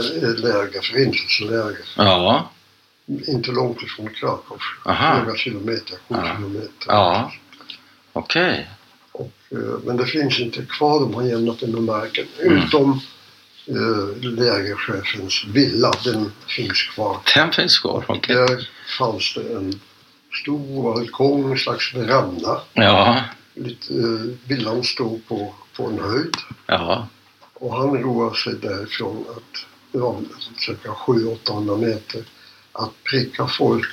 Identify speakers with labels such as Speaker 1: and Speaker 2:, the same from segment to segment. Speaker 1: stationsläge, förintelseläge.
Speaker 2: Ja.
Speaker 1: Inte långt ifrån Krakow.
Speaker 2: Aha.
Speaker 1: Några kilometer, sju
Speaker 2: Ja.
Speaker 1: kilometer.
Speaker 2: Ja. Okej.
Speaker 1: Och, eh, men det finns inte kvar, de har jämnat det med marken.
Speaker 2: Mm.
Speaker 1: Utom eh, lägerchefens villa, den finns kvar.
Speaker 2: Den finns kvar. Okej.
Speaker 1: Där fanns det en stor balkong, en slags veranda.
Speaker 2: Ja.
Speaker 1: Lite, eh, villan stod på, på en höjd.
Speaker 2: Ja.
Speaker 1: Och han roade sig därifrån att, det var cirka 700-800 meter, att pricka folk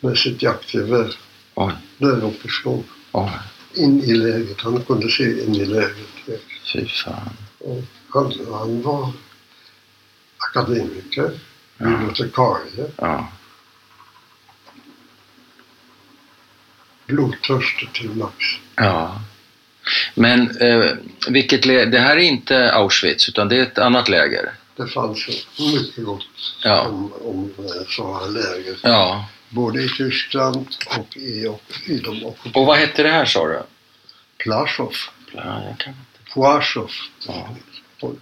Speaker 1: med sitt jaktgevär
Speaker 2: Oj.
Speaker 1: där uppifrån.
Speaker 2: Oj.
Speaker 1: In i lägret. Han kunde se in i lägret.
Speaker 2: Fy fan.
Speaker 1: Och Han, han var akademiker,
Speaker 2: Ja.
Speaker 1: bibliotekarie,
Speaker 2: Ja.
Speaker 1: blodtörstig till max.
Speaker 2: Ja. Men eh, vilket lä- det här är inte Auschwitz utan det är ett annat läger.
Speaker 1: Det fanns ju mycket gott
Speaker 2: Ja.
Speaker 1: om, om eh, sådana här läger.
Speaker 2: Ja.
Speaker 1: Både i Tyskland och i, och i de ockuperade.
Speaker 2: Och vad hette det här sa du?
Speaker 1: Plaschow,
Speaker 2: Ja, jag kan...
Speaker 1: Poaschow.
Speaker 2: ja.
Speaker 1: Pol-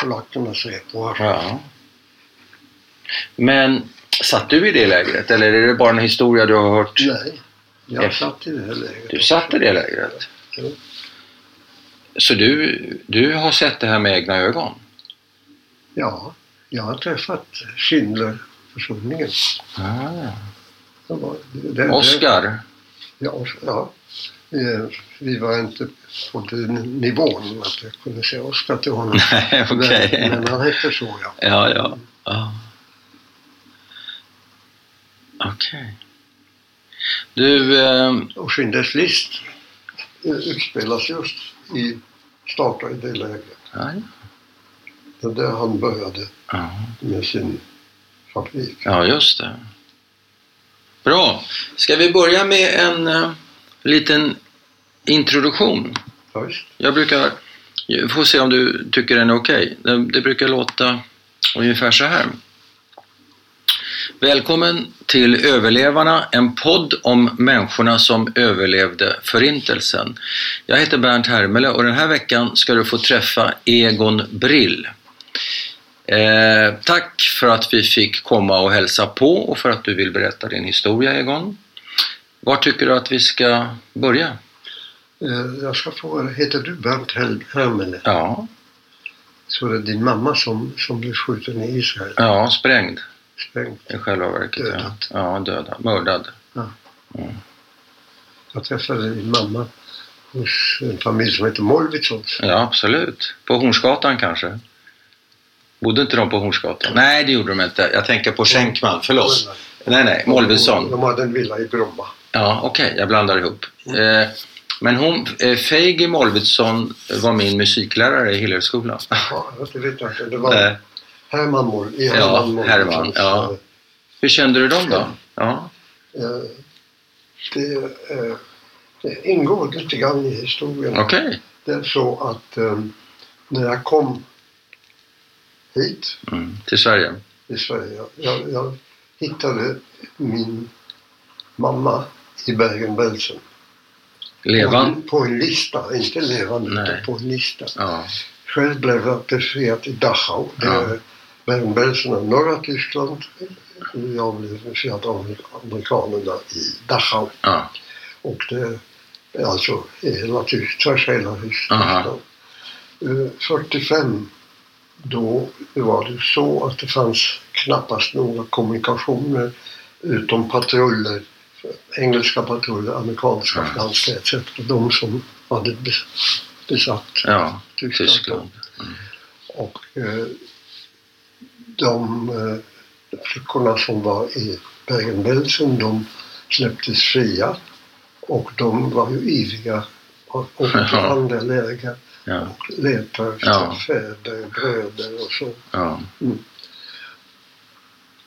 Speaker 1: Polackerna säger Poaschow.
Speaker 2: ja. Men satt du i det lägret eller är det bara en historia du har hört?
Speaker 1: Nej, jag
Speaker 2: Ja.
Speaker 1: satt i det här lägret.
Speaker 2: Du satt i det lägret?
Speaker 1: Ja.
Speaker 2: Så du, du har sett det här med egna ögon?
Speaker 1: Ja, jag har träffat Schindler-försoningen.
Speaker 2: Ah.
Speaker 1: Det var- det- det-
Speaker 2: Oscar?
Speaker 1: Ja, och- ja. Eh, Vi var inte på den nivån att jag kunde säga Oskar till honom.
Speaker 2: Nej, okej.
Speaker 1: men, men han hette så, ja.
Speaker 2: Ja, ja. ja. Okej. Du, eh,
Speaker 1: Och Schindler's list eh, utspelas just i, startar i det läget.
Speaker 2: ja,
Speaker 1: Det är där han började
Speaker 2: ja.
Speaker 1: med sin fabrik.
Speaker 2: ja, just det. Bra. Ska vi börja med en eh, liten introduktion?
Speaker 1: Ja, visst.
Speaker 2: Jag brukar, jag får se om du tycker den är okej. Det, det brukar låta ungefär så här. Välkommen till Överlevarna, en podd om människorna som överlevde Förintelsen. Jag heter Bernt Hermele och den här veckan ska du få träffa Egon Brill. Eh, tack för att vi fick komma och hälsa på och för att du vill berätta din historia Egon. Var tycker du att vi ska börja?
Speaker 1: Eh, Jag ska fråga dig, heter du Bernt Hel- Hermele?
Speaker 2: Ja,
Speaker 1: Så det är din mamma som, som blev skjuten i Israel,
Speaker 2: ja sprängd.
Speaker 1: sprängd.
Speaker 2: I själva verket, ja.
Speaker 1: Dödad.
Speaker 2: Ja, dödad. Mördad.
Speaker 1: Jag träffade din mamma hos en familj som heter Molvitsons.
Speaker 2: Ja, absolut. På Hornsgatan kanske? Bodde inte de på Hornsgatan? Nej, det gjorde de inte. Jag tänker på Schenkman. Förlåt. Nej, nej. Molvesson.
Speaker 1: De hade en villa i Bromma.
Speaker 2: Ja, okej. jag blandar ihop. Eh, men hon, eh, Feige Molvesson var min musiklärare i Hillelskolan.
Speaker 1: Ja, det vet jag inte. Det var
Speaker 2: Eh,
Speaker 1: Herman Moll. i
Speaker 2: Ja,
Speaker 1: Herman Moll.
Speaker 2: Herman, ja. hur kände du dem då? Ja.
Speaker 1: Eh, Det, eh, det ingår lite grann i historien.
Speaker 2: Okej.
Speaker 1: Det är så att eh, när jag kom hit
Speaker 2: Mm. Till Sverige?
Speaker 1: i Sverige, jag, jag hittade min mamma i Bergen-Belsen. På,
Speaker 2: Levan?
Speaker 1: en- på en lista, inte levande,
Speaker 2: Nej.
Speaker 1: utan på en lista.
Speaker 2: Ja.
Speaker 1: Själv blev jag befriad i Dachau. Det är Bergen-Belsen av norra Tyskland. Jag blev befriad av amerikanerna i Dachau.
Speaker 2: ja.
Speaker 1: Och det är alltså hela Tyskland, tvärs hela Tyskland.
Speaker 2: Aha.
Speaker 1: Eh, 45, då var det så att det fanns knappast några kommunikationer utom patruller, engelska patruller, amerikanska,
Speaker 2: Mm.
Speaker 1: franska etc. De som hade bes- besatt
Speaker 2: Ja.
Speaker 1: Tyskland.
Speaker 2: Tyskland.
Speaker 1: Och eh, de eh, flickorna som var i Bergen-Belsen, de släpptes fria. Och de var ju ivriga och åkte till
Speaker 2: Ja.
Speaker 1: andra läger
Speaker 2: Ja.
Speaker 1: och letade efter
Speaker 2: Ja.
Speaker 1: fäder, bröder och så.
Speaker 2: Ja.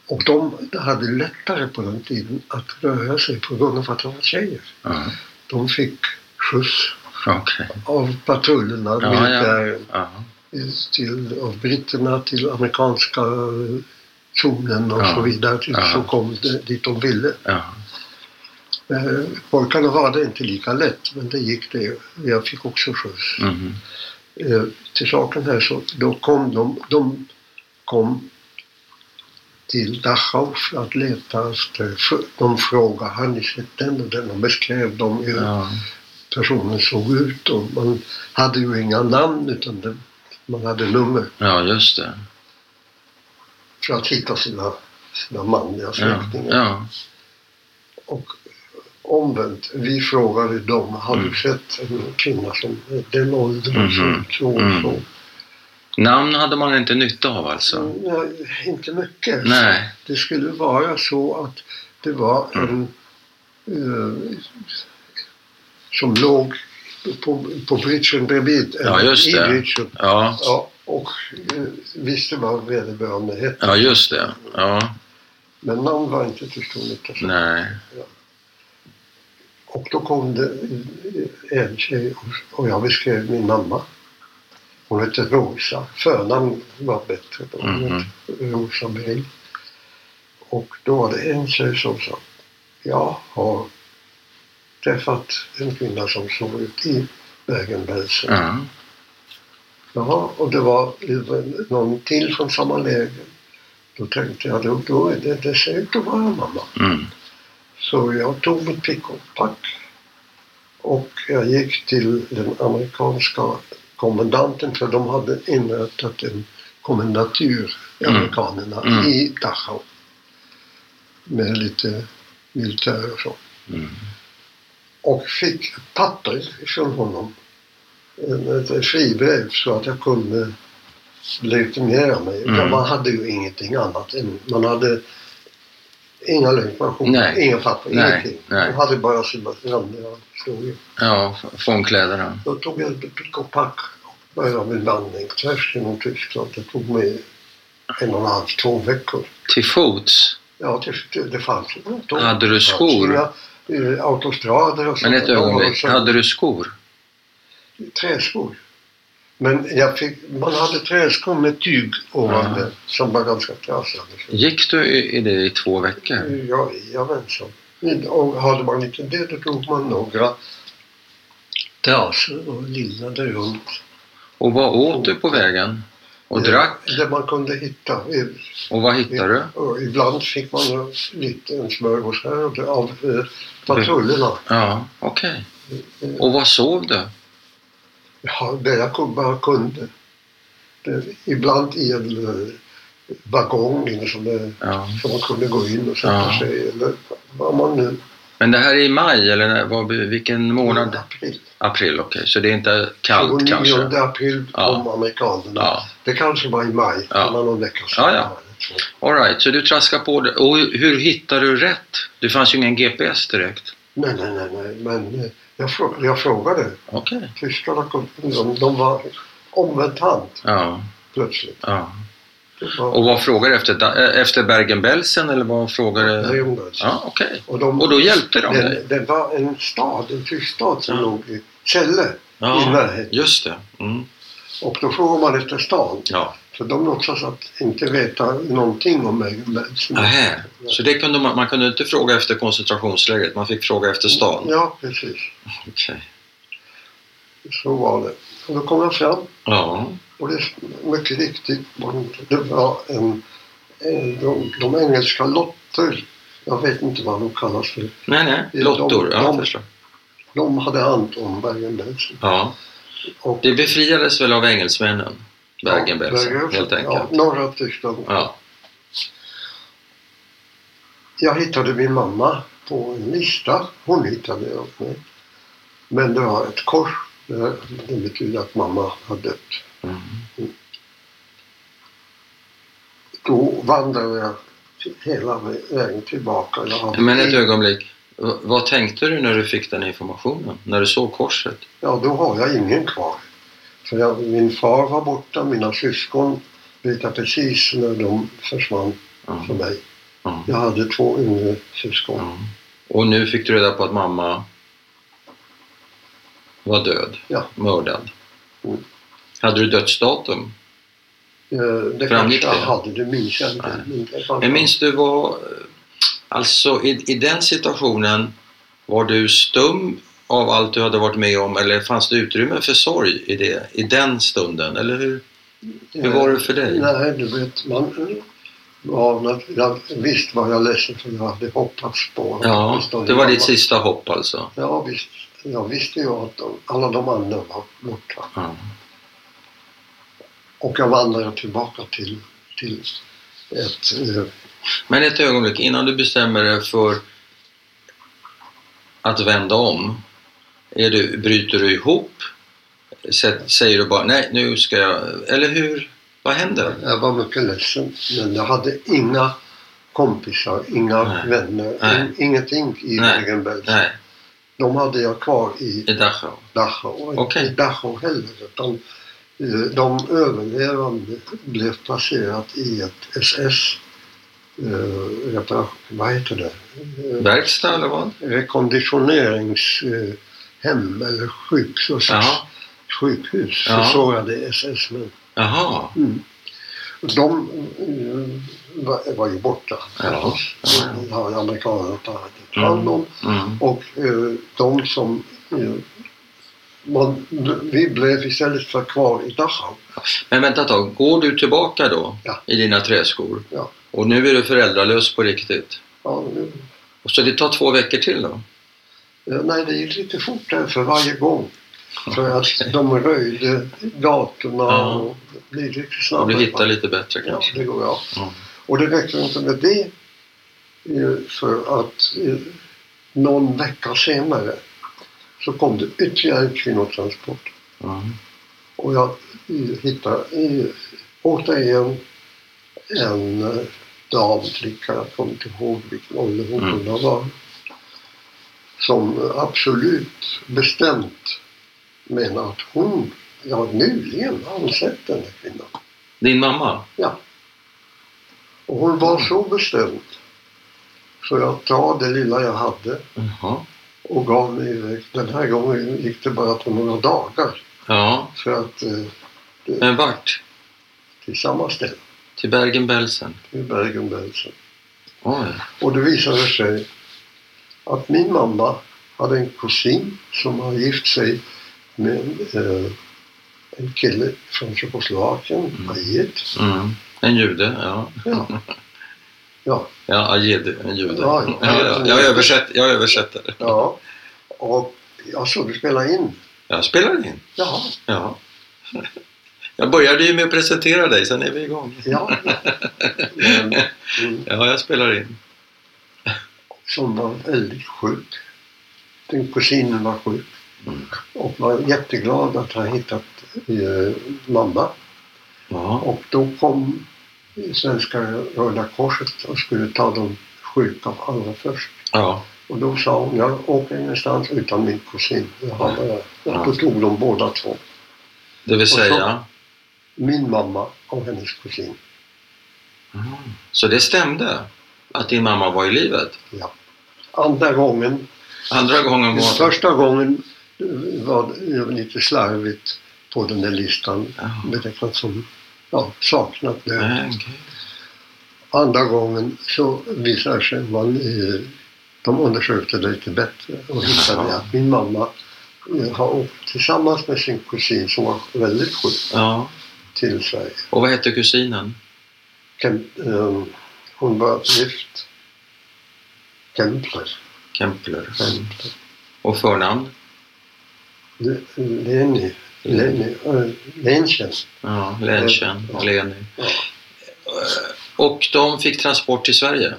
Speaker 1: Och de hade lättare på den tiden att röra sig på grund av att de var tjejer.
Speaker 2: ja.
Speaker 1: De fick skjuts
Speaker 2: Okej.
Speaker 1: av patrullerna,
Speaker 2: ja.
Speaker 1: militären.
Speaker 2: Ja.
Speaker 1: till, av britterna till amerikanska eh, zonen och
Speaker 2: Ja.
Speaker 1: så vidare till,
Speaker 2: Ja.
Speaker 1: som kom de- dit de ville.
Speaker 2: Ja.
Speaker 1: Eh, pojkarna var det inte lika lätt men det gick det. Jag fick också skjuts.
Speaker 2: Mhm.
Speaker 1: Eh, till saken här så då kom de, de kom till Dachau för att leta efter de frågor han i sitt den och den och beskrev dem hur
Speaker 2: Ja.
Speaker 1: personen såg ut och man hade ju inga namn utan det, man hade nummer
Speaker 2: ja, just det.
Speaker 1: för att hitta sina, sina manliga
Speaker 2: Ja,
Speaker 1: släktingar.
Speaker 2: ja,
Speaker 1: Och omvänt, vi frågade dem, har
Speaker 2: Mm.
Speaker 1: du sett en kvinna som är den åldern
Speaker 2: Mhm.
Speaker 1: som så och
Speaker 2: Mm.
Speaker 1: så?
Speaker 2: Namn hade man inte nytta av alltså?
Speaker 1: Nej, inte mycket.
Speaker 2: Nej. Mm.
Speaker 1: Det skulle vara så att det var en eh, som låg på, på bridgen bredvid.
Speaker 2: Ja,
Speaker 1: eller
Speaker 2: just
Speaker 1: i
Speaker 2: det.
Speaker 1: Bridgen.
Speaker 2: Ja,
Speaker 1: Ja, och eh, visste vad vederbörande hette.
Speaker 2: ja just det. Ja,
Speaker 1: Men namn var inte till stor nytta.
Speaker 2: nej.
Speaker 1: Och då kom det en tjej och jag beskrev min mamma. Hon hette Rosa. Förnamn var bättre då. Hon
Speaker 2: Mhm.
Speaker 1: hette Rosa Berg. Och då var det en tjej som sa Jag har träffat en kvinna som såg ut i Bergen-Belsen.
Speaker 2: Ja,
Speaker 1: Jaha, och det var någon till från samma läger. Då tänkte jag, då, då är det, det ser ut att vara mamma.
Speaker 2: mm.
Speaker 1: Så jag tog mitt pick och pack och jag gick till den amerikanska kommendanten för de hade inrättat en kommendatur,
Speaker 2: Mm.
Speaker 1: amerikanerna,
Speaker 2: Mm.
Speaker 1: i Dachau. Med lite militär och så.
Speaker 2: Mm.
Speaker 1: Och fick ett papper från honom. En- Ett ett fribrev så att jag kunde legitimera mig.
Speaker 2: Mm.
Speaker 1: Man hade ju ingenting annat. än- Man hade inga legitimationer,
Speaker 2: Nej.
Speaker 1: inga papper,
Speaker 2: Nej,
Speaker 1: ingenting.
Speaker 2: nej.
Speaker 1: Man hade bara sina randiga frågor.
Speaker 2: ja f- fångkläderna.
Speaker 1: Då tog jag ett pick och pack och började min vandring tvärs genom Tyskland. Det tog mig en och en halv, två veckor.
Speaker 2: Till fots?
Speaker 1: Ja, det, det, det fanns ju inte tåg.
Speaker 2: Hade du
Speaker 1: Det fanns
Speaker 2: skor?
Speaker 1: inga, eh, Autostrader och
Speaker 2: Men ett
Speaker 1: där. De var
Speaker 2: ögonblick,
Speaker 1: så-
Speaker 2: hade du skor?
Speaker 1: träskor. Men jag fick, man hade träskor med tyg ovanför
Speaker 2: Ja.
Speaker 1: som var ganska trasiga.
Speaker 2: Gick du i i det i två veckor?
Speaker 1: Jag, jag vet inte. Och hade man inte det då tog man några trasor och lillade runt.
Speaker 2: Och vad åt du på vägen? Och
Speaker 1: Det-
Speaker 2: drack?
Speaker 1: Det man kunde hitta. I-
Speaker 2: Och vad hittade du?
Speaker 1: Och ibland fick man eh, lite en smörgås här och där av eh, patrullerna.
Speaker 2: Ja, okej. Och vad sov du?
Speaker 1: Ja, det jag kun- bara kunde. Det, ibland i en eh, vagong eller som det
Speaker 2: Ja.
Speaker 1: Så man kunde gå in och sätta
Speaker 2: Ja.
Speaker 1: sig. Eller vad man nu...
Speaker 2: Men det här är i maj, eller när- vad, vilken månad?
Speaker 1: April.
Speaker 2: April, okej. Så det är inte kallt
Speaker 1: 29
Speaker 2: kanske?
Speaker 1: april
Speaker 2: Ja.
Speaker 1: kom amerikanerna.
Speaker 2: Ja.
Speaker 1: Det kanske var i maj.
Speaker 2: Ja.
Speaker 1: Det var någon vecka sedan.
Speaker 2: Ja, ja. All right, så du traskar på det. Och hur hittar du rätt? Det fanns ju ingen GPS direkt.
Speaker 1: Nej, nej, nej, nej. Men eh, jag, frå- jag frågade.
Speaker 2: Okej.
Speaker 1: Tyskarna kom. De, de var omvänt hand
Speaker 2: Ja,
Speaker 1: plötsligt.
Speaker 2: ja.
Speaker 1: Det var
Speaker 2: Och vad frågar du efter? Da- eh, Efter Bergen-Belsen eller vad frågar
Speaker 1: det
Speaker 2: du?
Speaker 1: gjorde det.
Speaker 2: Ja, okej.
Speaker 1: Och, de,
Speaker 2: Och då hjälpte de dig?
Speaker 1: det, det var en stad, en tysk stad som
Speaker 2: Ja.
Speaker 1: låg i Celle i
Speaker 2: Ja,
Speaker 1: närheten.
Speaker 2: just det. Mm.
Speaker 1: Och då frågade man efter stan.
Speaker 2: Ja.
Speaker 1: För de låtsas att inte veta någonting om Bergen-Belsen.
Speaker 2: Nähä. Så det kunde man, man kunde inte fråga efter koncentrationslägret, man fick fråga efter stan?
Speaker 1: Ja, precis.
Speaker 2: Okej.
Speaker 1: Så var det. Och då kom jag fram
Speaker 2: Ja.
Speaker 1: och det är mycket riktigt. man- Det var en, en, de, de engelska lotter, jag vet inte vad de kallas för,
Speaker 2: Nej, nej.
Speaker 1: De-
Speaker 2: Lottor. Ja, jag
Speaker 1: de-
Speaker 2: förstår.
Speaker 1: de hade hand om Bergen-Belsen.
Speaker 2: Ja.
Speaker 1: Och-
Speaker 2: Det befriades väl av engelsmännen? Bergen-Belsen,
Speaker 1: Bergen-
Speaker 2: helt
Speaker 1: Ja,
Speaker 2: enkelt.
Speaker 1: norra Tyskland.
Speaker 2: Ja.
Speaker 1: Jag hittade min mamma på en lista. Hon hittade jag åt mig. Men det var ett kors. Det, det betyder att mamma har dött.
Speaker 2: Mm.
Speaker 1: Då vandrade jag till- hela vägen tillbaka. Jag hade-
Speaker 2: Men ett ögonblick. V- Vad tänkte du när du fick den informationen? När du såg korset?
Speaker 1: Ja, då har jag ingen kvar. För jag, min far var borta, mina syskon vet jag precis när de försvann
Speaker 2: Ja.
Speaker 1: för mig.
Speaker 2: Ja.
Speaker 1: Jag hade två yngre syskon.
Speaker 2: Ja. Och nu fick du reda på att mamma var död,
Speaker 1: Ja.
Speaker 2: mördad.
Speaker 1: Mm.
Speaker 2: Hade du dödsdatum? Mm.
Speaker 1: Eh, Det
Speaker 2: Framgick
Speaker 1: kanske jag
Speaker 2: det?
Speaker 1: hade, det minns jag
Speaker 2: Nej.
Speaker 1: inte. Men det
Speaker 2: Men
Speaker 1: fanns-
Speaker 2: minns du vad... Alltså i, i den situationen, var du stum av allt du hade varit med om eller fanns det utrymme för sorg i, det, i den stunden? Eller hur? Hur
Speaker 1: Eh,
Speaker 2: var det för dig?
Speaker 1: Nej, du vet, man var, jag, visst var jag ledsen för jag hade hoppats på
Speaker 2: Ja,
Speaker 1: Åtminstone
Speaker 2: det var
Speaker 1: jag
Speaker 2: ditt sista hopp alltså.
Speaker 1: Ja, visst. Jag visste ju att de, alla de andra var borta.
Speaker 2: Ja.
Speaker 1: Och jag vandrade tillbaka till, till ett... eh,
Speaker 2: Men ett ögonblick, innan du bestämmer dig för att vända om, är du, bryter du ihop? Sä- Säger du bara nej, nu ska jag... Eller hur? Vad händer?
Speaker 1: Jag var mycket ledsen, men jag hade inga kompisar, inga
Speaker 2: Nej.
Speaker 1: vänner,
Speaker 2: Nej.
Speaker 1: in, ingenting i
Speaker 2: Nej.
Speaker 1: Bergen-Belsen.
Speaker 2: Nej,
Speaker 1: De hade jag kvar i
Speaker 2: i Dachau.
Speaker 1: Dachau. Och
Speaker 2: Okej.
Speaker 1: Inte i Dachau heller, utan eh, de överlevande blev placerat i ett SS... Eh, reparation, vad heter det? Eh,
Speaker 2: Verkstad eller vad?
Speaker 1: rekonditioneringshem eller sjukhus,
Speaker 2: Jaha.
Speaker 1: sjukhus
Speaker 2: Ja.
Speaker 1: försågade SS-män.
Speaker 2: Jaha.
Speaker 1: De eh, var, var ju borta.
Speaker 2: Ja.
Speaker 1: De har amerikanerna tagit hand om.
Speaker 2: Mm.
Speaker 1: Och eh, de som... eh, Man, vi blev istället för kvar i Dachau.
Speaker 2: Men vänta ett tag, går du tillbaka då
Speaker 1: Ja.
Speaker 2: i dina träskor?
Speaker 1: Ja.
Speaker 2: Och nu är du föräldralös på riktigt?
Speaker 1: Ja, nu-
Speaker 2: Och Så det tar två veckor till då?
Speaker 1: eh, nej, det gick lite fort där för varje gång. För att de röjde gatorna
Speaker 2: Ja.
Speaker 1: och det blev lite
Speaker 2: Och
Speaker 1: snabbare.
Speaker 2: du hittar lite bättre
Speaker 1: Ja,
Speaker 2: kanske?
Speaker 1: det går bra.
Speaker 2: Ja.
Speaker 1: Och det räcker inte med det. eh, För att eh, någon vecka senare så kom det ytterligare en kvinnotransport.
Speaker 2: Ja.
Speaker 1: Och jag eh, hittade eh, återigen en eh, damflicka, jag kommer inte ihåg vilken ålder hon
Speaker 2: Mm.
Speaker 1: kunde ha varit. Som absolut bestämt menar att hon, jag har nyligen ansett den här kvinnan.
Speaker 2: Din mamma?
Speaker 1: Och hon var så bestämd. Så jag tar det lilla jag hade
Speaker 2: Jaha.
Speaker 1: och gav mig iväg. Den här gången gick det bara på några dagar.
Speaker 2: Ja.
Speaker 1: För att eh,
Speaker 2: Men vart?
Speaker 1: till samma ställe,
Speaker 2: Till Bergen-Belsen?
Speaker 1: till Bergen-Belsen.
Speaker 2: Oj.
Speaker 1: Och det visade sig att min mamma hade en kusin som har gift sig med eh, en kille från Tjeckoslovakien,
Speaker 2: Mm.
Speaker 1: Ajit.
Speaker 2: Mm. En jude, ja.
Speaker 1: Ja. ja,
Speaker 2: Ja, ajid, en jude.
Speaker 1: Ja,
Speaker 2: ja,
Speaker 1: ja.
Speaker 2: ja. Jag, översätter, jag översätter.
Speaker 1: ja. Och jag såg du spela in.
Speaker 2: Jag spelar in.
Speaker 1: Jaha,
Speaker 2: Ja. Jag började ju med att presentera dig, sen är vi igång.
Speaker 1: ja. Men, mm.
Speaker 2: Ja, jag spelar in.
Speaker 1: som var väldigt sjuk. Den kusinen var sjuk.
Speaker 2: Mm.
Speaker 1: Och var jätteglad att ha hittat eh, mamma.
Speaker 2: Ja.
Speaker 1: Och då kom Svenska Röda Korset och skulle ta de sjuka allra först.
Speaker 2: Ja.
Speaker 1: Och då sa hon, jag åker ingenstans utan min kusin. Jag har bara. Och då tog de båda två.
Speaker 2: Det vill
Speaker 1: så-
Speaker 2: säga?
Speaker 1: Min mamma och hennes kusin.
Speaker 2: Så det stämde? Att din mamma var i livet?
Speaker 1: Andra gången
Speaker 2: Andra gången
Speaker 1: Den
Speaker 2: var...
Speaker 1: första gången var det lite slarvigt på den där listan
Speaker 2: Jaha.
Speaker 1: betecknat som ja, saknat död.
Speaker 2: Nej, okej.
Speaker 1: Andra gången så visade det sig att man, eh, de undersökte det lite bättre och hittade
Speaker 2: Jaha.
Speaker 1: att min mamma eh, har åkt tillsammans med sin kusin som var väldigt sjuk
Speaker 2: Ja.
Speaker 1: till Sverige.
Speaker 2: Och vad hette kusinen?
Speaker 1: Kem, eh, hon var gift Kempler.
Speaker 2: Kempler.
Speaker 1: Kempler.
Speaker 2: Och förnamn?
Speaker 1: Le- Leni. Leni. eh, Lenchen.
Speaker 2: Ja, Lenchen,
Speaker 1: Ja.
Speaker 2: Leni.
Speaker 1: Ja.
Speaker 2: Eh, Och de fick transport till Sverige?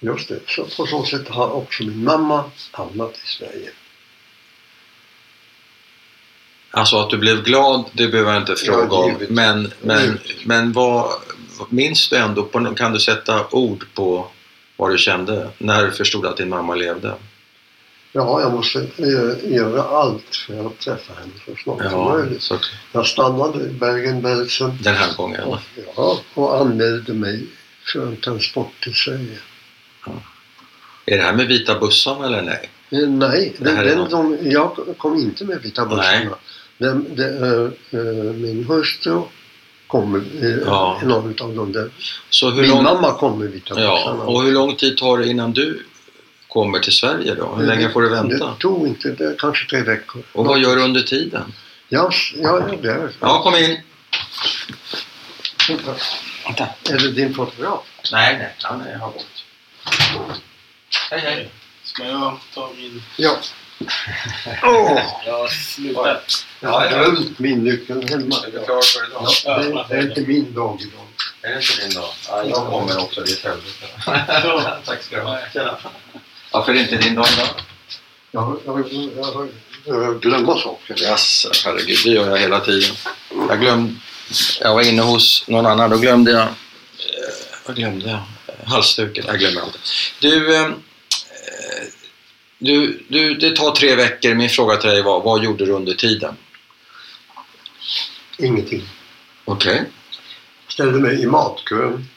Speaker 1: Just det. Så på så sätt har också min mamma hamnat i Sverige.
Speaker 2: Alltså att du blev glad, det behöver jag inte fråga
Speaker 1: Ja,
Speaker 2: om.
Speaker 1: givetvis.
Speaker 2: Men, men,
Speaker 1: Givetvis.
Speaker 2: men vad, minns du ändå, på, nå- kan du sätta ord på vad du kände när du förstod att din mamma levde?
Speaker 1: Ja, jag måste eh, göra allt för att träffa henne så snart som
Speaker 2: Ja,
Speaker 1: möjligt.
Speaker 2: så,
Speaker 1: Jag stannade i Bergen-Belsen
Speaker 2: den här gången.
Speaker 1: och, ja, och anmälde mig för en transport till Sverige.
Speaker 2: Är det här med vita bussarna eller nej?
Speaker 1: Eh, Nej,
Speaker 2: Det
Speaker 1: den,
Speaker 2: här är
Speaker 1: den
Speaker 2: något.
Speaker 1: som, jag kom inte med Vita bussarna. Den, det, eh, eh, min hustru kom med eh,
Speaker 2: Ja.
Speaker 1: någon av de där.
Speaker 2: Så hur
Speaker 1: Min
Speaker 2: lång,
Speaker 1: mamma kom med Vita
Speaker 2: ja,
Speaker 1: bussarna.
Speaker 2: och hur lång tid tar det innan du kommer till Sverige då? Hur länge får du
Speaker 1: Det
Speaker 2: vänta?
Speaker 1: tog inte, det, kanske tre veckor.
Speaker 2: Och vad gör du under tiden?
Speaker 1: Jag, jag är där.
Speaker 2: Ja, kom in!
Speaker 1: Vänta,
Speaker 2: Vänta.
Speaker 1: Är det din fotograf?
Speaker 2: Nej, nej. Han är- har gått. Hej, hej.
Speaker 3: Ska jag ta min...
Speaker 1: Ja. Åh!
Speaker 3: Jag har slutat.
Speaker 1: Jag har glömt min nyckel hemma.
Speaker 2: klar för idag?
Speaker 1: Ja, det, det är inte min dag idag.
Speaker 2: Är det inte din dag? Ja,
Speaker 1: jag kommer
Speaker 2: också. Det är ett helvete.
Speaker 3: Ja.
Speaker 2: Tack ska du ha. Varför är det inte din dag idag?
Speaker 1: Jag, jag, jag, jag glömmer saker.
Speaker 2: Jaså, herregud, det gör jag hela tiden. Jag glömde... Jag var inne hos någon annan, då glömde jag... eh, Vad glömde jag? Eh, Halsduken, jag glömmer alltid. Du, eh, eh, du, du, det tar tre veckor. Min fråga till dig var, vad gjorde du under tiden?
Speaker 1: Ingenting.
Speaker 2: Okej.
Speaker 1: Ställde mig i matkön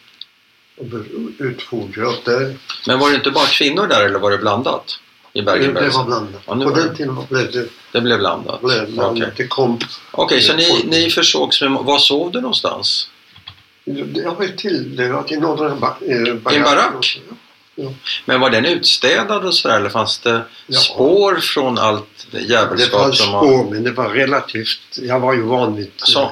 Speaker 1: och blev utfordrad där.
Speaker 2: Men var det inte bara kvinnor där eller var det blandat? I
Speaker 1: Det,
Speaker 2: Bergen-Belsen?
Speaker 1: var blandat.
Speaker 2: Ja, nu
Speaker 1: På
Speaker 2: var det.
Speaker 1: den tiden blev det
Speaker 2: Det blev blandat?
Speaker 1: blev
Speaker 2: Okej,
Speaker 1: blandat. Det kom...
Speaker 2: Okej, så ni, ni försågs med... Var sov du någonstans?
Speaker 1: Jag blev tilldelat i norra ba, eh, barack.
Speaker 2: barack? Men var den utstädad och sådär eller fanns det
Speaker 1: Ja.
Speaker 2: spår från allt
Speaker 1: Det
Speaker 2: jävelskap
Speaker 1: fanns
Speaker 2: som har...
Speaker 1: spår, men det var relativt. Jag var ju van vid eh,
Speaker 2: Som,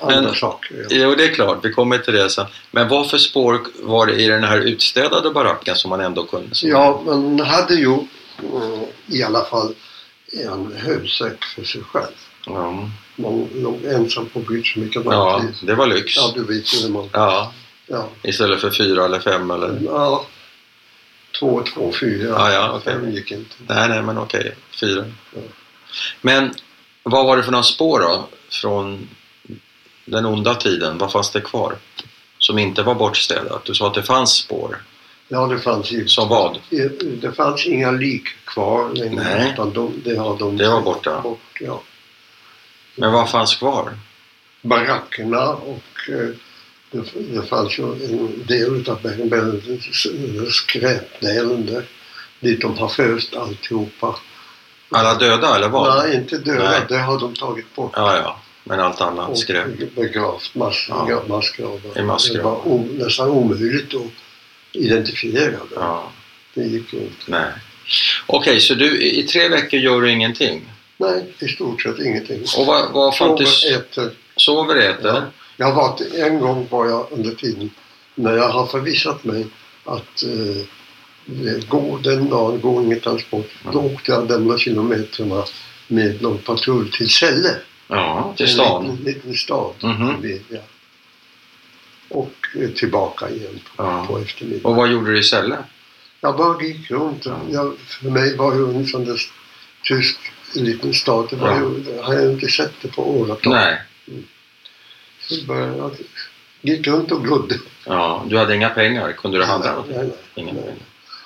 Speaker 1: andra
Speaker 2: men-
Speaker 1: saker.
Speaker 2: jo, det är klart, vi kommer till det sen. Men vad för spår var det i den här utstädade baracken som man ändå kunde? som-
Speaker 1: Ja, man hade ju eh, i alla fall en högsäck för sig själv.
Speaker 2: Ja.
Speaker 1: Man låg ensam på byn så mycket man
Speaker 2: ja,
Speaker 1: trivs.
Speaker 2: det var lyx.
Speaker 1: ja, du vet ju när man...
Speaker 2: Ja,
Speaker 1: Ja,
Speaker 2: istället för fyra eller fem eller...
Speaker 1: ja två, två, fyra.
Speaker 2: Ja, ja, okej.
Speaker 1: Fem gick inte.
Speaker 2: Nej, nej, men okej, fyra.
Speaker 1: Ja.
Speaker 2: Men vad var det för några spår då? Från den onda tiden, vad fanns det kvar? Som inte var bortstädat? Du sa att det fanns spår.
Speaker 1: Ja, det fanns ju...
Speaker 2: Som vad?
Speaker 1: eh, Det fanns inga lik kvar längre.
Speaker 2: Nej.
Speaker 1: Utan de, det, har de
Speaker 2: Det var borta.
Speaker 1: Bort, ja.
Speaker 2: Men vad fanns kvar?
Speaker 1: barackerna och eh, det, det fanns ju en del av Bergen-Belsen skräpdelen där eh, dit de har föst alltihopa.
Speaker 2: Alla döda eller vad?
Speaker 1: Nej, inte döda,
Speaker 2: Nej.
Speaker 1: det har de tagit bort.
Speaker 2: Ja, ja. Men allt annat
Speaker 1: och
Speaker 2: skräp.
Speaker 1: begravt massor,
Speaker 2: Ja.
Speaker 1: massgravar.
Speaker 2: I massgravar.
Speaker 1: Det var o, nästan omöjligt att identifiera det.
Speaker 2: Ja,
Speaker 1: Det gick ju inte.
Speaker 2: nej. Okej, så du, i i tre veckor gör du ingenting?
Speaker 1: Nej, i stort sett ingenting. eh,
Speaker 2: Och vad, vad
Speaker 1: Sover,
Speaker 2: fantis...
Speaker 1: äter.
Speaker 2: Sover, äter?
Speaker 1: Ja. Jag var, en gång var jag under tiden när jag har förvissat mig att eh, det går den dagen går ingen transport.
Speaker 2: Mm.
Speaker 1: Då åkte jag de där kilometerna med någon patrull till Celle.
Speaker 2: Ja, till stan?
Speaker 1: En liten, liten stad.
Speaker 2: Mhm.
Speaker 1: vid- ja. Och eh, tillbaka igen på,
Speaker 2: Ja.
Speaker 1: på eftermiddagen.
Speaker 2: Och vad gjorde du i Sälle?
Speaker 1: Jag bara gick runt.
Speaker 2: Ja.
Speaker 1: Jag, för mig var ju en sån där tysk liten stad. Det var
Speaker 2: Ja.
Speaker 1: ju, det har jag inte sett det på åratal.
Speaker 2: Nej.
Speaker 1: Så började jag gick runt och glodde.
Speaker 2: Ja, du hade inga pengar. Kunde du handla
Speaker 1: Nej,
Speaker 2: någonting?
Speaker 1: nej,
Speaker 2: Inga
Speaker 1: nej.
Speaker 2: pengar.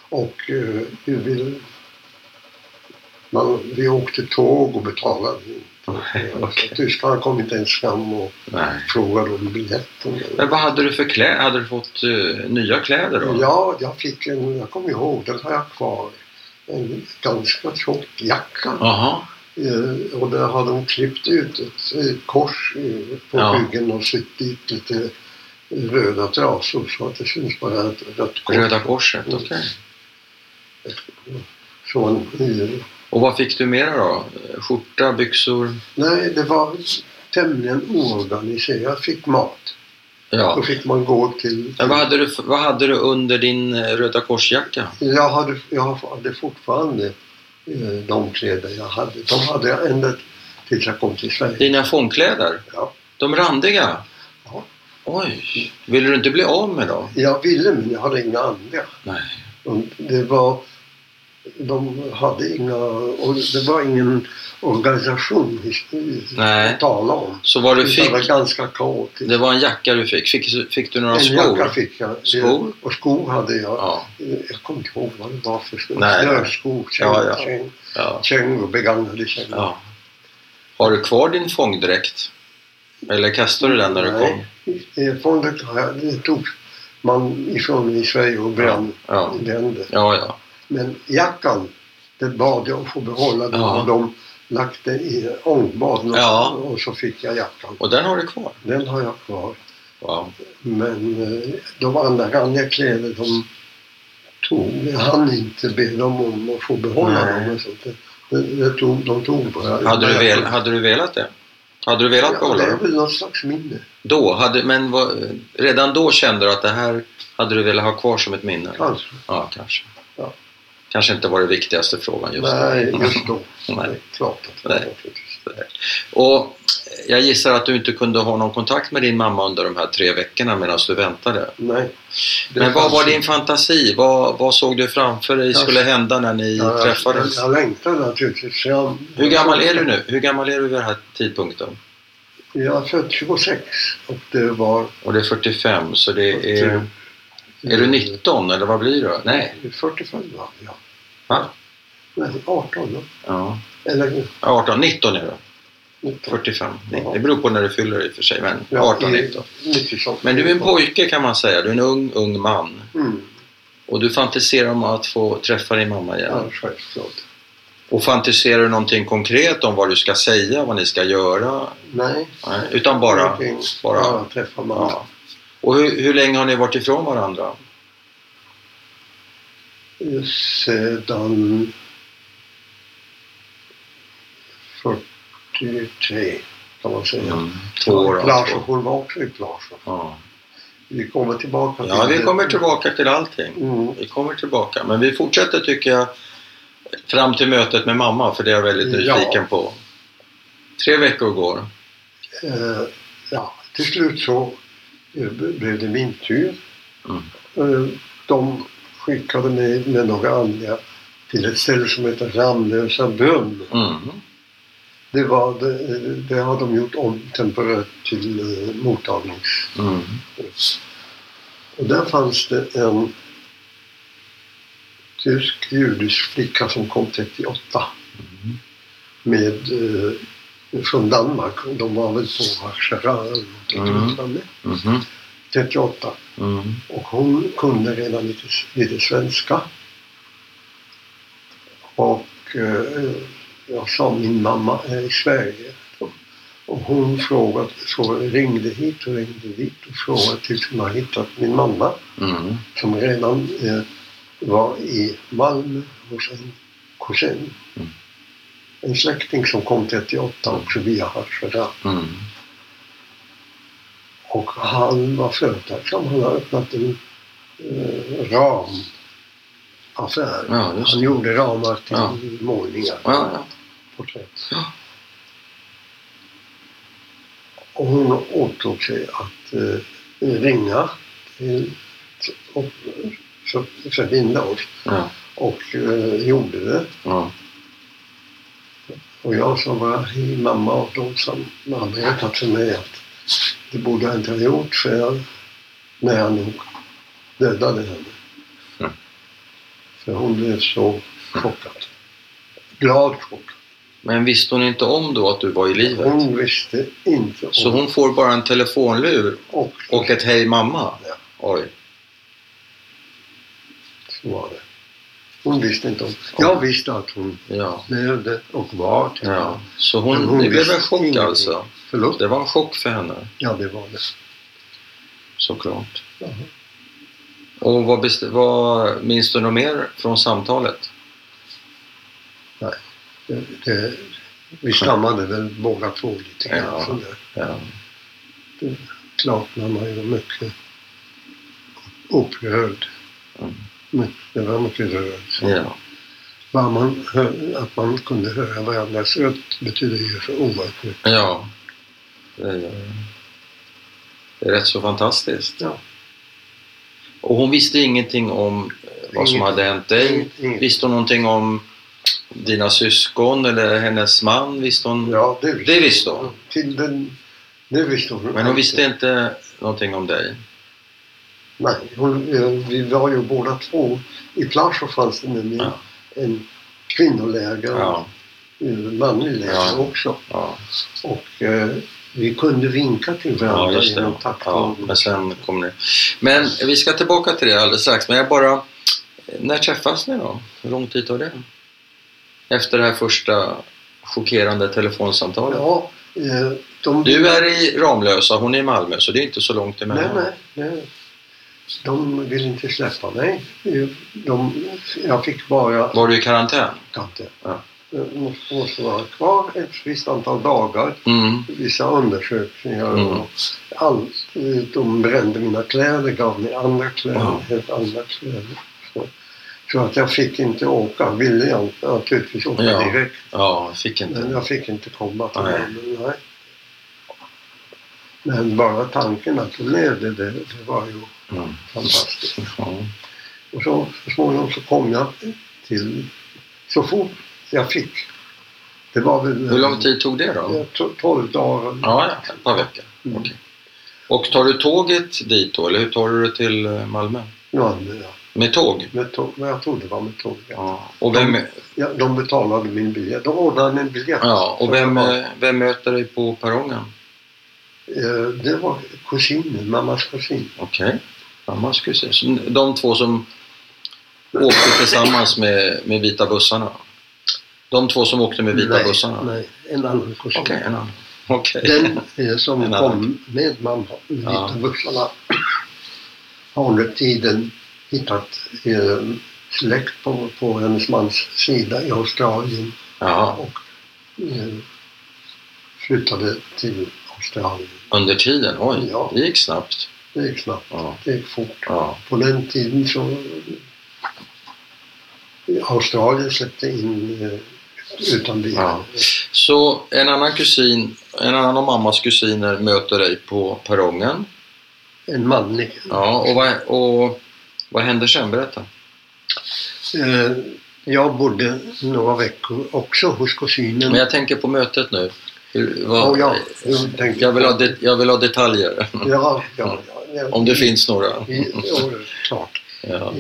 Speaker 1: Och eh, vi, ville, man, vi åkte tåg och betalade.
Speaker 2: Okej.
Speaker 1: Tyskarna kom inte ens fram och
Speaker 2: Nej.
Speaker 1: frågade om biljetten.
Speaker 2: Men vad hade du för kläder? Hade du fått eh, nya kläder då?
Speaker 1: Ja, jag fick en, jag kommer ihåg, den har jag kvar. En ganska tjock jacka.
Speaker 2: Jaha.
Speaker 1: Eh, och där har de klippt ut ett, eh, kors eh, på
Speaker 2: Ja.
Speaker 1: ryggen och sytt dit lite röda trasor så att det syns bara ett rött kors.
Speaker 2: Röda korset,
Speaker 1: Mm.
Speaker 2: okej.
Speaker 1: Så en, eh,
Speaker 2: Och vad fick du mera då? Skjorta, byxor?
Speaker 1: Nej, det var tämligen oorganiserat. Jag fick mat. Då
Speaker 2: Ja.
Speaker 1: fick man gå till...
Speaker 2: Men vad hade du, vad hade du under din eh, Röda korsjacka?
Speaker 1: Jag hade, jag hade fortfarande eh, de kläder jag hade. De hade jag ända tills jag kom till Sverige.
Speaker 2: Dina fångkläder?
Speaker 1: Ja.
Speaker 2: De randiga?
Speaker 1: Ja.
Speaker 2: Oj! Ville du inte bli av med dem?
Speaker 1: Jag ville, men jag hade inga andra.
Speaker 2: Nej.
Speaker 1: Och Det var... De hade inga... Och det var ingen organisation i- i-
Speaker 2: Nej.
Speaker 1: att tala om.
Speaker 2: Så vad du
Speaker 1: Utan Det var
Speaker 2: fick,
Speaker 1: ganska kaotiskt.
Speaker 2: det var en jacka du fick. Fick, fick du några
Speaker 1: En jacka
Speaker 2: skor?
Speaker 1: fick jag.
Speaker 2: Skor?
Speaker 1: Och skor hade jag.
Speaker 2: Ja,
Speaker 1: Eh, Jag kommer inte ihåg vad det var för skor.
Speaker 2: Nej.
Speaker 1: Snöskor,
Speaker 2: Ja, ja.
Speaker 1: käng-
Speaker 2: ja,
Speaker 1: kängor, begagnade kängor.
Speaker 2: ja. Har du kvar din fångdräkt? Eller kastade du den när du
Speaker 1: Nej.
Speaker 2: kom?
Speaker 1: Eh, Fondet har jag- det tog man ifrån i Sverige och brann
Speaker 2: Ja,
Speaker 1: brände.
Speaker 2: ja, ja.
Speaker 1: Men jackan, det bad jag att få behålla. Då
Speaker 2: Ja.
Speaker 1: har de lagt den i ångbaden och,
Speaker 2: Ja.
Speaker 1: och så fick jag jackan.
Speaker 2: Och den har du kvar?
Speaker 1: Den har jag kvar.
Speaker 2: Wow.
Speaker 1: Men eh, de andra, andra kläder de tog, jag hann inte be dem om att få behålla
Speaker 2: Nej.
Speaker 1: dem. Och sånt. Det, det tog, de tog bara.
Speaker 2: Hade, du vel, hade du velat det? Hade du velat
Speaker 1: Ja,
Speaker 2: behålla
Speaker 1: det är
Speaker 2: dem?
Speaker 1: väl någon slags minne.
Speaker 2: Då? Hade, men vad, redan då kände du att det här hade du velat ha kvar som ett minne?
Speaker 1: Kanske.
Speaker 2: Ja, kanske.
Speaker 1: Ja.
Speaker 2: Kanske inte var det viktigaste frågan just
Speaker 1: Nej,
Speaker 2: då.
Speaker 1: just då.
Speaker 2: Nej.
Speaker 1: Det är klart att det
Speaker 2: Nej.
Speaker 1: var naturligtvis.
Speaker 2: Och jag gissar att du inte kunde ha någon kontakt med din mamma under de här tre veckorna medan du väntade.
Speaker 1: Nej. Det
Speaker 2: Men vad
Speaker 1: fanns
Speaker 2: var din
Speaker 1: inte.
Speaker 2: fantasi? Vad, vad såg du framför dig
Speaker 1: Jag-
Speaker 2: skulle hända när ni
Speaker 1: Ja,
Speaker 2: träffades?
Speaker 1: Jag, jag längtade naturligtvis. Jag,
Speaker 2: Hur gammal är du nu? Hur gammal är du vid den här tidpunkten?
Speaker 1: Jag är född 26 och det var...
Speaker 2: Och det är 45, så det är... Är du 19 eller vad blir du? Nej.
Speaker 1: 45 va? Ja.
Speaker 2: Va?
Speaker 1: Nej, 18 va?
Speaker 2: Ja.
Speaker 1: Eller
Speaker 2: 18, 19 är du.
Speaker 1: 19.
Speaker 2: 45.
Speaker 1: Ja.
Speaker 2: Det beror på när du fyller i och för sig, men
Speaker 1: Ja,
Speaker 2: 18,
Speaker 1: i-
Speaker 2: 19.
Speaker 1: 90 sånt.
Speaker 2: Men du är en pojke kan man säga. Du är en ung, ung man.
Speaker 1: Mm,
Speaker 2: Och du fantiserar om att få träffa din mamma igen.
Speaker 1: ja, självklart.
Speaker 2: Och fantiserar du någonting konkret om vad du ska säga, vad ni ska göra?
Speaker 1: Nej.
Speaker 2: Nej, utan bara...
Speaker 1: Någonting.
Speaker 2: bara.
Speaker 1: Ja, träffa mamma.
Speaker 2: Ja. Och hur, hur länge har ni varit ifrån varandra?
Speaker 1: Sedan 43 kan man säga.
Speaker 2: Mm, Två år
Speaker 1: Mm. Lars och
Speaker 2: alltså.
Speaker 1: hon var också i Larsson.
Speaker 2: Ja.
Speaker 1: Vi kommer tillbaka
Speaker 2: ja, vi kommer tillbaka till allting.
Speaker 1: Mm.
Speaker 2: Vi kommer tillbaka. Men vi fortsätter tycker jag fram till mötet med mamma för det är jag väldigt
Speaker 1: Ja.
Speaker 2: nyfiken på. Tre veckor går.
Speaker 1: Eh, ja, till slut så eh, b- blev det min tur.
Speaker 2: Mm.
Speaker 1: Eh, de skickade mig med några andra till ett ställe som heter Ramlösa brunn.
Speaker 2: Mm.
Speaker 1: Det, var, det, det har de gjort om temporärt till eh, mottagnings...
Speaker 2: Mm.
Speaker 1: Och där fanns det en tysk-judisk flicka som kom 38 med, eh, från Danmark. De var väl på Warszawa eller någonting
Speaker 2: Mm.
Speaker 1: liknande.
Speaker 2: Mhm.
Speaker 1: 38.
Speaker 2: Mm.
Speaker 1: Och hon kunde redan lite, lite svenska. Och eh, jag sa min mamma är i Sverige. Och hon frågade, frågade, ringde hit och ringde dit och frågade tills hon har hittat min mamma
Speaker 2: Mm.
Speaker 1: som redan eh, var i Malmö hos en kusin.
Speaker 2: Mm.
Speaker 1: En släkting som kom 38 också via Hassela.
Speaker 2: Mm.
Speaker 1: Och han var företagsam. Han har öppnat en eh, ramaffär.
Speaker 2: Ja, just
Speaker 1: han
Speaker 2: det.
Speaker 1: gjorde ramar till
Speaker 2: Ja.
Speaker 1: målningar.
Speaker 2: Ja, ja.
Speaker 1: Porträtt.
Speaker 2: Ja.
Speaker 1: Och hon åtog sig att eh, ringa till, och för, förbinda oss.
Speaker 2: Ja.
Speaker 1: Och eh, gjorde det.
Speaker 2: Ja.
Speaker 1: Och jag som var i mamma och de som har berättat för mig att det borde jag inte ha gjort för jag, när jag nog dödade henne.
Speaker 2: Mm.
Speaker 1: För hon blev så chockad. Glad chockad.
Speaker 2: Men visste hon inte om då att du var i livet?
Speaker 1: Hon visste inte om
Speaker 2: Så hon får bara en telefonlur
Speaker 1: och,
Speaker 2: och ett hej mamma?
Speaker 1: Ja.
Speaker 2: Oj.
Speaker 1: så var det. Hon visste inte om. Jag visste att hon
Speaker 2: Ja.
Speaker 1: levde och var till
Speaker 2: ja. Så hon,
Speaker 1: Men hon
Speaker 2: det blev en
Speaker 1: visste
Speaker 2: chock
Speaker 1: ingenting.
Speaker 2: alltså?
Speaker 1: Förlåt?
Speaker 2: Det var en chock för henne?
Speaker 1: Ja, det var det.
Speaker 2: Såklart.
Speaker 1: Ja.
Speaker 2: Och vad, best- vad minns du något mer från samtalet?
Speaker 1: det, det vi stammade väl båda två lite grann.
Speaker 2: Ja.
Speaker 1: sådär.
Speaker 2: Ja.
Speaker 1: klart när man var mycket upprörd.
Speaker 2: Mm.
Speaker 1: Men det var mycket rörelse.
Speaker 2: ja.
Speaker 1: Bara man hör, att man kunde höra varandras röst betyder ju så oerhört mycket.
Speaker 2: ja. Det, är, det är rätt så fantastiskt.
Speaker 1: Ja.
Speaker 2: Och hon visste ingenting om eh, vad som
Speaker 1: Ingenting.
Speaker 2: hade hänt dig?
Speaker 1: Inget-
Speaker 2: Visste hon någonting om dina syskon eller hennes man? Visste hon?
Speaker 1: Ja, det visste,
Speaker 2: Det visste hon.
Speaker 1: Till den, det visste hon.
Speaker 2: Men hon visste inte någonting om dig?
Speaker 1: Nej, hon, eh, vi var ju båda två. I Plaschow fanns det nämligen
Speaker 2: Ja.
Speaker 1: en kvinnoläger och
Speaker 2: Ja.
Speaker 1: en manlig läger
Speaker 2: Ja.
Speaker 1: också.
Speaker 2: ja.
Speaker 1: Och eh, vi kunde vinka till
Speaker 2: Ja,
Speaker 1: varandra
Speaker 2: just det.
Speaker 1: genom
Speaker 2: Ja,
Speaker 1: taktgången.
Speaker 2: men sen kommer ni. Men vi ska tillbaka till det alldeles strax. Men jag bara... När träffas ni då? Hur lång tid tar det? Efter det här första chockerande telefonsamtalet?
Speaker 1: Ja, eh, de...
Speaker 2: Du är i Ramlösa, hon är i Malmö, så det är inte så långt emellan.
Speaker 1: Nej, nej, nej. De vill inte släppa mig. De, jag fick bara...
Speaker 2: Var du i karantän?
Speaker 1: Kante.
Speaker 2: Ja.
Speaker 1: eh, måste, måste vara kvar ett visst antal dagar.
Speaker 2: Mm.
Speaker 1: Vissa undersökningar
Speaker 2: Mm.
Speaker 1: och allt. eh, De brände mina kläder, gav mig andra kläder,
Speaker 2: Ja.
Speaker 1: helt andra kläder. Så, så att jag fick inte åka, ville jag inte, naturligtvis åka
Speaker 2: Ja.
Speaker 1: direkt.
Speaker 2: Ja, jag fick
Speaker 1: Men
Speaker 2: inte.
Speaker 1: jag fick inte komma till
Speaker 2: Nej.
Speaker 1: den. Nej. Men bara tanken att jag levde, det, det var ju
Speaker 2: Mm.
Speaker 1: fantastiskt.
Speaker 2: Ja.
Speaker 1: Och så, så småningom så kom jag till, så fort jag fick. Det var väl...
Speaker 2: Hur lång tid tog det då?
Speaker 1: Ja, to- Tolv dagar.
Speaker 2: Ja, ja, ett par veckor.
Speaker 1: Mm.
Speaker 2: Okej. Och tar du tåget dit då, eller hur tar du det till eh, Malmö?
Speaker 1: Ja, men ja,
Speaker 2: Med tåg?
Speaker 1: med tåg, men jag trodde det var med tåg. Ja.
Speaker 2: Ja. Och vem,
Speaker 1: Ja, de betalade min biljett. De ordnade min biljett.
Speaker 2: ja, och
Speaker 1: Så
Speaker 2: vem,
Speaker 1: det, var,
Speaker 2: eh, vem möter dig på perrongen?
Speaker 1: eh, det var kusinen, mammas kusin.
Speaker 2: Okej. Mammas kusin. Så De två som åkte tillsammans med, med vita bussarna? De två som åkte med vita
Speaker 1: nej,
Speaker 2: bussarna?
Speaker 1: Nej, en annan kusin.
Speaker 2: Okej, en annan. Okej.
Speaker 1: Den eh, som
Speaker 2: En annan.
Speaker 1: kom med mamma i vita
Speaker 2: Ja.
Speaker 1: bussarna har under tiden hittat eh, släkt på, på hennes mans sida i Australien
Speaker 2: Ja,
Speaker 1: och eh, flyttade till Australien.
Speaker 2: under tiden. Oj,
Speaker 1: Ja.
Speaker 2: det gick snabbt.
Speaker 1: Det gick snabbt,
Speaker 2: Ja,
Speaker 1: det gick fort.
Speaker 2: ja.
Speaker 1: På den tiden så Australien släppte in eh, utan vidare.
Speaker 2: Så en annan kusin, en annan av mammas kusiner möter dig på perrongen.
Speaker 1: En manlig
Speaker 2: Ja, och vad, och vad händer sen? Berätta.
Speaker 1: Eh, Jag bodde några veckor också hos kusinen.
Speaker 2: Men jag tänker på mötet nu. Hur, vad,
Speaker 1: Och jag, jag, tänkte,
Speaker 2: jag, vill ha det, jag vill ha detaljer,
Speaker 1: Ja, ja, ja.
Speaker 2: om det finns några.
Speaker 1: I- Ja, klart.
Speaker 2: Ja,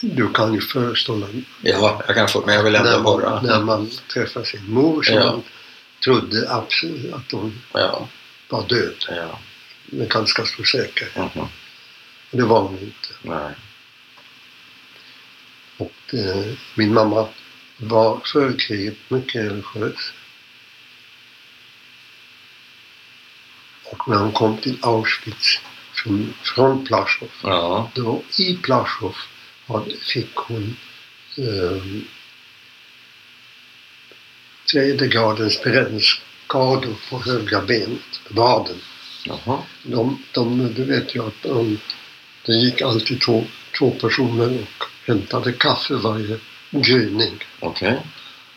Speaker 1: Du kan ju föreställa dig
Speaker 2: ja jag kan få, men jag vill ändå
Speaker 1: när
Speaker 2: höra.
Speaker 1: man, när man träffar sin mor som
Speaker 2: Ja.
Speaker 1: man trodde absolut att hon
Speaker 2: Ja,
Speaker 1: var död.
Speaker 2: ja.
Speaker 1: Med ganska stor säkerhet.
Speaker 2: mhm,
Speaker 1: Det var hon inte.
Speaker 2: Nej.
Speaker 1: Och eh, min mamma var före kriget mycket religiös. Och när hon kom till Auschwitz från, från Plaschow,
Speaker 2: Ja,
Speaker 1: då i Plaschow hade- fick hon eh, tredje gradens brännskador på högra benet, vaden.
Speaker 2: jaha.
Speaker 1: De, de, du vet ju att de, det gick alltid två, två personer och hämtade kaffe varje gryning.
Speaker 2: Okej.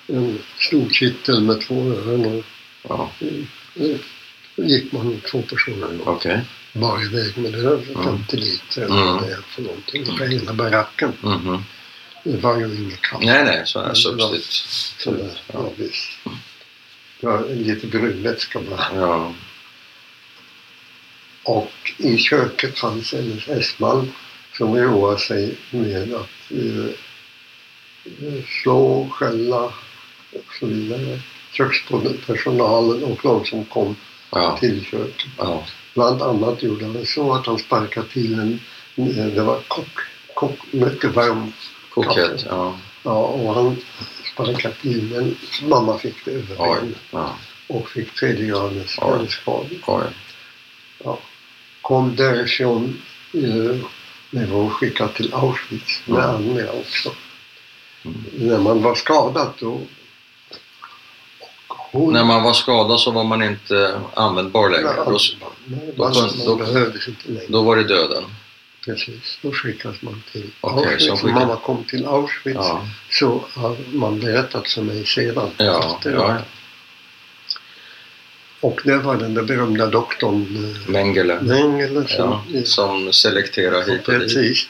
Speaker 1: En stor kittel med två öron och
Speaker 2: Ja,
Speaker 1: eh, gick man två personer och
Speaker 2: okej.
Speaker 1: bar iväg med över 50
Speaker 2: Mm.
Speaker 1: liter eller
Speaker 2: Mm.
Speaker 1: vad det är för någonting. För hela baracken.
Speaker 2: mhm.
Speaker 1: Det var ju inget kaffe.
Speaker 2: Nej, nej, så här
Speaker 1: Ja. Så
Speaker 2: substitut.
Speaker 1: det,
Speaker 2: Ja.
Speaker 1: ja, visst. Det var lite brunvätska bara.
Speaker 2: Ja.
Speaker 1: Och i köket fanns en SS-man som roade sig med att eh, slå, skälla och så vidare. Kökspersonalen och de som kom
Speaker 2: Ja.
Speaker 1: till köket.
Speaker 2: Ja.
Speaker 1: Bland annat gjorde han så att han sparkade till en, eh, det var kock, kock mycket varm,
Speaker 2: Kokett. Ja.
Speaker 1: ja, och han sparkade till en, mamma fick det över
Speaker 2: Oj.
Speaker 1: benet
Speaker 2: Ja.
Speaker 1: och fick tredje gradens
Speaker 2: Oj.
Speaker 1: brännskador.
Speaker 2: Oj.
Speaker 1: kom därifrån eh, när vi var skickad till Auschwitz med
Speaker 2: Mm.
Speaker 1: andra också.
Speaker 2: Mm.
Speaker 1: När man var skadad då. Och hon,
Speaker 2: När man var skadad så var man inte användbar längre. Då,
Speaker 1: nej,
Speaker 2: då-
Speaker 1: man,
Speaker 2: då-
Speaker 1: man behövdes inte längre.
Speaker 2: då var det döden.
Speaker 1: Precis, då skickades man till
Speaker 2: Okej, så
Speaker 1: Auschwitz.
Speaker 2: skickade-
Speaker 1: Mamma kom till Auschwitz.
Speaker 2: Ja.
Speaker 1: Så har man berättat för mig sedan.
Speaker 2: Ja.
Speaker 1: efteråt.
Speaker 2: ja.
Speaker 1: Och det var den där berömda doktorn eh,
Speaker 2: Mengele.
Speaker 1: Mengele som
Speaker 2: Mm. Ja,
Speaker 1: eh,
Speaker 2: som selekterar hit och dit.
Speaker 1: Precis.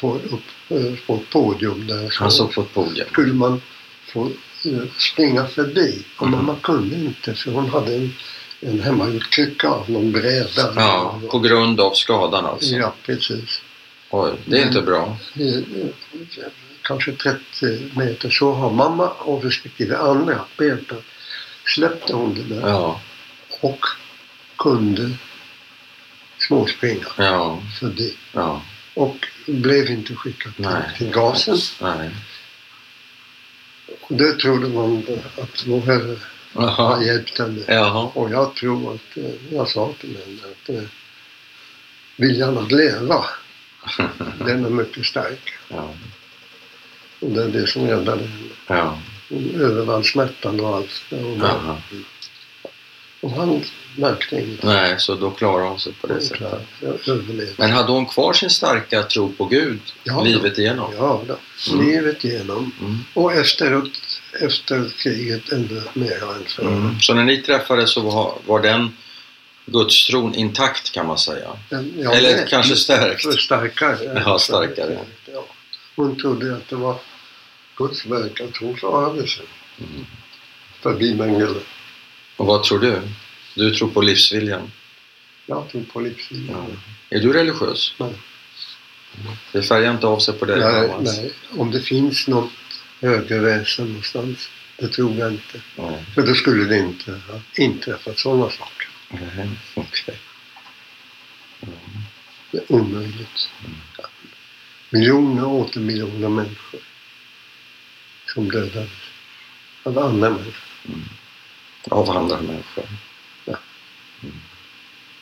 Speaker 1: På, upp, eh, på ett podium där så
Speaker 2: Han såg på ett podium.
Speaker 1: skulle man få eh, springa förbi. Och
Speaker 2: Mhm.
Speaker 1: mamma kunde inte för hon hade en, en hemmagjord krycka av någon bräda.
Speaker 2: Ja, på grund av skadan alltså.
Speaker 1: ja, precis.
Speaker 2: Oj, det är inte bra.
Speaker 1: Eh, eh, Kanske 30 meter så har mamma och respektive andra Berta släppte hon det där
Speaker 2: Ja,
Speaker 1: och kunde småspringa
Speaker 2: ja,
Speaker 1: förbi.
Speaker 2: ja.
Speaker 1: Och blev inte skickad till,
Speaker 2: Nej.
Speaker 1: till gasen.
Speaker 2: Nej.
Speaker 1: Och det trodde man att vår Herre
Speaker 2: Jaha.
Speaker 1: hade hjälpt henne.
Speaker 2: Jaha.
Speaker 1: Och jag tror att, eh, jag sa till henne att eh, viljan att leva, den är mycket stark.
Speaker 2: Ja.
Speaker 1: Och det är det som räddade henne.
Speaker 2: ja.
Speaker 1: Hon övervann smärtan och allt. Och,
Speaker 2: Jaha.
Speaker 1: och han märkte inget.
Speaker 2: Nej, så då klarar hon sig på det
Speaker 1: Jag
Speaker 2: sättet.
Speaker 1: klarade- Jag överlevde.
Speaker 2: Men hade hon kvar sin starka tro på Gud
Speaker 1: Ja.
Speaker 2: livet igenom?
Speaker 1: Ja, då.
Speaker 2: Mm.
Speaker 1: livet igenom.
Speaker 2: Mm.
Speaker 1: Och efteråt, efter kriget ännu mer än förr.
Speaker 2: Mm. Så när ni träffades så var, var den gudstron intakt kan man säga?
Speaker 1: Men jag
Speaker 2: Eller
Speaker 1: med.
Speaker 2: kanske stärkt?
Speaker 1: För starkare.
Speaker 2: Ja, starkare.
Speaker 1: Ja. Hon trodde att det var Guds verk, att hon klarade sig.
Speaker 2: Mm.
Speaker 1: Förbi Mengele.
Speaker 2: Och vad tror du? Du tror på livsviljan?
Speaker 1: Jag tror på livsstilen.
Speaker 2: Ja. Är du religiös?
Speaker 1: Nej.
Speaker 2: Det färgar inte av sig på dig?
Speaker 1: Nej,
Speaker 2: Thomas.
Speaker 1: nej, om det finns något högre väsen någonstans, det tror jag inte.
Speaker 2: Nej.
Speaker 1: För då skulle det inte ha inträffat sådana saker.
Speaker 2: Nej, okej.
Speaker 1: Det är omöjligt.
Speaker 2: Mm.
Speaker 1: Miljoner och åter miljoner människor som dödades av andra människor.
Speaker 2: Av andra människor.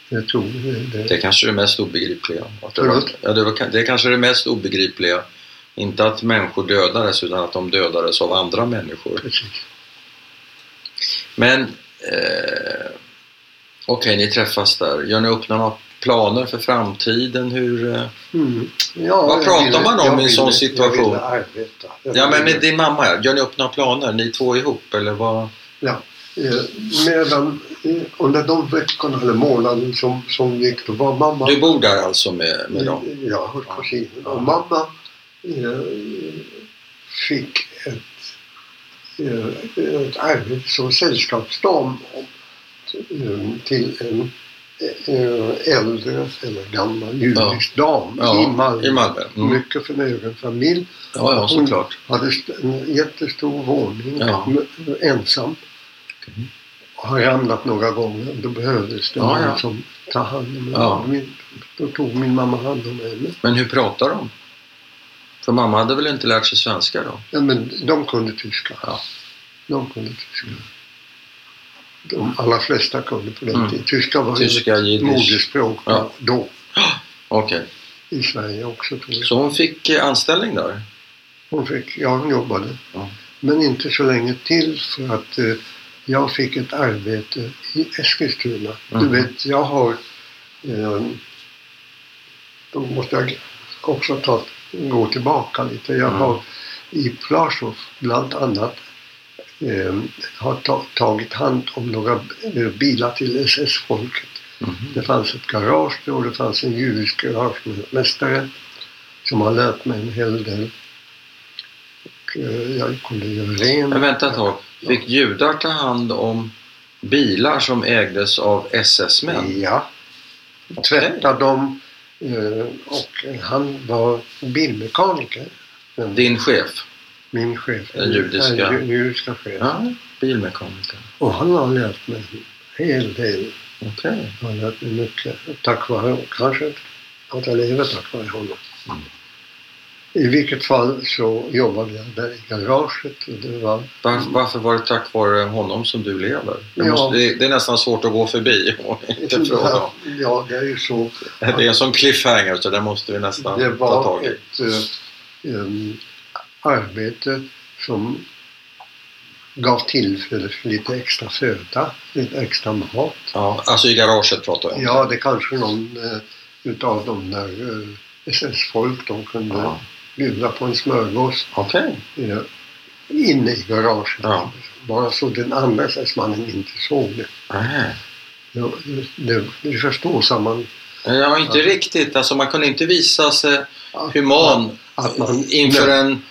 Speaker 1: Jag tror det.
Speaker 2: Det är kanske är det mest obegripliga. Att det, var,
Speaker 1: Förlåt?
Speaker 2: ja, det, var, det är kanske det mest obegripliga. Inte att människor dödades utan att de dödades av andra människor.
Speaker 1: Precis.
Speaker 2: Men eh, okej, ni träffas där. Gör ni upp några planer för framtiden? Hur, eh,
Speaker 1: Mm. Ja,
Speaker 2: Vad
Speaker 1: jag
Speaker 2: pratar man om
Speaker 1: jag
Speaker 2: i en sån
Speaker 1: ville-
Speaker 2: situation?
Speaker 1: Jag ville arbeta. Jag
Speaker 2: ja, men
Speaker 1: ville-
Speaker 2: med din mamma, ja. gör ni upp några planer? Ni två ihop eller vad?
Speaker 1: Ja, eh, medan, eh, under de veckorna eller månaden som, som gick, då var mamma...
Speaker 2: Du bor där alltså med, med dem?
Speaker 1: Ja, hos kusinen.
Speaker 2: Ja.
Speaker 1: Och mamma eh, fick ett, eh, ett arbete som sällskapsdam eh, till en eh, äldre eller gammal judisk dam
Speaker 2: Ja,
Speaker 1: i Malmö.
Speaker 2: I Malmö. Mm.
Speaker 1: Mycket förmögen familj.
Speaker 2: Ja, ja, såklart.
Speaker 1: Hade st- en jättestor våning,
Speaker 2: Ja.
Speaker 1: m- ensam.
Speaker 2: Okej.
Speaker 1: Och har ramlat några gånger. Då behövdes det
Speaker 2: Ja,
Speaker 1: någon
Speaker 2: ja.
Speaker 1: som tar hand om henne.
Speaker 2: Ja.
Speaker 1: Min, då tog min mamma hand om henne.
Speaker 2: Men hur pratar de? För mamma hade väl inte lärt sig svenska då?
Speaker 1: Ja, men de kunde tyska.
Speaker 2: Ja.
Speaker 1: De kunde tyska. De allra flesta kunde på den
Speaker 2: Mm.
Speaker 1: tiden. Tyska var ju
Speaker 2: Tyska, jiddisch?
Speaker 1: moderspråk
Speaker 2: Ja.
Speaker 1: då.
Speaker 2: Okej.
Speaker 1: I Sverige också tror jag.
Speaker 2: Så hon fick eh, anställning där?
Speaker 1: Hon fick, ja, hon jobbade.
Speaker 2: Ja.
Speaker 1: Men inte så länge till för att eh, jag fick ett arbete i Eskilstuna.
Speaker 2: Mhm.
Speaker 1: Du vet, jag har... Eh, då måste jag också ta, gå tillbaka lite. Jag
Speaker 2: Mm.
Speaker 1: har i Plasov bland annat eh, har ta, tagit hand om några eh, bilar till SS-folket.
Speaker 2: Mm-hmm.
Speaker 1: Det fanns ett garage då, det fanns en judisk garagemästare som har lärt mig en hel del. Och eh, jag kunde göra rent.
Speaker 2: Men vänta ett tag. Fick judar ta hand om bilar som ägdes av SS-män?
Speaker 1: Ja. Tvätta dem. eh, Och han var bilmekaniker. Men
Speaker 2: Din chef?
Speaker 1: Min chef.
Speaker 2: Den judiska.
Speaker 1: Ja, ju- judiska chef.
Speaker 2: Ja, bilmekaniker.
Speaker 1: Och han har lärt mig en hel del.
Speaker 2: Okej.
Speaker 1: Han har lärt mig mycket. Tack vare, kanske att jag lever tack vare honom.
Speaker 2: Mm.
Speaker 1: I vilket fall så jobbade jag där i garaget. Och det var
Speaker 2: Varför, varför var det tack vare honom som du lever?
Speaker 1: Ja.
Speaker 2: Det, måste, det, det är nästan svårt att gå förbi och inte fråga om.
Speaker 1: Ja, det är ju så.
Speaker 2: Det är en sån cliffhanger så det måste vi nästan
Speaker 1: Det
Speaker 2: ta
Speaker 1: var
Speaker 2: tag i.
Speaker 1: ett eh, em, arbete som gav tillfälle för lite extra föda, lite extra mat.
Speaker 2: Ja, alltså i garaget pratar jag om.
Speaker 1: Ja, det kanske någon eh, utav de där eh, SS-folk de kunde
Speaker 2: Ja.
Speaker 1: bjuda på en smörgås
Speaker 2: Okej.
Speaker 1: eh, inne i garaget.
Speaker 2: Ja.
Speaker 1: Bara så den andra SS-mannen inte såg det.
Speaker 2: Nej.
Speaker 1: Ja, Det, det förstås att man...
Speaker 2: Ja, inte riktigt. Alltså man kunde inte visa sig
Speaker 1: Att,
Speaker 2: human
Speaker 1: att man
Speaker 2: inför en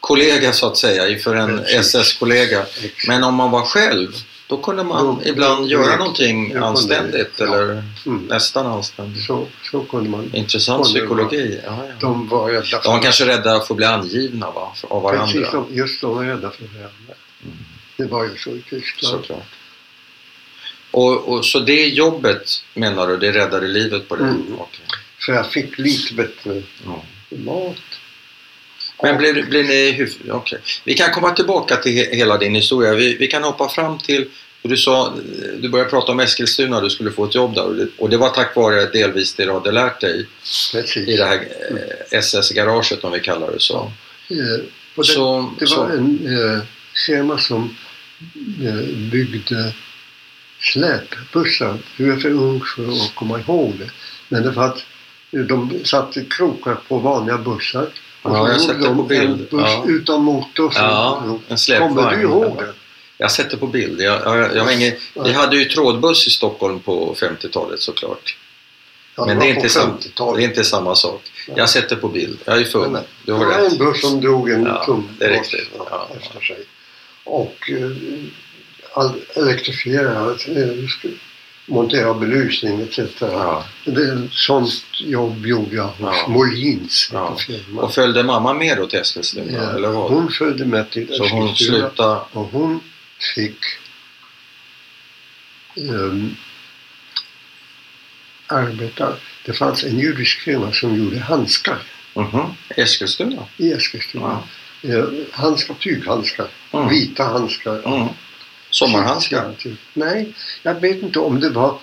Speaker 2: kollega så att säga, inför en
Speaker 1: Precis.
Speaker 2: SS-kollega. Men om man var själv, då kunde man
Speaker 1: Då-
Speaker 2: ibland
Speaker 1: då-
Speaker 2: göra
Speaker 1: då-
Speaker 2: någonting
Speaker 1: då-
Speaker 2: anständigt
Speaker 1: ja.
Speaker 2: eller
Speaker 1: Mm.
Speaker 2: nästan anständigt.
Speaker 1: Så, så kunde man.
Speaker 2: Intressant
Speaker 1: Kunde det vara.
Speaker 2: psykologi. Ja, ja. De,
Speaker 1: De var rädda
Speaker 2: var kanske rädda att få bli angivna va? för- av varandra.
Speaker 1: Precis, de, just de var rädda för varandra.
Speaker 2: Mm.
Speaker 1: Det var ju så i Tyskland.
Speaker 2: Såklart. Och, och, så det jobbet menar du, det räddade livet på dig?
Speaker 1: Mm.
Speaker 2: Okej.
Speaker 1: Så jag fick lite bättre
Speaker 2: Ja.
Speaker 1: mat.
Speaker 2: Men blir, blir ni... hyf- Okej. Vi kan komma tillbaka till he- hela din historia. Vi, vi kan hoppa fram till... Du sa, du började prata om Eskilstuna, du skulle få ett jobb där och det, och det var tack vare delvis det du hade lärt dig
Speaker 1: Precis.
Speaker 2: i det här eh, SS-garaget om vi kallar det så.
Speaker 1: Eh, och det,
Speaker 2: så,
Speaker 1: det var
Speaker 2: så
Speaker 1: en eh, Sema som eh, byggde släpbussar. Du är för ung för att komma ihåg det. Men det var att eh, de satte krokar på vanliga bussar. Och
Speaker 2: Ja,
Speaker 1: så
Speaker 2: jag har
Speaker 1: gjorde
Speaker 2: sett det på
Speaker 1: de en buss
Speaker 2: bild. Ja.
Speaker 1: utan motor. som-
Speaker 2: Ja, en släpvagn.
Speaker 1: Kommer du ihåg det?
Speaker 2: Jag har sett det på bild. Jag, jag, jag har ingen, vi hade ju trådbuss i Stockholm på 50-talet såklart.
Speaker 1: Ja,
Speaker 2: Men
Speaker 1: var
Speaker 2: det är
Speaker 1: på
Speaker 2: inte samma-
Speaker 1: 50-talet.
Speaker 2: Det är inte samma sak. Jag har sett det på bild. Jag är för mig. Du har
Speaker 1: det var
Speaker 2: rätt.
Speaker 1: en buss som drog en
Speaker 2: Ja,
Speaker 1: tung
Speaker 2: det är
Speaker 1: båt
Speaker 2: riktigt. Ja.
Speaker 1: efter sig. Och eh, all- elektrifiera, eh, montera belysning etc.
Speaker 2: Ja.
Speaker 1: Det, sånt jobb gjorde jag hos
Speaker 2: Ja.
Speaker 1: Molins.
Speaker 2: Ja.
Speaker 1: på firman.
Speaker 2: Och följde mamma med då till Eskilstuna?
Speaker 1: Ja,
Speaker 2: Eller vad?
Speaker 1: Hon följde med till
Speaker 2: Så hon
Speaker 1: Eskilstuna
Speaker 2: slutade...
Speaker 1: och hon fick ehm, arbeta. Det fanns en judisk firma som gjorde handskar
Speaker 2: Mhm. Eskilstuna?
Speaker 1: i Eskilstuna.
Speaker 2: Ja.
Speaker 1: Eh, handskar, tyghandskar,
Speaker 2: Mm.
Speaker 1: vita handskar.
Speaker 2: Mm. Sommarhandskar?
Speaker 1: Tyg- Nej, jag vet inte om det var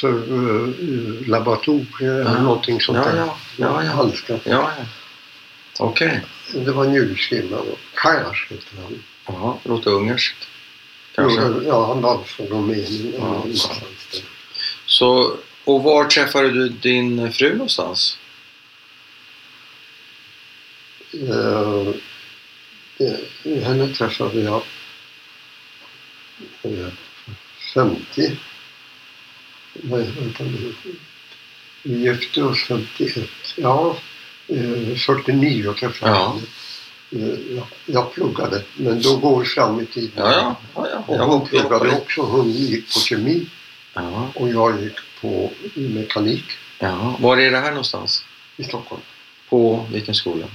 Speaker 1: för eh, eh, laboratorier eller
Speaker 2: Ja.
Speaker 1: någonting sånt
Speaker 2: Ja,
Speaker 1: där.
Speaker 2: ja. ja, ja.
Speaker 1: Handskar.
Speaker 2: ja, ja. Okej.
Speaker 1: Det var en judisk firma. då. Kajas hette han.
Speaker 2: Jaha, låter ungerskt. Kanske.
Speaker 1: Jo, Ja, han var från Rumänien.
Speaker 2: Ja.
Speaker 1: eller någonstans där.
Speaker 2: Så, och var träffade du din fru någonstans?
Speaker 1: Eh, eh, henne träffade jag eh, 50. Nej, vänta nu. Vi gifte oss 51. Ja, eh, 49 träffade jag
Speaker 2: Ja.
Speaker 1: henne. Eh, jag- Jag pluggade, men då går vi fram i tiden.
Speaker 2: Ja, ja. ja, ja.
Speaker 1: Och
Speaker 2: Jag
Speaker 1: hon
Speaker 2: hoppade på
Speaker 1: pluggade
Speaker 2: det.
Speaker 1: också. Hon gick på kemi
Speaker 2: Ja,
Speaker 1: och jag gick på mekanik
Speaker 2: ja. Var är det här någonstans?
Speaker 1: i Stockholm.
Speaker 2: På vilken skola?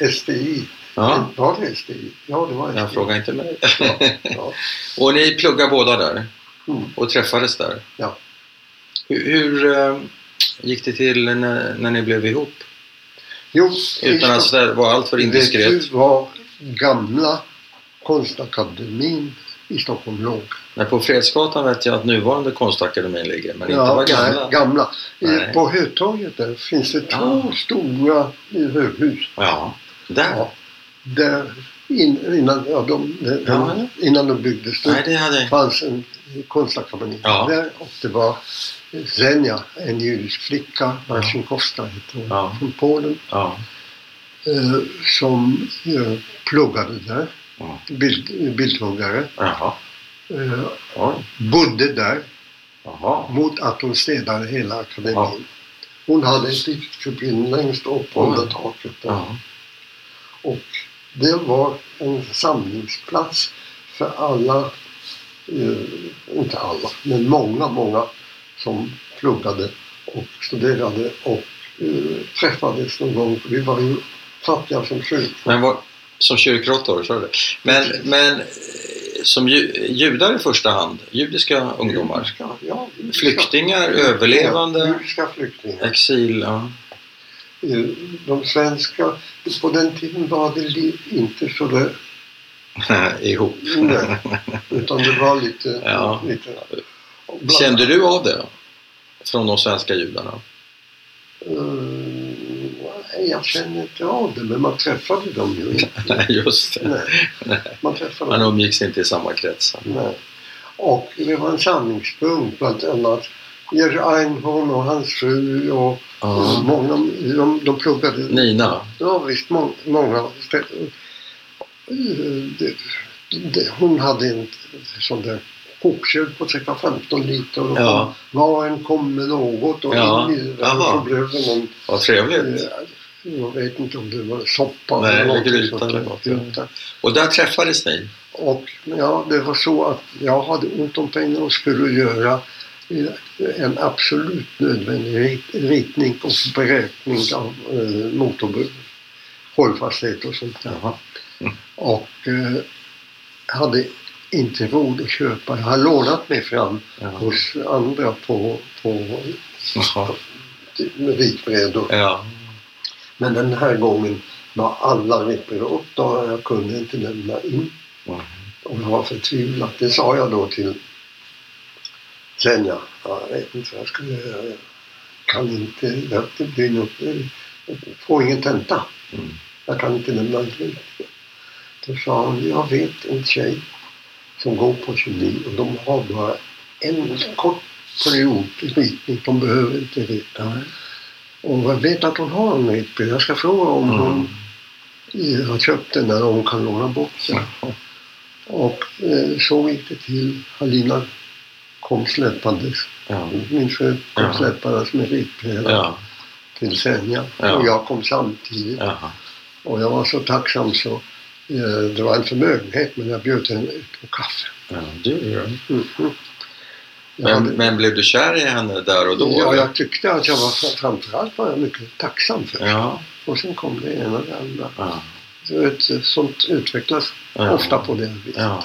Speaker 1: Eh, STI.
Speaker 2: Ja,
Speaker 1: Var det STI? Ja, det var STI.
Speaker 2: jag frågar inte mig.
Speaker 1: Ja.
Speaker 2: Och ni pluggar båda där
Speaker 1: Mm.
Speaker 2: och träffades där?
Speaker 1: Ja.
Speaker 2: Hur, hur eh, gick det till när, när ni blev ihop?
Speaker 1: Jo,
Speaker 2: Utan att sådär vara alltför indiskret.
Speaker 1: Det var gamla konstakademin i Stockholm låg.
Speaker 2: Nej, på Fredsgatan vet jag att nuvarande Konstakademin ligger, men inte
Speaker 1: Ja,
Speaker 2: var
Speaker 1: nej,
Speaker 2: gamla.
Speaker 1: gamla.
Speaker 2: Nej.
Speaker 1: Eh, På Hötorget där finns det två
Speaker 2: Ah.
Speaker 1: stora eh, höghus.
Speaker 2: Ja, där.
Speaker 1: Ja. Där in, innan, ja, de, de,
Speaker 2: Ja.
Speaker 1: innan de byggdes
Speaker 2: Nej,
Speaker 1: det
Speaker 2: det hade jag
Speaker 1: fanns en konstakademi
Speaker 2: Ja.
Speaker 1: där och det var Zenja, en judisk flicka, Marcinkowska hette hon,
Speaker 2: Ja.
Speaker 1: från Polen,
Speaker 2: ja.
Speaker 1: eh, som eh, pluggade där,
Speaker 2: Ja.
Speaker 1: bild, bildhuggare.
Speaker 2: Jaha.
Speaker 1: Eh,
Speaker 2: Oj.
Speaker 1: bodde där
Speaker 2: Jaha.
Speaker 1: mot att hon städade hela akademin.
Speaker 2: Ja.
Speaker 1: Hon hade ett litet kupin längst upp
Speaker 2: Oj.
Speaker 1: under taket. Där.
Speaker 2: Ja.
Speaker 1: Och det var en samlingsplats för alla, eh, inte alla, men många, många som pluggade och studerade och eh, träffades någon gång. Vi var ju fattiga som sjuk.
Speaker 2: Men var, som kyrkråttor, sa du? Men, men eh, som ju, judar i första hand, judiska ungdomar,
Speaker 1: Judiska, ja, judiska.
Speaker 2: flyktingar, överlevande,
Speaker 1: Judiska flyktingar.
Speaker 2: exil, ja.
Speaker 1: Eh, de svenska, på den tiden var det li- inte så där,
Speaker 2: ihop.
Speaker 1: nej, utan det var lite...
Speaker 2: Ja.
Speaker 1: lite och bland-
Speaker 2: Kände du av det? Från de svenska judarna?
Speaker 1: Eh, nej, jag känner inte av det, men man träffade dem ju inte.
Speaker 2: Nej, just det.
Speaker 1: nej, man träffade
Speaker 2: Man
Speaker 1: dem
Speaker 2: umgicks inte i samma kretsar.
Speaker 1: nej. Och det var en samlingspunkt, bland annat Jerry Einhorn och hans fru och och
Speaker 2: Ja.
Speaker 1: många, de, de pluggade
Speaker 2: Nina?
Speaker 1: Ja visst, må- många ställ- Eh, det, det, Hon hade en sån där kokkör på cirka 15 liter och
Speaker 2: Ja.
Speaker 1: var en kom med något och
Speaker 2: Ja,
Speaker 1: in i det där och
Speaker 2: jaha.
Speaker 1: så blev det någon,
Speaker 2: Vad trevligt.
Speaker 1: eh, jag vet inte om det var soppa
Speaker 2: Nej, eller
Speaker 1: någonting
Speaker 2: gryta
Speaker 1: sånt där.
Speaker 2: eller något, ja. Och där träffades ni?
Speaker 1: Och ja, det var så att jag hade ont om pengar och skulle göra eh, en absolut nödvändig rit- ritning och beräkning av eh, motorbur, hållfasthet och sånt där
Speaker 2: Jaha. Mm.
Speaker 1: och eh, hade inte råd att köpa. Jag har lånat mig fram
Speaker 2: Ja.
Speaker 1: hos andra på, på
Speaker 2: Jaha.
Speaker 1: ritbrädor.
Speaker 2: Ja.
Speaker 1: Men den här gången var alla ritbrädor upptagna. Jag kunde inte lämna in.
Speaker 2: Ja.
Speaker 1: Och jag var förtvivlad. Det sa jag då till Senja. Jag vet inte vad jag skulle göra. Jag kan inte, det blir något, jag får ingen tenta.
Speaker 2: Mm.
Speaker 1: Jag kan inte lämna in. Då sa hon, jag vet en tjej som går på kemi och de har bara en kort period i smitning. De behöver inte veta.
Speaker 2: Mm.
Speaker 1: Och jag vet att hon har en utbildning. Jag ska fråga om
Speaker 2: Mm.
Speaker 1: hon eh, har köpt den där och hon kan låna bort den. Och eh, så gick det till. Halina kom släppandes.
Speaker 2: Ja.
Speaker 1: Min fru kom
Speaker 2: Ja.
Speaker 1: släppandes med ripbrädan
Speaker 2: Ja.
Speaker 1: till Senja.
Speaker 2: Ja.
Speaker 1: Och jag kom samtidigt.
Speaker 2: Ja.
Speaker 1: Och jag var så tacksam så eh, det var en förmögenhet men jag bjöd henne ut på kaffe.
Speaker 2: Ja, det gör jag.
Speaker 1: Mhm. Jag
Speaker 2: Men,
Speaker 1: hade-
Speaker 2: men blev du kär i henne där och då?
Speaker 1: ja,
Speaker 2: eller?
Speaker 1: jag tyckte att jag var framförallt var jag mycket tacksam för.
Speaker 2: ja.
Speaker 1: Och sen kom det ena och det andra.
Speaker 2: ja.
Speaker 1: Så ett, sånt utvecklas
Speaker 2: ja.
Speaker 1: ofta på det viset.
Speaker 2: Ja.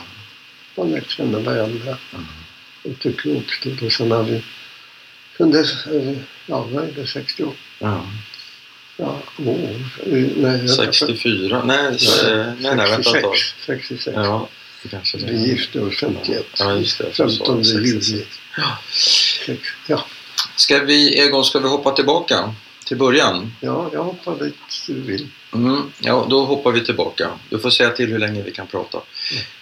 Speaker 1: Man lär känna varandra
Speaker 2: Mm.
Speaker 1: och tycker uppstod. Och sen har vi, sen dess, eh, ja vad är det, 68
Speaker 2: ja.
Speaker 1: år? Eh, Nej,
Speaker 2: 64? Nej, s- eh, nej, nej vänta ett tag.
Speaker 1: 66. 66.
Speaker 2: Ja, det kanske det.
Speaker 1: Vi gifte oss 51.
Speaker 2: Ja, just det.
Speaker 1: 15 juli.
Speaker 2: 66.
Speaker 1: Sex- Ja,
Speaker 2: Ska vi, Egon, ska vi hoppa tillbaka till början?
Speaker 1: ja, jag hoppar dit du vill.
Speaker 2: Mm, ja, då hoppar vi tillbaka. Du får säga till hur länge vi kan prata.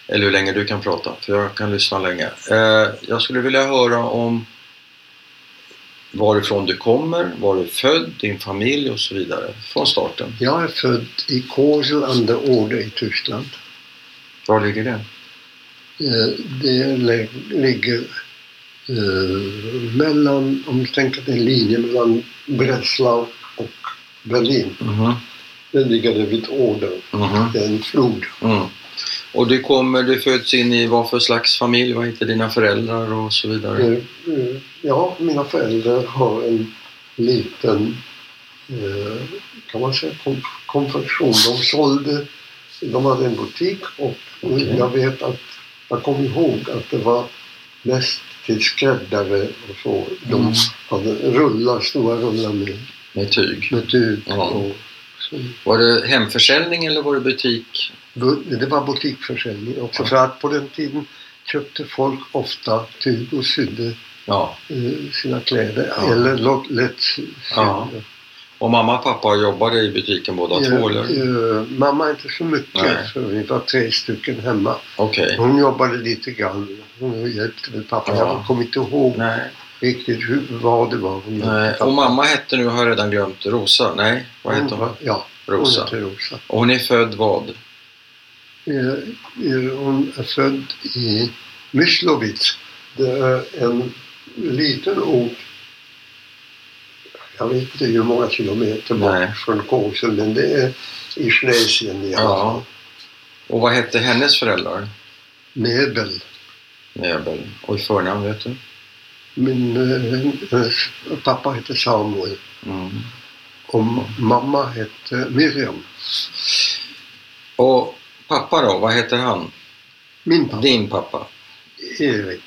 Speaker 2: Eller hur länge du kan prata, för jag kan lyssna länge. Eh, jag skulle vilja höra om varifrån du kommer, var du är född, din familj och så vidare. Från starten.
Speaker 1: Jag är född i Kosel an der Oder i Tyskland.
Speaker 2: Var ligger det?
Speaker 1: Eh, Det lä- ligger eh, mellan, om du tänker dig en linje mellan Breslau och Berlin.
Speaker 2: Mhm,
Speaker 1: Det ligger det vid Oder.
Speaker 2: mhm,
Speaker 1: Det är en flod.
Speaker 2: mm. Och du kommer, du föds in i vad för slags familj? Vad heter dina föräldrar och så vidare?
Speaker 1: Eh, eh, Ja, mina föräldrar har en liten, eh, kan man säga, kom- konfektion. De sålde, de hade en butik och
Speaker 2: Okej.
Speaker 1: jag vet att, jag kommer ihåg att det var mest till skräddare och så. De
Speaker 2: Mm.
Speaker 1: hade rullar, stora rullar med,
Speaker 2: Med tyg.
Speaker 1: med tyg.
Speaker 2: Ja.
Speaker 1: Och, så,
Speaker 2: Var det hemförsäljning eller var det butik?
Speaker 1: Bu- det var butikförsäljning också.
Speaker 2: Ja.
Speaker 1: För att på den tiden köpte folk ofta tyg och sydde
Speaker 2: Ja.
Speaker 1: eh, sina kläder.
Speaker 2: Ja.
Speaker 1: Eller låt- lätt sy-
Speaker 2: Ja.
Speaker 1: sydda.
Speaker 2: Och mamma och pappa jobbade i butiken båda två eller?
Speaker 1: Eh, eh, mamma inte så mycket,
Speaker 2: Nej.
Speaker 1: för vi var tre stycken hemma.
Speaker 2: Okej.
Speaker 1: Hon jobbade lite grann. Hon hjälpte med pappa.
Speaker 2: Ja.
Speaker 1: Jag kommer inte ihåg
Speaker 2: Nej.
Speaker 1: riktigt hur, vad det var hon
Speaker 2: Nej. Och mamma hette nu, har jag redan glömt, Rosa? Nej, vad hette hon?
Speaker 1: var- Ja,
Speaker 2: Rosa.
Speaker 1: Mm. hon hette Rosa.
Speaker 2: Och hon är född vad?
Speaker 1: Eh, eh, hon är född i Myslovic. Det är en liten ort. Jag vet inte hur många kilometer
Speaker 2: Nej.
Speaker 1: bort från Kosel, men det är i äh, Schlesien i alla fall.
Speaker 2: Ja. Och vad hette hennes föräldrar?
Speaker 1: Nebel.
Speaker 2: Nebel. Och i förnamn, vet du?
Speaker 1: Min eh, hennes pappa hette Samuel
Speaker 2: Mm.
Speaker 1: och mamma hette Miriam.
Speaker 2: Och pappa då, vad heter han?
Speaker 1: Min pappa,
Speaker 2: Din pappa?
Speaker 1: Erik.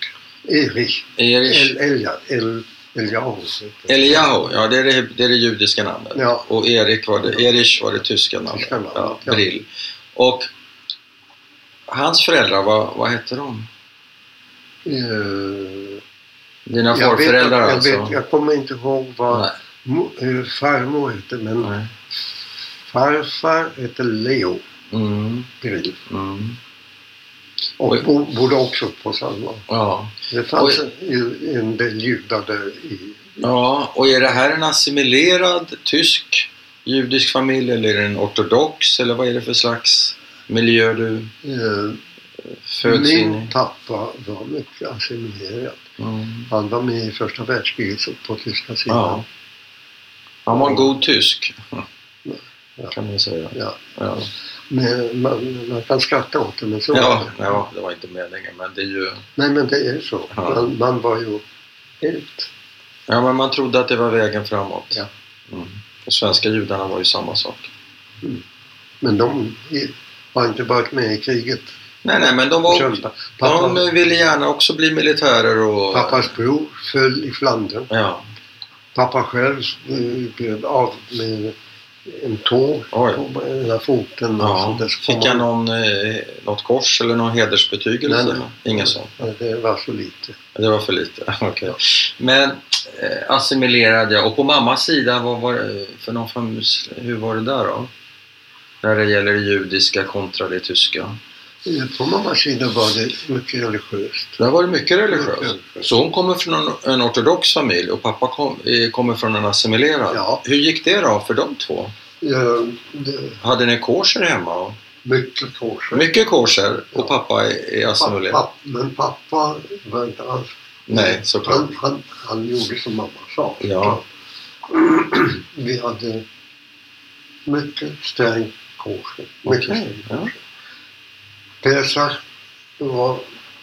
Speaker 1: Erik. El,
Speaker 2: Erich
Speaker 1: Elja, El, Eliahu heter
Speaker 2: Eliahu, ja det är det, det är det judiska namnet.
Speaker 1: Ja.
Speaker 2: Och Erik var det, Erich var det tyska namnet.
Speaker 1: Tyska namnet,
Speaker 2: ja,
Speaker 1: ja.
Speaker 2: Brill. Och hans föräldrar, vad, vad hette de?
Speaker 1: det. Eh,
Speaker 2: Dina
Speaker 1: Jag vet,
Speaker 2: farföräldrar
Speaker 1: jag,
Speaker 2: alltså?
Speaker 1: vet, jag kommer inte ihåg vad
Speaker 2: Nej.
Speaker 1: mo- eh, farmor hette, men
Speaker 2: Nej.
Speaker 1: farfar hette Leo
Speaker 2: Mm,
Speaker 1: Grill.
Speaker 2: mm.
Speaker 1: Och
Speaker 2: Oj.
Speaker 1: bo, bodde också på Sandvall.
Speaker 2: Ja.
Speaker 1: Det fanns ju en del judar där i...
Speaker 2: ja, och är det här en assimilerad tysk judisk familj eller är det en ortodox eller vad är det för slags miljö du
Speaker 1: Eh,
Speaker 2: föds in i?
Speaker 1: min pappa var mycket assimilerad.
Speaker 2: Mm.
Speaker 1: Han var med i första världskriget så på tyska sidan.
Speaker 2: Ja. Han var en god tysk,
Speaker 1: Ja.
Speaker 2: kan man säga.
Speaker 1: Ja.
Speaker 2: Ja.
Speaker 1: Men man, man kan skratta åt det, men så var
Speaker 2: Ja,
Speaker 1: det.
Speaker 2: ja, det var inte meningen men det är ju...
Speaker 1: Nej, men det är så.
Speaker 2: Ja.
Speaker 1: Man, man var ju helt...
Speaker 2: Ja, men man trodde att det var vägen framåt.
Speaker 1: Ja.
Speaker 2: Mm. Och svenska judarna var ju samma sak.
Speaker 1: Men de i- har inte varit med i kriget.
Speaker 2: Nej, nej, men de var...
Speaker 1: Köpa- Pappa,
Speaker 2: De ville gärna också bli militärer och...
Speaker 1: Pappas bror föll i Flandern.
Speaker 2: Ja,
Speaker 1: Pappa själv eh, blev av med en tå
Speaker 2: Oj.
Speaker 1: på ena foten.
Speaker 2: ja.
Speaker 1: Alltså, det ska-
Speaker 2: Fick han någon, eh, något kors eller någon hedersbetygelse?
Speaker 1: Nej, nej.
Speaker 2: Inget sånt.
Speaker 1: Nej, Det var så lite.
Speaker 2: Det var för lite. Okej. Men eh, assimilerade jag. Och på mammas sida, vad var det för någon familj? Hur var det där då? när det gäller det judiska kontra det tyska.
Speaker 1: Eh, På mammas sida var det mycket religiöst.
Speaker 2: Där var det mycket religiöst.
Speaker 1: Mycket.
Speaker 2: Så hon kommer från en, en ortodox familj och pappa kom, eh, kommer från en assimilerad.
Speaker 1: Ja.
Speaker 2: Hur gick det då för de två?
Speaker 1: Eh, det-
Speaker 2: Hade ni korser hemma?
Speaker 1: Mycket korser.
Speaker 2: Mycket korser och
Speaker 1: Ja.
Speaker 2: pappa är, är assimilerad?
Speaker 1: Pappa, men pappa var inte alls...
Speaker 2: Nej, såklart.
Speaker 1: Han, han, han gjorde som mamma sa.
Speaker 2: Ja.
Speaker 1: Vi hade mycket sträng korser. Mycket
Speaker 2: Okej.
Speaker 1: sträng.
Speaker 2: Ja.
Speaker 1: Pesach var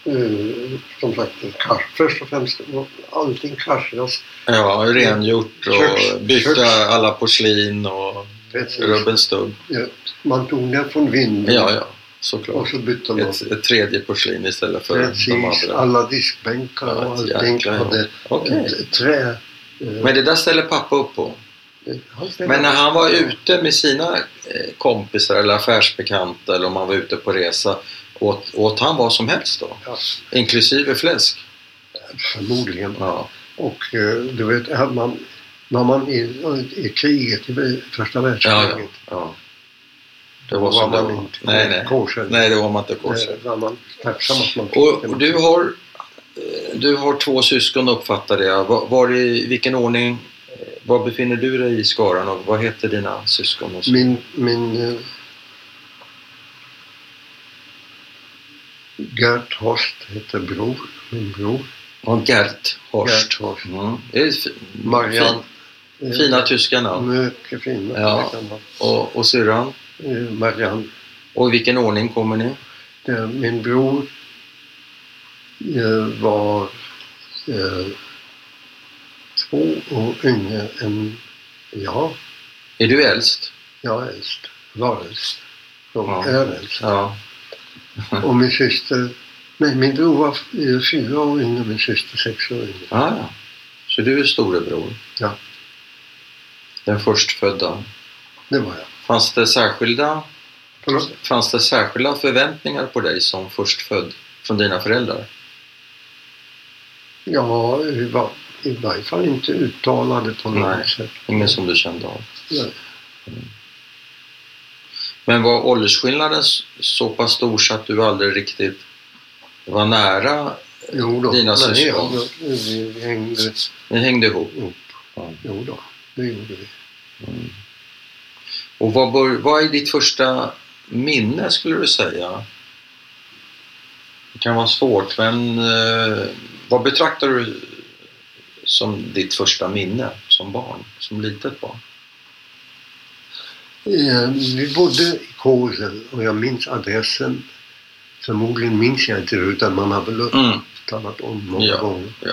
Speaker 1: eh, som sagt en kars. Först och främst var allting karsras.
Speaker 2: ja, rengjort och
Speaker 1: Köks-
Speaker 2: byta
Speaker 1: köks-
Speaker 2: alla porslin och rubbelstubb.
Speaker 1: Man tog den från vinden
Speaker 2: Ja, ja,
Speaker 1: och
Speaker 2: såklart.
Speaker 1: så bytte man.
Speaker 2: Ett, ett tredje porslin istället för de
Speaker 1: Precis,
Speaker 2: andra.
Speaker 1: alla diskbänkar och
Speaker 2: Ja,
Speaker 1: allting
Speaker 2: jäklar, ja.
Speaker 1: hade
Speaker 2: Okej.
Speaker 1: ett trä. Eh,
Speaker 2: Men det där ställer pappa upp på. Men när han var ute med sina eh, kompisar eller affärsbekanta eller om han var ute på resa, åt, åt han vad som helst då?
Speaker 1: Ja,
Speaker 2: Inklusive fläsk?
Speaker 1: förmodligen.
Speaker 2: Ja.
Speaker 1: Och eh, du vet, här man, när man i, i kriget, i första världskriget,
Speaker 2: Ja, ja. Det
Speaker 1: då
Speaker 2: var som det
Speaker 1: man
Speaker 2: var.
Speaker 1: inte
Speaker 2: Nej, nej.
Speaker 1: korsen.
Speaker 2: Nej, det var man inte korset.
Speaker 1: Eh, var man tacksam att man fick
Speaker 2: Och,
Speaker 1: den.
Speaker 2: och du har eh, du har två syskon uppfattade jag. Var, var i vilken ordning, eh, var befinner du dig i skaran och vad heter dina syskon? Och så?
Speaker 1: Min, min eh, Gert Horst heter bror, min bror.
Speaker 2: Och Gert Horst.
Speaker 1: Gert Horst.
Speaker 2: Mm. Det är fi-
Speaker 1: Marianne. Äh,
Speaker 2: fin,
Speaker 1: eh,
Speaker 2: fina tyska namn.
Speaker 1: Mycket fina.
Speaker 2: Ja.
Speaker 1: det kan man.
Speaker 2: Och, och syrran.
Speaker 1: Eh, Marianne.
Speaker 2: Och i vilken ordning kommer ni?
Speaker 1: Det, min bror eh, var eh, två år yngre än jag.
Speaker 2: Är du äldst?
Speaker 1: Jag är äldst. Var äldst. Jag
Speaker 2: Ja.
Speaker 1: är äldst.
Speaker 2: Ja.
Speaker 1: Och min syster... Nej, min bror var eh, fyra år yngre, min syster sex år yngre.
Speaker 2: Ah, ja. Så du är storebror?
Speaker 1: Ja.
Speaker 2: Den förstfödda.
Speaker 1: Det var jag.
Speaker 2: Fanns det särskilda,
Speaker 1: Förlåt?
Speaker 2: fanns det särskilda förväntningar på dig som förstfödd från dina föräldrar?
Speaker 1: Ja, vi var i varje fall inte uttalade på något
Speaker 2: Nej.
Speaker 1: sätt.
Speaker 2: Ingen som du kände av?
Speaker 1: Nej.
Speaker 2: Mm. Men var åldersskillnaden s- så pass stor så att du aldrig riktigt var nära?
Speaker 1: Jo då.
Speaker 2: Dina
Speaker 1: Nej,
Speaker 2: syskon?
Speaker 1: ja, vi, vi hängde...
Speaker 2: Ni hängde ihop?
Speaker 1: Mm.
Speaker 2: Ja.
Speaker 1: Jo då, det gjorde vi.
Speaker 2: Och vad, bör, vad är ditt första minne skulle du säga? Det kan vara svårt, men eh, vad betraktar du som ditt första minne som barn, som litet barn?
Speaker 1: Eh, Vi bodde i Kåsel och jag minns adressen. Förmodligen minns jag inte det utan man har väl
Speaker 2: Mm.
Speaker 1: talat om många
Speaker 2: Ja,
Speaker 1: gånger.
Speaker 2: ja.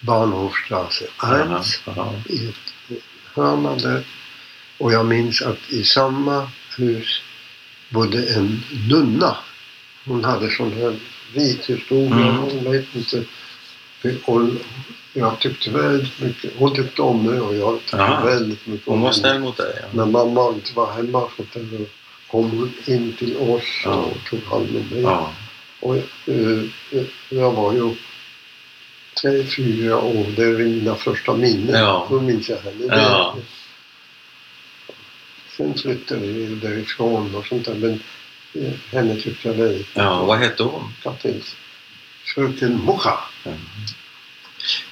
Speaker 1: Bahnhofstrasse 1 i ett hörna där. Och jag minns att i samma hus bodde en nunna. Hon hade sån här vit historia.
Speaker 2: Mm.
Speaker 1: Hon vet inte. Och jag tyckte väldigt mycket. Hon tyckte om mig och jag tyckte
Speaker 2: Aha.
Speaker 1: väldigt mycket om
Speaker 2: Hon var
Speaker 1: henne.
Speaker 2: snäll mot dig. Ja.
Speaker 1: När mamma inte var hemma så tänkte jag, kom hon in till oss
Speaker 2: Ja.
Speaker 1: och tog hand om mig.
Speaker 2: Ja.
Speaker 1: Och, eh, eh, jag var ju tre, fyra år. Det är mina första minnen.
Speaker 2: Ja.
Speaker 1: Då minns jag henne. Det-
Speaker 2: Ja.
Speaker 1: Sen flyttade vi därifrån och sånt där. Men eh, henne tyckte jag väldigt
Speaker 2: ja, vad hette hon?
Speaker 1: mycket till. Fröken Mocha.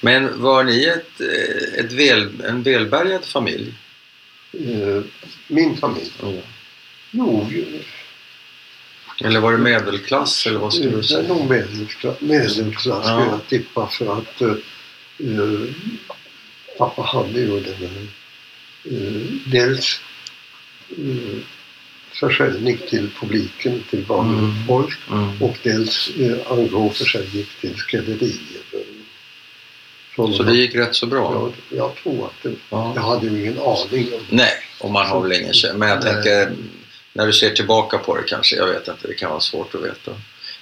Speaker 2: Men var ni ett, eh, ett väl, en välbärgad familj?
Speaker 1: Eh, min familj. Jo, ju-
Speaker 2: Eller var det medelklass? Eller vad skulle du
Speaker 1: Det är
Speaker 2: säga?
Speaker 1: nog medelklass, medelklass
Speaker 2: Ja.
Speaker 1: skulle jag tippa för att eh, eh, pappa hade ju den här, eh, dels eh, försäljning till publiken, till vanligt
Speaker 2: Mm.
Speaker 1: folk
Speaker 2: Mm.
Speaker 1: och dels eh, angå försäljning till skrädderier. Från-
Speaker 2: Så det gick rätt så bra?
Speaker 1: jag, jag tror att det,
Speaker 2: Ja.
Speaker 1: jag hade ju ingen aning om
Speaker 2: Nej, och man har väl ingen känsla. Men jag
Speaker 1: Nej.
Speaker 2: tänker, när du ser tillbaka på det kanske, jag vet inte, det kan vara svårt att veta.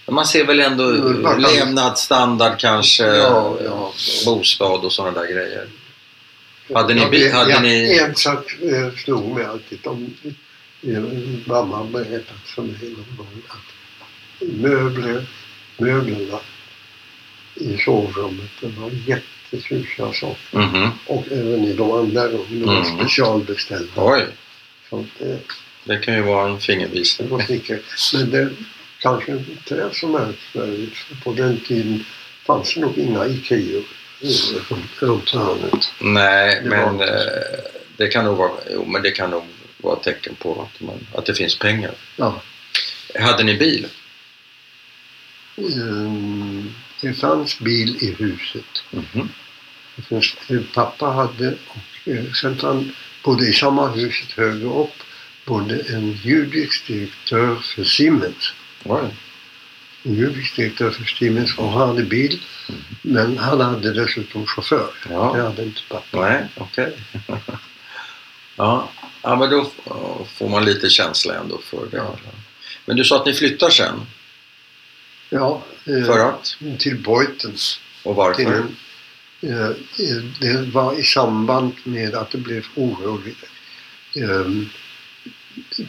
Speaker 2: Men man ser väl ändå
Speaker 1: Mm, man kan-
Speaker 2: levnadsstandard kanske,
Speaker 1: Ja, ja.
Speaker 2: bostad och sådana där grejer. Hade ni
Speaker 1: jag,
Speaker 2: bil-
Speaker 1: vet-
Speaker 2: hade
Speaker 1: jag,
Speaker 2: ni-
Speaker 1: En sak eh, slog mig alltid. Om, eh, mamma berättade för mig någon gång att möbler, möblerna i sovrummet det var jättetjusiga saker.
Speaker 2: Mhm.
Speaker 1: Och även i de andra rummen. De var
Speaker 2: Mm.
Speaker 1: specialbeställda.
Speaker 2: Oj,
Speaker 1: Så eh, det,
Speaker 2: Det kan ju vara en fingervisning.
Speaker 1: och snickare. Men det kanske inte är så märkvärdigt. för På den tiden fanns det nog inga Ikeor runt- runt hörnet.
Speaker 2: Nej,
Speaker 1: Det
Speaker 2: men
Speaker 1: var-
Speaker 2: eh, det kan nog vara, jo, men det kan nog vara ett tecken på att, man, att det finns pengar.
Speaker 1: Ja.
Speaker 2: Hade ni bil?
Speaker 1: Ehm, Det fanns bil i huset.
Speaker 2: Mhm.
Speaker 1: Det fanns- eh, Pappa hade, och eh, sen han bodde i samma huset högre upp, bodde en judisk direktör för Siemens.
Speaker 2: Oj.
Speaker 1: En judisk direktör för Siemens och han hade bil. Men han hade dessutom chaufför.
Speaker 2: Ja.
Speaker 1: Det hade inte pappa.
Speaker 2: Nej, okej. ja. ja, men då f- får man lite känsla ändå för det.
Speaker 1: Ja.
Speaker 2: Men du sa att ni flyttar sen,
Speaker 1: Ja, eh,
Speaker 2: för att?
Speaker 1: till Beutens.
Speaker 2: Och varför?
Speaker 1: till en, eh, det var i samband med att det blev oroligt. Ehm,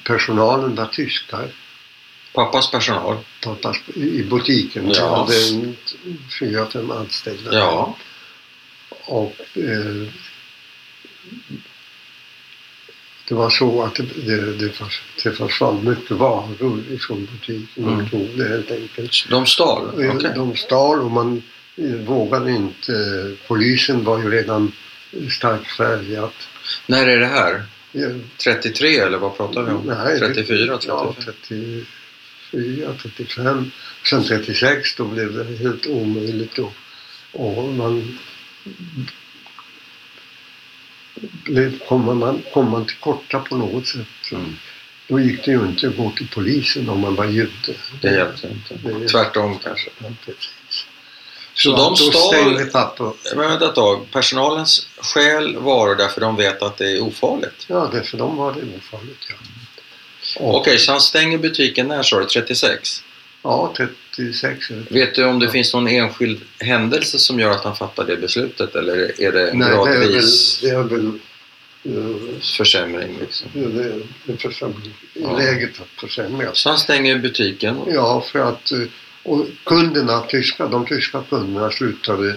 Speaker 1: Personalen var tyskar
Speaker 2: Pappas personal?
Speaker 1: pappas, i butiken. Vi
Speaker 2: Ja.
Speaker 1: hade en- fyra, fem anställda.
Speaker 2: Ja.
Speaker 1: Och eh, det var så att det, det, det, förs- det försvann mycket varor ifrån butiken. De
Speaker 2: Mm.
Speaker 1: tog det helt enkelt.
Speaker 2: De stal? Okej.
Speaker 1: Eh, De stal och man eh, vågade inte. Polisen var ju redan starkt färgad.
Speaker 2: När är det här?
Speaker 1: Eh,
Speaker 2: 33 eller vad pratar vi om?
Speaker 1: Nej, det-
Speaker 2: 34? 35?
Speaker 1: Ja, 34, 35. Sen 36 då blev det helt omöjligt då. Och man blev, kommer, man, kommer man till korta på något sätt.
Speaker 2: Mm.
Speaker 1: Då gick det ju inte att gå till polisen om man var jude.
Speaker 2: Det hjälpte inte.
Speaker 1: Det-
Speaker 2: Tvärtom kanske.
Speaker 1: Ja, Alltså, precis.
Speaker 2: Så
Speaker 1: att
Speaker 2: de
Speaker 1: då
Speaker 2: stal-
Speaker 1: stängde pappa.
Speaker 2: Men vänta ett tag. Personalens skäl varor därför de vet att det är ofarligt.
Speaker 1: Ja, det, för dem var det ofarligt. Ja. Och-
Speaker 2: Okej, så han stänger butiken när sa du? 36?
Speaker 1: Ja, 36 eller
Speaker 2: Vet du om det
Speaker 1: Ja.
Speaker 2: finns någon enskild händelse som gör att han fattar det beslutet eller är det en
Speaker 1: Nej, det är väl...
Speaker 2: gradvis
Speaker 1: Det är väl eh,
Speaker 2: försämring? Liksom?
Speaker 1: Det- det- det försämring,
Speaker 2: Ja.
Speaker 1: läget har försämrats.
Speaker 2: Så han stänger butiken?
Speaker 1: Ja, för att eh, och kunderna, tyska, de tyska kunderna slutade,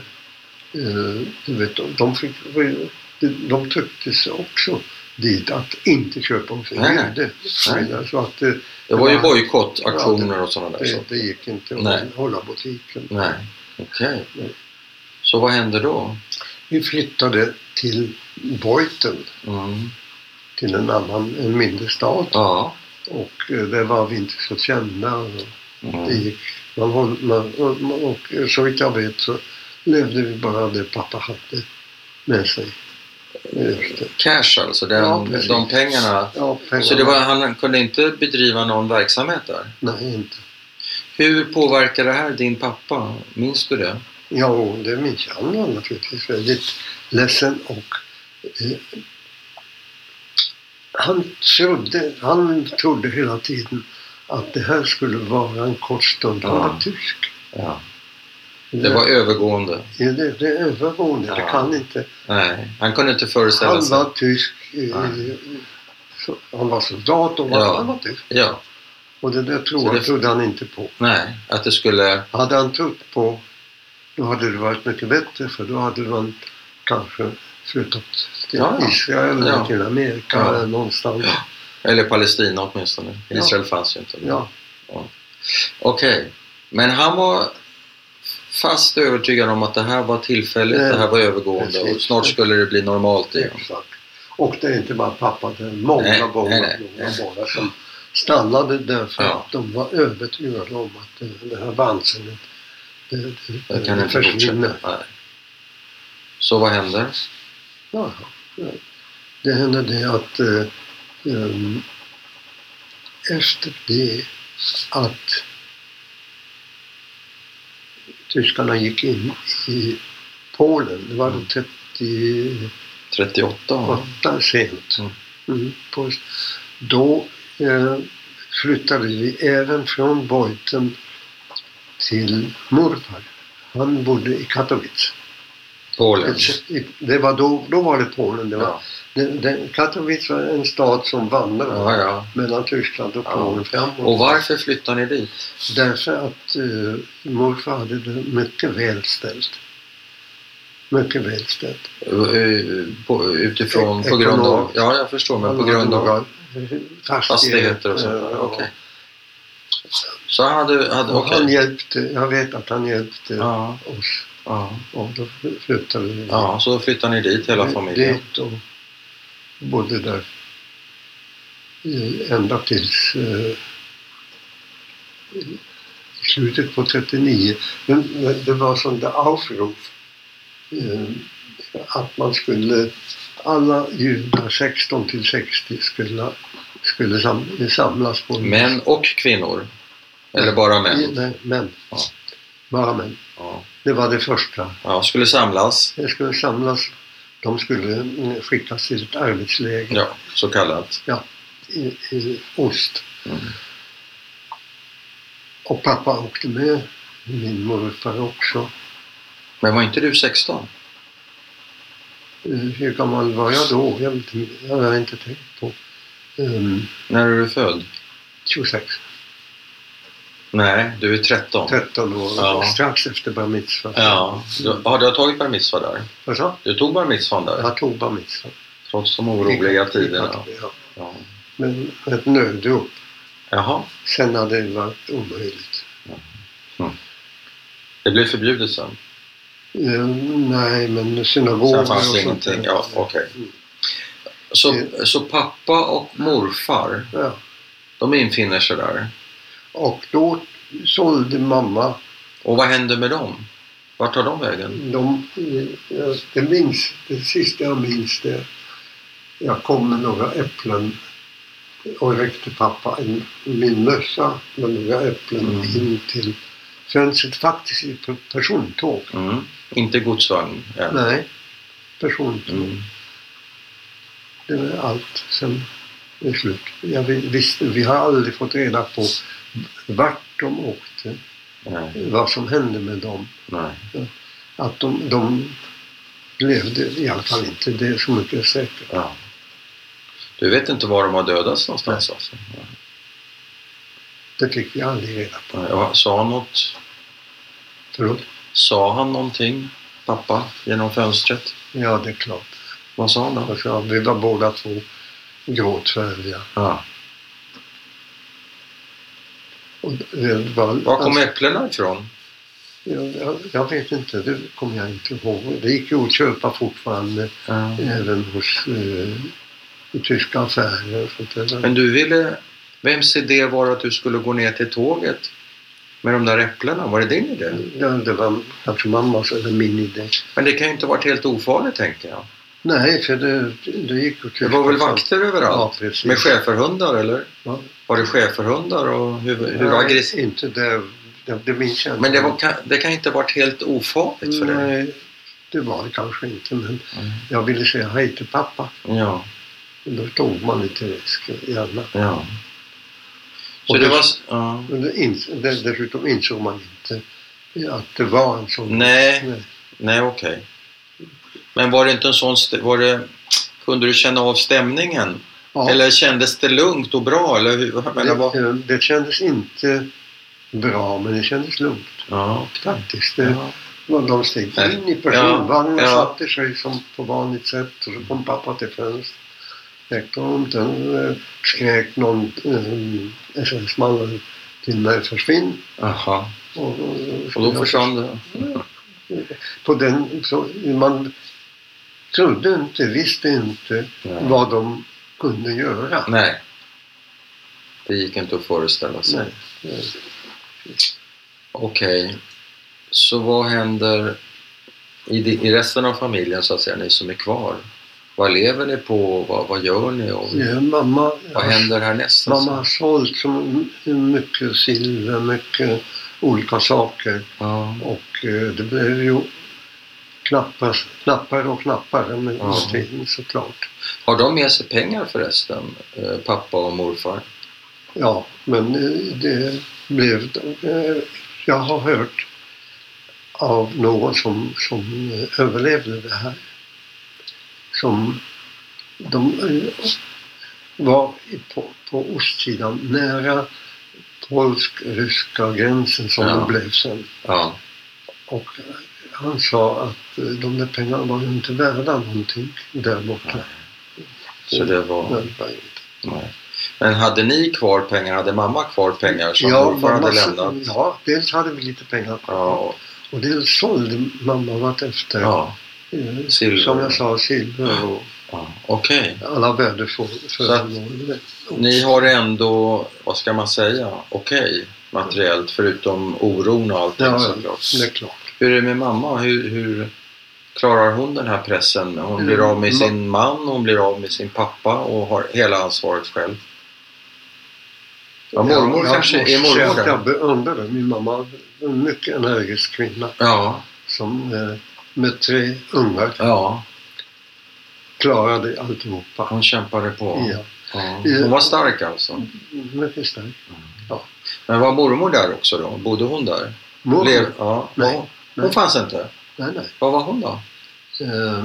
Speaker 1: eh, du vet, de, fick, de trycktes också dit att inte köpa hos en
Speaker 2: Nej, nej.
Speaker 1: jude. Så att eh,
Speaker 2: Det var ju
Speaker 1: Ja. Ja,
Speaker 2: bojkottaktioner och sådana där
Speaker 1: det,
Speaker 2: saker.
Speaker 1: det gick inte att
Speaker 2: Nej.
Speaker 1: hålla butiken.
Speaker 2: Nej, okej. Så vad hände då?
Speaker 1: Vi flyttade till Beuthen,
Speaker 2: Mm.
Speaker 1: till en annan, en mindre stad.
Speaker 2: Ja.
Speaker 1: Och eh, där var vi inte så kända. Det
Speaker 2: Mm.
Speaker 1: gick. Man håll, man, och, och eh, så vitt jag vet så levde vi bara det pappa hade med sig. Efter.
Speaker 2: Cash alltså, den,
Speaker 1: Ja, precis.
Speaker 2: de pengarna.
Speaker 1: Ja, pengarna.
Speaker 2: Så det var, han kunde inte bedriva någon verksamhet där?
Speaker 1: Nej, inte.
Speaker 2: Hur påverkar det här din pappa? Minns du det?
Speaker 1: Ja, och det minns jag. Han var naturligtvis väldigt ledsen och eh, han, trodde, han trodde hela tiden att det här skulle vara en kort stund. Han
Speaker 2: Ja.
Speaker 1: var tysk.
Speaker 2: Ja. Det var övergående.
Speaker 1: det, det, det är övergående.
Speaker 2: Ja.
Speaker 1: Det kan inte
Speaker 2: Nej, han kunde inte föreställa
Speaker 1: Han
Speaker 2: sig.
Speaker 1: var tysk. eh,
Speaker 2: Ja.
Speaker 1: så- Han var soldat och var,
Speaker 2: Ja.
Speaker 1: han var tysk.
Speaker 2: Ja,
Speaker 1: Och det där
Speaker 2: Så
Speaker 1: tror
Speaker 2: det-
Speaker 1: det... trodde han inte på.
Speaker 2: nej, att det skulle...
Speaker 1: Hade han trott på då hade det varit mycket bättre för då hade man kanske flyttat till
Speaker 2: Ja, ja.
Speaker 1: Israel eller
Speaker 2: Ja.
Speaker 1: till Amerika
Speaker 2: Ja.
Speaker 1: eller någonstans. Ja.
Speaker 2: Eller Palestina åtminstone.
Speaker 1: Ja.
Speaker 2: Israel fanns ju inte. Okej, men han var fast övertygad om att det här var tillfälligt,
Speaker 1: Nej.
Speaker 2: det här var övergående
Speaker 1: Precis.
Speaker 2: och snart skulle det bli normalt igen.
Speaker 1: Exakt. Och det är inte bara pappa, det är många,
Speaker 2: Nej,
Speaker 1: många,
Speaker 2: nej, nej.
Speaker 1: många barn som stannade därför
Speaker 2: Ja.
Speaker 1: att de var övertygade om att det, det här vansinnet, det, det,
Speaker 2: Jag kan
Speaker 1: det
Speaker 2: inte fortsätta. Nej. Så vad händer?
Speaker 1: Ja, ja. det hände det att eh, ehm, efter det att tyskarna gick in i Polen, det var
Speaker 2: Mm.
Speaker 1: då
Speaker 2: 38?
Speaker 1: 38 sent,
Speaker 2: Mm.
Speaker 1: mm. på, då eh, flyttade vi även från Beuthen till morfar. Han bodde i Katowice.
Speaker 2: Polen?
Speaker 1: Det var då, då var det Polen, det var
Speaker 2: Ja,
Speaker 1: den, den, Katowice var en stad som vandrade
Speaker 2: ja. ja.
Speaker 1: mellan Tyskland och
Speaker 2: Ja.
Speaker 1: Polen framåt.
Speaker 2: Och varför flyttar ni dit?
Speaker 1: Därför att eh, morfar hade det mycket välställt. Mycket välställt.
Speaker 2: Ö- ö- Eh, På, utifrån, på
Speaker 1: Ekonom.
Speaker 2: grund av... Ja, jag förstår, men på grund av...
Speaker 1: några
Speaker 2: fastigheter och sånt där?
Speaker 1: eh,
Speaker 2: Okej. Så han hade... hade
Speaker 1: Och han
Speaker 2: okej.
Speaker 1: hjälpte, jag vet att han hjälpte
Speaker 2: Ja,
Speaker 1: oss.
Speaker 2: ja.
Speaker 1: Och då flyttade vi
Speaker 2: ja, så flyttade ni dit hela familjen?
Speaker 1: dit och bodde där i- ända tills eh, i slutet på 39. Men men det var som det Aufruf. Eh, att man skulle, alla judar 16 till 60 skulle, skulle sam- samlas på en-
Speaker 2: Män och kvinnor? Eller bara män?
Speaker 1: Nej, män.
Speaker 2: Ja.
Speaker 1: Bara män.
Speaker 2: Ja.
Speaker 1: Det var det första.
Speaker 2: ja, skulle samlas.
Speaker 1: Det skulle samlas, de skulle mm, skickas till ett arbetsläger
Speaker 2: Ja, så kallat.
Speaker 1: i, i Ost.
Speaker 2: Mm.
Speaker 1: Och pappa åkte med, min morfar också.
Speaker 2: Men var inte du 16?
Speaker 1: Eh, Hur gammal var jag då? Jag, vet inte, jag har inte tänkt på. Ehm,
Speaker 2: När är du född?
Speaker 1: 26,
Speaker 2: Nej, du är 13.
Speaker 1: 13 år,
Speaker 2: Ja.
Speaker 1: strax efter bar mitzva.
Speaker 2: Ja, du, har du tagit bar mitzva där?
Speaker 1: Vad sa?
Speaker 2: Du tog bar mitzvan där?
Speaker 1: Jag tog bar mitzva.
Speaker 2: Trots de oroliga tiderna?
Speaker 1: Ja.
Speaker 2: Ja.
Speaker 1: Men ett nödrop.
Speaker 2: Jaha,
Speaker 1: Sen hade det varit omöjligt.
Speaker 2: det blev förbjudet sen?
Speaker 1: Eh, nej, men synagogor
Speaker 2: Sen fanns det
Speaker 1: och sånt där.
Speaker 2: ingenting? Ja, okej.
Speaker 1: Mm.
Speaker 2: Så, så pappa och morfar,
Speaker 1: Ja.
Speaker 2: de infinner sig där.
Speaker 1: Och då sålde mamma,
Speaker 2: Och vad händer med dem? Vart tar de vägen?
Speaker 1: de, eh, det, minns, det sista jag minns det, jag kom med några äpplen och räckte pappa en, min mössa med några äpplen
Speaker 2: Mm.
Speaker 1: in till fönstret, faktiskt i per- persontåg.
Speaker 2: Mm. Inte godsvagn än?
Speaker 1: Nej, persontåg.
Speaker 2: Mm.
Speaker 1: Det var allt sen är slut. Jag vi- visste, vi har aldrig fått reda på vart de åkte,
Speaker 2: Nej.
Speaker 1: vad som hände med dem.
Speaker 2: Nej.
Speaker 1: Att de, de levde i alla fall inte, det är så mycket är säkert.
Speaker 2: Ja. Du vet inte var de har dödats någonstans alltså?
Speaker 1: Det fick vi aldrig reda på.
Speaker 2: Nej. Ja, Sa han något?
Speaker 1: Förlåt?
Speaker 2: Sa han någonting, pappa, genom fönstret?
Speaker 1: Ja, det är klart.
Speaker 2: Vad sa han då?
Speaker 1: Alltså, vi var båda två gråtfärdiga.
Speaker 2: Ja.
Speaker 1: Och det var,
Speaker 2: Var kom
Speaker 1: alltså,
Speaker 2: äpplena ifrån?
Speaker 1: jag, jag, jag vet inte, det kommer jag inte ihåg. Det gick ju att köpa fortfarande,
Speaker 2: Ja.
Speaker 1: även hos eh, i tyska affärer och sånt där.
Speaker 2: Men du ville... Vems idé var att du skulle gå ner till tåget med de där äpplena? Var det din idé?
Speaker 1: Ja, det var kanske mammas eller min idé.
Speaker 2: Men det kan ju inte ha varit helt ofarligt, tänker jag.
Speaker 1: Nej, för det, det gick att
Speaker 2: Det var väl vakter
Speaker 1: Ja,
Speaker 2: överallt?
Speaker 1: precis.
Speaker 2: Med schäferhundar, eller?
Speaker 1: Ja.
Speaker 2: Var det schäferhundar och hur, hur
Speaker 1: Nej,
Speaker 2: aggressiv?
Speaker 1: Inte det, det, det minns jag inte.
Speaker 2: Men det, var, kan- det kan inte ha varit helt ofarligt för dig?
Speaker 1: Nej, det var det kanske inte. Men
Speaker 2: Mm.
Speaker 1: jag ville säga hej till pappa.
Speaker 2: Ja,
Speaker 1: Men Då tog man lite risk gärna.
Speaker 2: ja. Så
Speaker 1: Och
Speaker 2: det
Speaker 1: det-
Speaker 2: var... s- Ja.
Speaker 1: Men det ins, det, dessutom insåg man inte att det var en sån...
Speaker 2: Nej, nej okej. Men var det inte en sån... st- Var det, kunde du känna av stämningen?
Speaker 1: Ja,
Speaker 2: Eller kändes det lugnt och bra? Eller hur, jag menar, vad...
Speaker 1: det, det kändes inte bra, men det kändes lugnt
Speaker 2: Ja, okej.
Speaker 1: faktiskt. Det,
Speaker 2: Ja.
Speaker 1: Men de steg in i personvagnen
Speaker 2: Ja, ja.
Speaker 1: satte sig som på vanligt sätt och så kom pappa till fönstret. Där kom den, eh, skrek någon eh, SS-man till mig försvinn.
Speaker 2: Aha.
Speaker 1: Och, och,
Speaker 2: Och då försvann det?
Speaker 1: På den, så, man trodde inte, visste inte
Speaker 2: Ja.
Speaker 1: vad de kunde göra.
Speaker 2: Nej. Det gick inte att föreställa sig.
Speaker 1: Nej. Eh,
Speaker 2: Mm. Okej. Så vad händer i, di- i resten av familjen, så att säga, ni som är kvar? Vad lever ni på? Vad, vad gör ni? Och
Speaker 1: eh, Mamma,
Speaker 2: Vad händer härnäst?
Speaker 1: mamma har sålt så mycket silver, mycket olika saker.
Speaker 2: Ja.
Speaker 1: Och eh, det blev ju knappare, knappare och knappare med
Speaker 2: Ja.
Speaker 1: tiden såklart.
Speaker 2: Har de med sig pengar förresten? Eh, Pappa och morfar?
Speaker 1: Ja, men eh, det blev... eh, Jag har hört av någon som, som eh, överlevde det här. Som de eh, var i- på, på ostsidan nära polsk-ryska gränsen som
Speaker 2: Ja.
Speaker 1: det blev sen.
Speaker 2: Ja.
Speaker 1: Och han sa att eh, de där pengarna var ju inte värda någonting där borta. Mm.
Speaker 2: Så det var...
Speaker 1: Men det var ju inte.
Speaker 2: Nej. Men hade ni kvar pengar? Hade mamma kvar pengar som
Speaker 1: Ja,
Speaker 2: morfar hade lämnat?
Speaker 1: mamma, ja, dels hade vi lite pengar kvar
Speaker 2: Ja,
Speaker 1: och dels sålde mamma vartefter.
Speaker 2: ja,
Speaker 1: Eh,
Speaker 2: silver.
Speaker 1: Som jag sa, silver och
Speaker 2: ja. okej.
Speaker 1: alla väderföremål.
Speaker 2: Ni har ändå, vad ska man säga, okej materiellt förutom oron och allting
Speaker 1: Ja, ja.
Speaker 2: såklart.
Speaker 1: Det är klart.
Speaker 2: Hur är det med mamma? Hur, hur klarar hon den här pressen? Hon
Speaker 1: Mm,
Speaker 2: blir av med
Speaker 1: ma-
Speaker 2: sin man, hon blir av med sin pappa och har hela ansvaret själv. Ja, mormor
Speaker 1: jag
Speaker 2: kanske
Speaker 1: måste
Speaker 2: är
Speaker 1: säga
Speaker 2: mormor
Speaker 1: att
Speaker 2: där.
Speaker 1: Jag beundrade min mamma. En mycket energisk kvinna
Speaker 2: Ja,
Speaker 1: som eh, med tre ungar
Speaker 2: ja,
Speaker 1: klarade alltihopa.
Speaker 2: hon kämpade på.
Speaker 1: Ja,
Speaker 2: Ja. Hon var stark alltså.
Speaker 1: mycket stark.
Speaker 2: Men var mormor där också då? Bodde hon där?
Speaker 1: Mormor?
Speaker 2: Blev, ja.
Speaker 1: Nej,
Speaker 2: Hon, hon
Speaker 1: nej.
Speaker 2: fanns inte.
Speaker 1: Nej, nej.
Speaker 2: Var var hon då?
Speaker 1: Eh,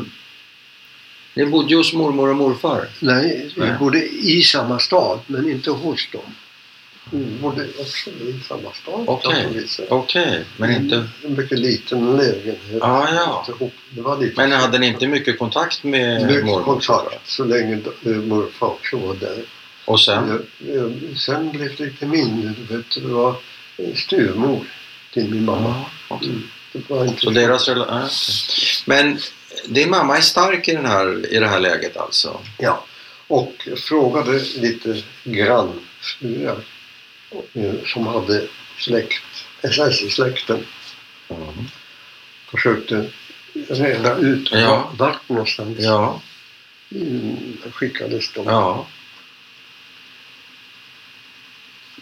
Speaker 2: Ni bodde ju hos mormor och morfar.
Speaker 1: nej, vi
Speaker 2: Nej.
Speaker 1: bodde i samma stad, men inte hos dem. Vi bodde också i samma stad.
Speaker 2: Okej.
Speaker 1: på något sätt.
Speaker 2: Okej, men
Speaker 1: Mm.
Speaker 2: inte...
Speaker 1: En mycket liten lägenhet.
Speaker 2: Ah, ja.
Speaker 1: Alltihop. Det var lite
Speaker 2: Men hade ni inte mycket kontakt med
Speaker 1: mycket
Speaker 2: mormor?
Speaker 1: kontakt så länge eh, morfar också var där.
Speaker 2: Och sen?
Speaker 1: Eh, eh, Sen blev det lite mindre. Du vet, det var eh, styvmor till min mamma.
Speaker 2: Ja, okej.
Speaker 1: Mm. Det var inte
Speaker 2: Så deras rela- ah, okej. Men din mamma är stark i, den här, i det här läget alltså?
Speaker 1: Ja. Och frågade lite grannfruar eh, som hade släkt, eh, SS-släkten. Försökte reda ut
Speaker 2: Ja.
Speaker 1: var- vart någonstans
Speaker 2: Ja,
Speaker 1: mm, skickades de.
Speaker 2: ja.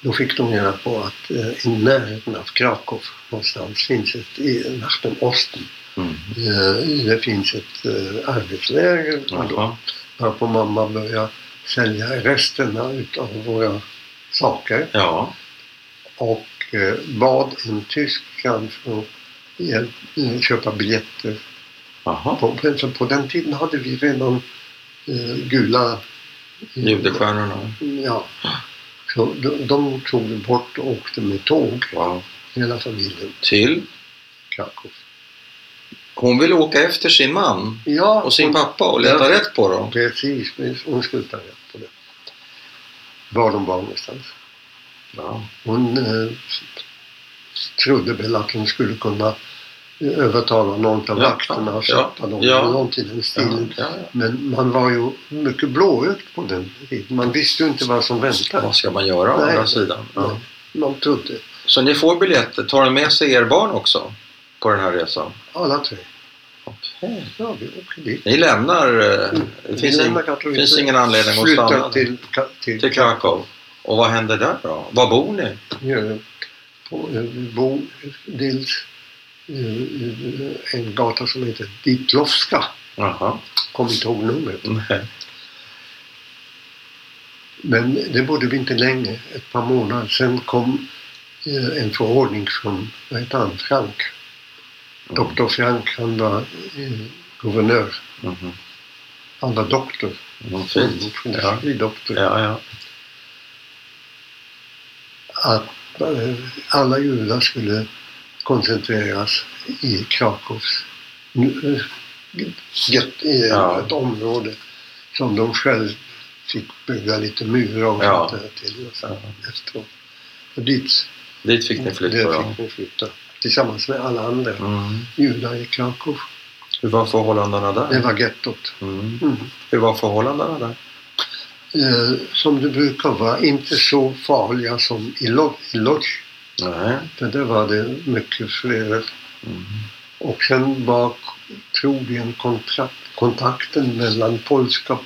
Speaker 1: Då fick de reda på att eh, i närheten av Krakow någonstans finns ett, i nach dem Osten,
Speaker 2: Mm.
Speaker 1: eh, det finns ett eh, arbetsläger. Och då
Speaker 2: Jaha.
Speaker 1: Varpå mamma började sälja resterna utav våra saker
Speaker 2: Ja,
Speaker 1: och eh, bad en tysk kanske hjälp, eh, köpa biljetter.
Speaker 2: jaha.
Speaker 1: På, för på den tiden hade vi redan eh, gula eh,
Speaker 2: Judestjärnorna.
Speaker 1: Ja. Så de, de tog vi bort och åkte med tåg,
Speaker 2: Wow.
Speaker 1: hela familjen,
Speaker 2: Till?
Speaker 1: Krakow.
Speaker 2: Hon vill åka efter sin man
Speaker 1: Ja,
Speaker 2: och sin
Speaker 1: hon-
Speaker 2: pappa och leta rätt på dem.
Speaker 1: Precis, men hon skulle ta rätt på det. Var de var någonstans.
Speaker 2: Ja.
Speaker 1: Hon eh, trodde väl att hon skulle kunna eh, övertala någon av
Speaker 2: Ja,
Speaker 1: vakterna att
Speaker 2: ja,
Speaker 1: köpa dem,
Speaker 2: ja.
Speaker 1: eller något i den
Speaker 2: Ja,
Speaker 1: stilen.
Speaker 2: ja.
Speaker 1: Men man var ju mycket blåögd på den tiden. Man visste ju inte vad som väntade.
Speaker 2: Vad ska man göra å
Speaker 1: Nej.
Speaker 2: andra sidan? Ja.
Speaker 1: Nej, Man trodde.
Speaker 2: Så ni får biljetter. Tar ni med sig er barn också på den här resan?
Speaker 1: Alla tre.
Speaker 2: Okej.
Speaker 1: Ja, vi åker dit.
Speaker 2: Ni lämnar... eh, Det finns,
Speaker 1: lämnar
Speaker 2: in,
Speaker 1: Katowice,
Speaker 2: finns ingen anledning att
Speaker 1: flyttar
Speaker 2: stanna
Speaker 1: till, Ka- till,
Speaker 2: till Krakow. Och vad händer där då? Var bor ni?
Speaker 1: eh, på, eh, vi bor dels eh, eh, en gata som heter Ditlowska.
Speaker 2: Jaha.
Speaker 1: Kommer inte ihåg numret.
Speaker 2: Nej.
Speaker 1: Men det bodde vi inte länge, ett par månader. Sen kom eh, en förordning från, vad hette han, eh, Frank. Doktor Frank, han var eh, guvernör.
Speaker 2: Mhm.
Speaker 1: Han var doktor.
Speaker 2: Vad fint. Ja.
Speaker 1: Filosofi doktor.
Speaker 2: Ja, ja.
Speaker 1: Att eh, alla judar skulle koncentreras i Krakows nu- eh, jätte- eh,
Speaker 2: Ja.
Speaker 1: ett område som de själv fick bygga lite murar och
Speaker 2: Ja.
Speaker 1: sånt där till. Och så,
Speaker 2: Ja.
Speaker 1: efteråt. Och dit
Speaker 2: Dit fick ni flytta.
Speaker 1: Det
Speaker 2: Ja.
Speaker 1: fick vi flytta. Tillsammans med alla andra
Speaker 2: Mm.
Speaker 1: judar i Krakow.
Speaker 2: Hur var förhållandena
Speaker 1: Det
Speaker 2: där?
Speaker 1: var gettot.
Speaker 2: Mm.
Speaker 1: Mm.
Speaker 2: Hur var förhållandena där?
Speaker 1: Eh, som det brukar vara, inte så farliga som i Lo- i Lodz.
Speaker 2: Nej.
Speaker 1: För där var det mycket fler.
Speaker 2: Mm.
Speaker 1: Och sen var troligen kontrakt, kontakten mellan polska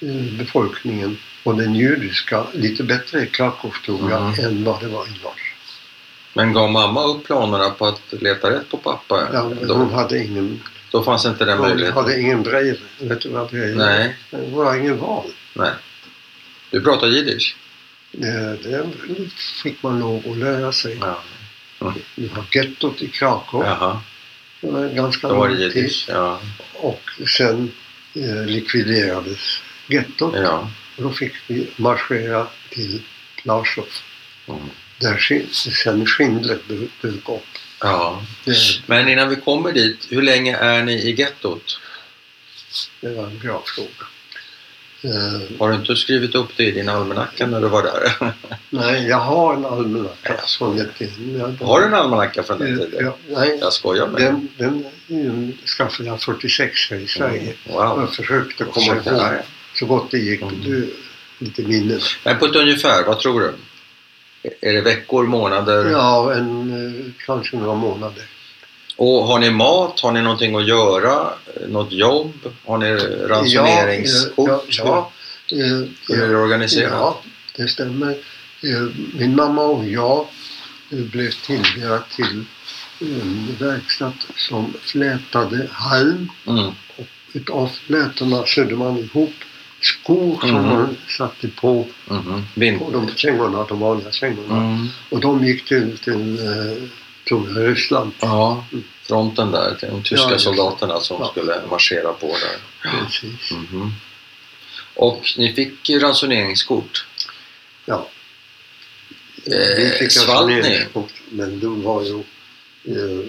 Speaker 1: eh, befolkningen och den judiska lite bättre i Krakow tror jag än vad det var i Lodz.
Speaker 2: Men gav mamma upp planerna på att leta rätt på pappa?
Speaker 1: Ja, men hon
Speaker 2: då,
Speaker 1: hade ingen,
Speaker 2: då fanns inte den
Speaker 1: hon
Speaker 2: möjligheten?
Speaker 1: hade ingen brev. Vet du vad brev
Speaker 2: Nej.
Speaker 1: Hon hade ingen val.
Speaker 2: Nej. Du pratar jiddisch?
Speaker 1: Det, det fick man lov att lära sig.
Speaker 2: Ja.
Speaker 1: Vi har gettot i Krakow.
Speaker 2: Jaha,
Speaker 1: Det var ganska
Speaker 2: då var det
Speaker 1: lång tid.
Speaker 2: jiddisch. Ja.
Speaker 1: Och sen eh, likviderades gettot.
Speaker 2: ja.
Speaker 1: Och då fick vi marschera till Plaszow.
Speaker 2: Mm.
Speaker 1: Där skin- sen Schindler du- dök upp.
Speaker 2: ja.
Speaker 1: Det,
Speaker 2: Men innan vi kommer dit, hur länge är ni i gettot?
Speaker 1: det var en bra fråga. Eh,
Speaker 2: Har du inte skrivit upp det i din almanacka när du var där?
Speaker 1: nej, jag har en almanacka från ett jag,
Speaker 2: Har du en almanacka från den tiden?
Speaker 1: Ja, nej,
Speaker 2: Jag skojar med dig.
Speaker 1: den, den mm, skaffade jag 46 här i Sverige.
Speaker 2: Mm. Wow.
Speaker 1: Jag försökte komma
Speaker 2: Försökte, ja,
Speaker 1: ihåg
Speaker 2: ja.
Speaker 1: så gott det gick.
Speaker 2: Mm.
Speaker 1: Du, lite minnen.
Speaker 2: Men på ett ungefär, vad tror du? Är det veckor, månader?
Speaker 1: Ja, en, eh, kanske några månader.
Speaker 2: Och har ni mat? Har ni någonting att göra? Något jobb? Har ni ransoneringskort?
Speaker 1: Ja, ja, ja,
Speaker 2: Hur är
Speaker 1: eh,
Speaker 2: det organiserat?
Speaker 1: Ja, det stämmer. Eh, Min mamma och jag eh, blev tilldelade till en verkstad som flätade halm.
Speaker 2: Mm.
Speaker 1: Utav flätorna sydde man ihop skor som
Speaker 2: Mhm.
Speaker 1: man satte på,
Speaker 2: Mhm.
Speaker 1: på
Speaker 2: Vind.
Speaker 1: de kängorna, de vanliga kängorna.
Speaker 2: Mm.
Speaker 1: Och de gick till, till eh, tror jag, Ryssland.
Speaker 2: Ja, fronten där. De tyska
Speaker 1: Ja, just det.
Speaker 2: soldaterna som
Speaker 1: Ja.
Speaker 2: skulle marschera på där.
Speaker 1: Precis.
Speaker 2: Mhm. Och ni fick ju ransoneringskort.
Speaker 1: Ja.
Speaker 2: Eh, svalt ni?
Speaker 1: ransoneringskort, men de var ju... Eh,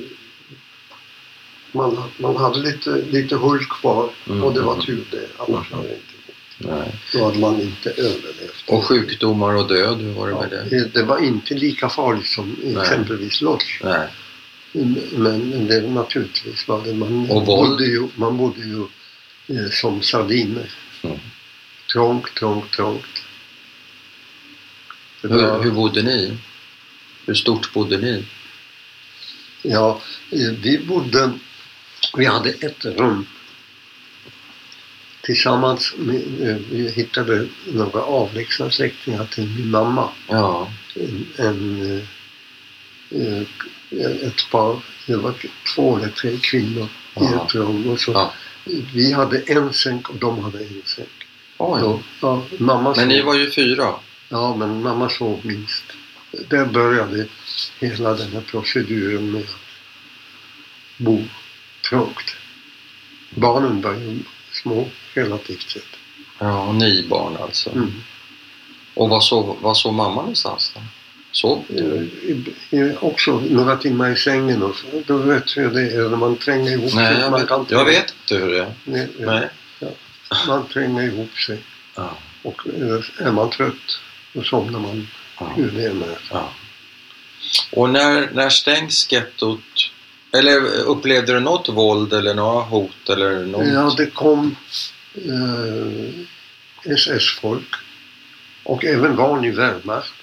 Speaker 1: man, man hade lite, lite hull kvar
Speaker 2: Mm,
Speaker 1: och det var
Speaker 2: mm.
Speaker 1: tur det. Annars hade det inte gått.
Speaker 2: Nej.
Speaker 1: Då hade man inte överlevt.
Speaker 2: Och sjukdomar och död, hur var det
Speaker 1: Ja,
Speaker 2: med det?
Speaker 1: det- det var inte lika farligt som exempelvis Lodz.
Speaker 2: Nej.
Speaker 1: Men det naturligtvis var det. Man,
Speaker 2: Och våld?
Speaker 1: bodde, ju, man bodde ju eh, som sardiner.
Speaker 2: Mm.
Speaker 1: Trångt, trångt, trångt. Det var-
Speaker 2: Hur, hur bodde ni? Hur stort bodde ni?
Speaker 1: Ja, eh, vi bodde... Vi hade ett rum tillsammans. Med, eh, vi hittade några avlägsna släktingar till min mamma.
Speaker 2: Ja.
Speaker 1: En, en, eh, eh, ett par, det var två eller tre kvinnor i
Speaker 2: Ja.
Speaker 1: ett rum. Och så,
Speaker 2: Ja.
Speaker 1: Vi hade en sänk och de hade en sänk.
Speaker 2: Oj.
Speaker 1: Då, ja, mamma
Speaker 2: Men
Speaker 1: sov,
Speaker 2: ni var ju fyra.
Speaker 1: ja, men mamma sov minst. Där började hela den här proceduren med att bo trångt. Barnen var ju små relativt sett.
Speaker 2: Ja, och ni barn alltså.
Speaker 1: Mm.
Speaker 2: Och var sov, var sov mamma någonstans då? Sov
Speaker 1: Eh,
Speaker 2: du?
Speaker 1: eh, också några timmar i sängen och så. Då vet jag det är när man tränger ihop
Speaker 2: Nej,
Speaker 1: sig.
Speaker 2: jag
Speaker 1: Man
Speaker 2: vet,
Speaker 1: kan
Speaker 2: jag
Speaker 1: tränga-
Speaker 2: vet inte hur det är.
Speaker 1: Nej, eh,
Speaker 2: Nej.
Speaker 1: Man tränger ihop sig
Speaker 2: Ja.
Speaker 1: och eh, är man trött då somnar man
Speaker 2: Ja.
Speaker 1: hur det än är.
Speaker 2: Ja. Och när, när stängs gettot? Eller upplevde du något våld eller några hot eller något?
Speaker 1: Ja, det kom eh, SS-folk och även vanlig Wehrmacht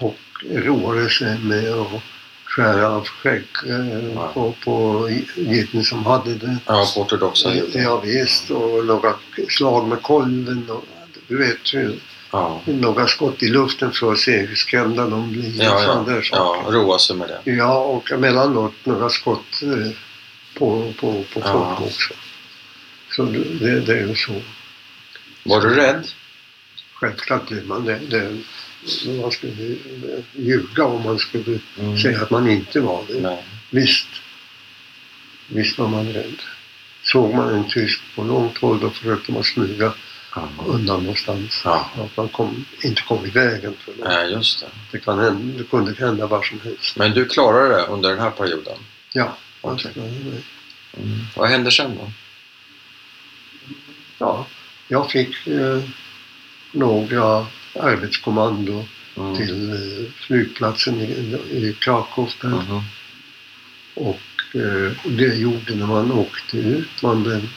Speaker 1: och roade sig med att skära av skägg eh,
Speaker 2: Ja.
Speaker 1: på, på jitten som hade det.
Speaker 2: Ja, på ortodoxa judar.
Speaker 1: Ja, visst, och några slag med kolven och du vet, hur-
Speaker 2: Ja.
Speaker 1: några skott i luften för att se hur skrämda de blir.
Speaker 2: Ja,
Speaker 1: och sådana
Speaker 2: ja.
Speaker 1: där saker.
Speaker 2: ja, roa sig med det.
Speaker 1: Ja, och emellanåt några skott eh, på, på, på folk
Speaker 2: Ja.
Speaker 1: också. Så det, det är ju så.
Speaker 2: Var du rädd?
Speaker 1: Självklart blir man det. det man skulle ju ljuga om man skulle
Speaker 2: Mm.
Speaker 1: säga att man inte var det.
Speaker 2: Nej.
Speaker 1: Visst. Visst var man rädd. Såg man en tysk på långt håll då försökte man smyga
Speaker 2: Ja.
Speaker 1: undan någonstans.
Speaker 2: Ja.
Speaker 1: Att man kom, inte kom i vägen för någon.
Speaker 2: Nej, just det.
Speaker 1: Det, kan hända, det kunde hända var som helst.
Speaker 2: Men du klarade det under den här perioden?
Speaker 1: Ja.
Speaker 2: Okej. Mm.
Speaker 1: Alltså,
Speaker 2: Vad hände sen då?
Speaker 1: Ja, jag fick eh, några arbetskommando
Speaker 2: Mm.
Speaker 1: till eh, flygplatsen i, i Krakow där.
Speaker 2: Mhm.
Speaker 1: Och eh, det gjorde när man åkte ut. Man blev,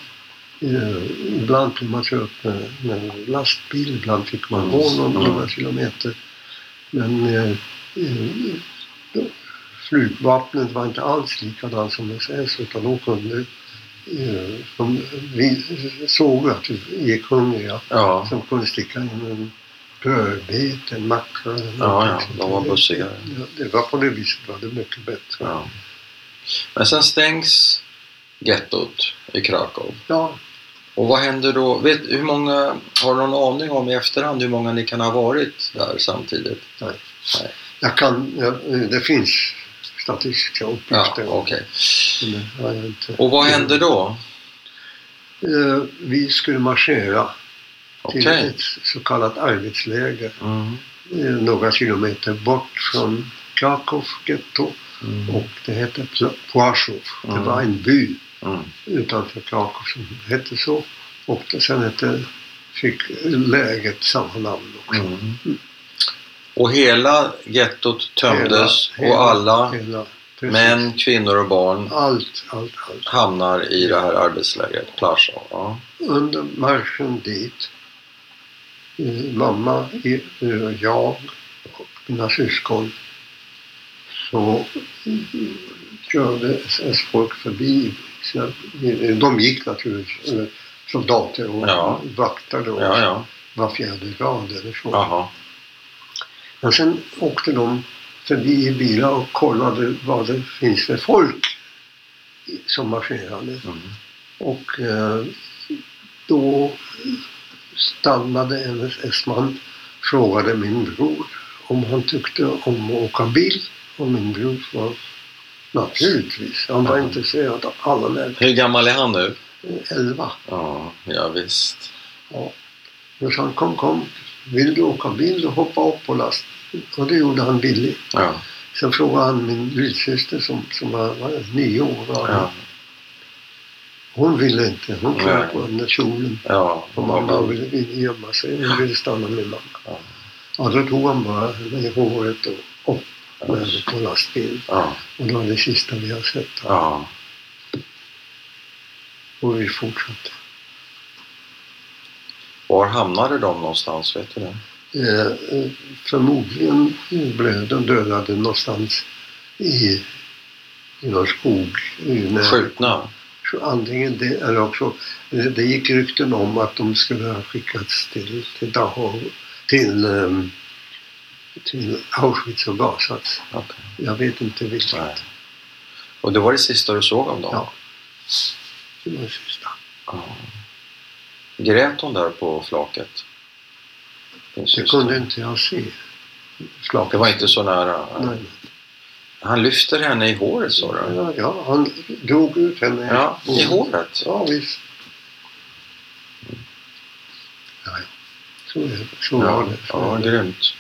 Speaker 1: eh, ibland blev man körd med, med lastbil, ibland fick man
Speaker 2: Mm.
Speaker 1: gå någon,
Speaker 2: Mm.
Speaker 1: några kilometer. Men eh, eh, flygvapnet var inte alls likadant som SS utan de kunde eh, de, vi såg att vi gick hungriga
Speaker 2: Ja.
Speaker 1: som kunde sticka in Alltså, en brödbit, en macka eller
Speaker 2: Ja, ja,
Speaker 1: någonting sånt
Speaker 2: de var
Speaker 1: där.
Speaker 2: bussiga.
Speaker 1: Ja, Det var på det viset var det mycket bättre. Ja,
Speaker 2: Ja. Men sen stängs gettot i Krakow. Och vad händer då? Vet, hur många, har du någon aning om i efterhand hur många ni kan ha varit där samtidigt?
Speaker 1: jag kan, ja, det finns statistiska
Speaker 2: Ja,
Speaker 1: uppgifter.
Speaker 2: okej.
Speaker 1: men det har jag inte.
Speaker 2: Och vad hände då?
Speaker 1: Eh, Vi skulle marschera
Speaker 2: Okej.
Speaker 1: till ett så kallat arbetsläger
Speaker 2: Mm.
Speaker 1: eh, några kilometer bort från Krakow getto
Speaker 2: Mm.
Speaker 1: och det hette Pla- Płaszów. Det
Speaker 2: Mm.
Speaker 1: var en by
Speaker 2: Mm.
Speaker 1: utanför Krakow som hette så. Och sen hette, fick läget samma namn också.
Speaker 2: Mm. Och hela gettot tömdes
Speaker 1: Hela-
Speaker 2: och alla,
Speaker 1: hela- precis.
Speaker 2: män, kvinnor och barn,
Speaker 1: Allt, allt, allt.
Speaker 2: hamnar i det här arbetslägret, Plaszow. Ja.
Speaker 1: under marschen dit, eh, mamma, eh, jag och mina syskon, så eh, körde SS-folk förbi. sina- eh, De gick naturligtvis, eh, soldater och
Speaker 2: Ja.
Speaker 1: vaktade och
Speaker 2: ja, ja.
Speaker 1: var fjärde rad eller så.
Speaker 2: Jaha.
Speaker 1: Men sen åkte de förbi i bilar och kollade vad det finns för folk i- som marscherade.
Speaker 2: Mm.
Speaker 1: Och eh, då stannade en SS-man frågade min bror om han tyckte om att åka bil. Och min bror var naturligtvis, han var
Speaker 2: Ja.
Speaker 1: intresserad av alla män.
Speaker 2: Hur gammal är han nu?
Speaker 1: Elva.
Speaker 2: Ja, ja visst.
Speaker 1: Då sa han kom, kom, vill du åka bil då hoppa upp på last. Och det gjorde han billigt.
Speaker 2: Ja,
Speaker 1: Sen frågade han min lillsyster som, som var, var nio år. Var
Speaker 2: ja,
Speaker 1: Hon ville inte, hon
Speaker 2: Nej.
Speaker 1: knöt på den där kjolen.
Speaker 2: ja.
Speaker 1: Och mamma ville, ville gömma sig. Hon ville stanna med mamma.
Speaker 2: Ja.
Speaker 1: Ja. då tog han bara henne i håret och upp
Speaker 2: Ja.
Speaker 1: med henne på lastbil.
Speaker 2: Ja,
Speaker 1: Och det var det sista vi har sett. honom.
Speaker 2: ja.
Speaker 1: Och vi fortsatte.
Speaker 2: Var hamnade de någonstans? Vet du det?
Speaker 1: Eh, eh, förmodligen blev de dödade någonstans i, i någon skog. i när-
Speaker 2: Skjutna?
Speaker 1: så Antingen det eller också, eh, det gick rykten om att de skulle ha skickats till, till Dachau, till, ehm, till Auschwitz och gasats.
Speaker 2: Okej.
Speaker 1: Jag vet inte vilket.
Speaker 2: Nej. Och det var det sista du såg av dem?
Speaker 1: Ja. Det var det sista.
Speaker 2: Ja. Grät hon där på flaket? Din
Speaker 1: Det
Speaker 2: syster?
Speaker 1: kunde inte jag se. Slaget.
Speaker 2: Det var inte så nära?
Speaker 1: Nej.
Speaker 2: Han lyfter henne i håret sa du?
Speaker 1: Ja, ja, han drog ut henne.
Speaker 2: Ja, i håret.
Speaker 1: Ja, visst. Ja, ja. så är det. Så var
Speaker 2: Ja,
Speaker 1: det. Så
Speaker 2: ja
Speaker 1: är det.
Speaker 2: grymt.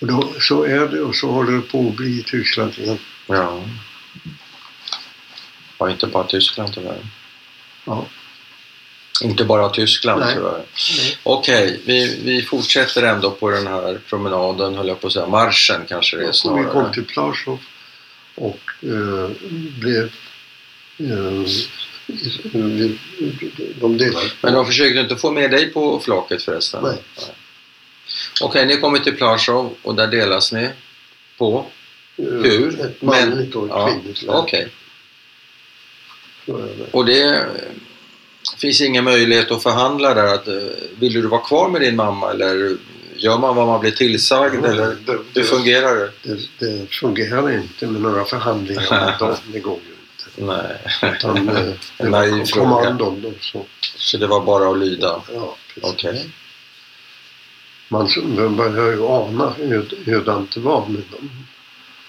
Speaker 1: Och då, så är det och så håller det på att bli i Tyskland igen.
Speaker 2: Ja. ja. Inte bara Tyskland tyvärr.
Speaker 1: Ja.
Speaker 2: Inte bara Tyskland
Speaker 1: Nej.
Speaker 2: tyvärr. Okej, vi, vi fortsätter ändå på den här promenaden, höll jag på att säga. Marschen kanske det är
Speaker 1: Och vi kom
Speaker 2: snarare.
Speaker 1: till Plaszow och eh, blev... Eh, vi- de delade.
Speaker 2: Men de försökte inte få med dig på flaket förresten?
Speaker 1: Nej.
Speaker 2: Okej, ni kommer till Plaszow och där delas ni på? Hur?
Speaker 1: Ett manligt och ett
Speaker 2: ja,
Speaker 1: kvinnligt
Speaker 2: Okej.
Speaker 1: lag. Så är det.
Speaker 2: Och det eh, finns ingen möjlighet att förhandla där? Att, eh, vill du vara kvar med din mamma eller gör man vad man blir tillsagd? eller?
Speaker 1: det,
Speaker 2: Hur fungerar det?
Speaker 1: det, det fungerar inte med några förhandlingar med dem. Det går ju inte.
Speaker 2: Nej,
Speaker 1: Utan eh, det
Speaker 2: naiv
Speaker 1: var
Speaker 2: fråga.
Speaker 1: kommandon. då, Så,
Speaker 2: så det var bara att lyda?
Speaker 1: ja, precis.
Speaker 2: Okej.
Speaker 1: Man, man börjar ju ana hur, hur det inte var med dem.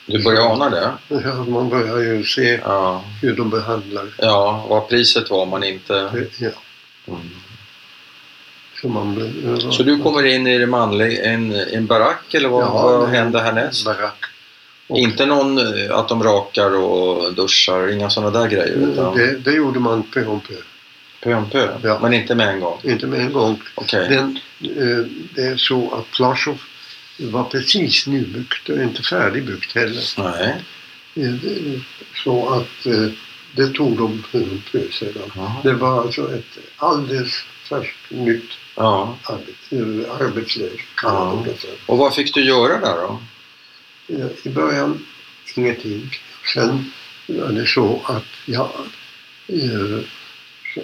Speaker 2: Du börjar ana det?
Speaker 1: Ja, Man börjar ju se
Speaker 2: Ja.
Speaker 1: hur de behandlar.
Speaker 2: Ja, vad priset var om man inte...
Speaker 1: det. Ja,
Speaker 2: Mm.
Speaker 1: så, man blir,
Speaker 2: Så du kommer in i det manliga, en, en barack eller vad,
Speaker 1: Ja,
Speaker 2: vad
Speaker 1: det-
Speaker 2: händer härnäst?
Speaker 1: Barack. Och-
Speaker 2: Inte någon eh, att de rakar och duschar, inga sådana där grejer
Speaker 1: Mm,
Speaker 2: utan
Speaker 1: Det, det gjorde man pö om pö.
Speaker 2: pö om pö,
Speaker 1: Ja.
Speaker 2: men inte med en gång.
Speaker 1: Inte med en gång.
Speaker 2: Okej,
Speaker 1: Den, eh, det är så att Plaszow var precis nybyggt och inte färdigbyggt heller.
Speaker 2: nej.
Speaker 1: Eh, det- Så att eh, det tog de hum på sedan.
Speaker 2: Jaha.
Speaker 1: Det var alltså ett alldeles färskt nytt
Speaker 2: Ja.
Speaker 1: arbete, eh, arbetsläge kan
Speaker 2: Ja.
Speaker 1: man kalla det
Speaker 2: Och vad fick du göra där då?
Speaker 1: för. Eh, I början ingenting. Sen var det så att jag eh, så-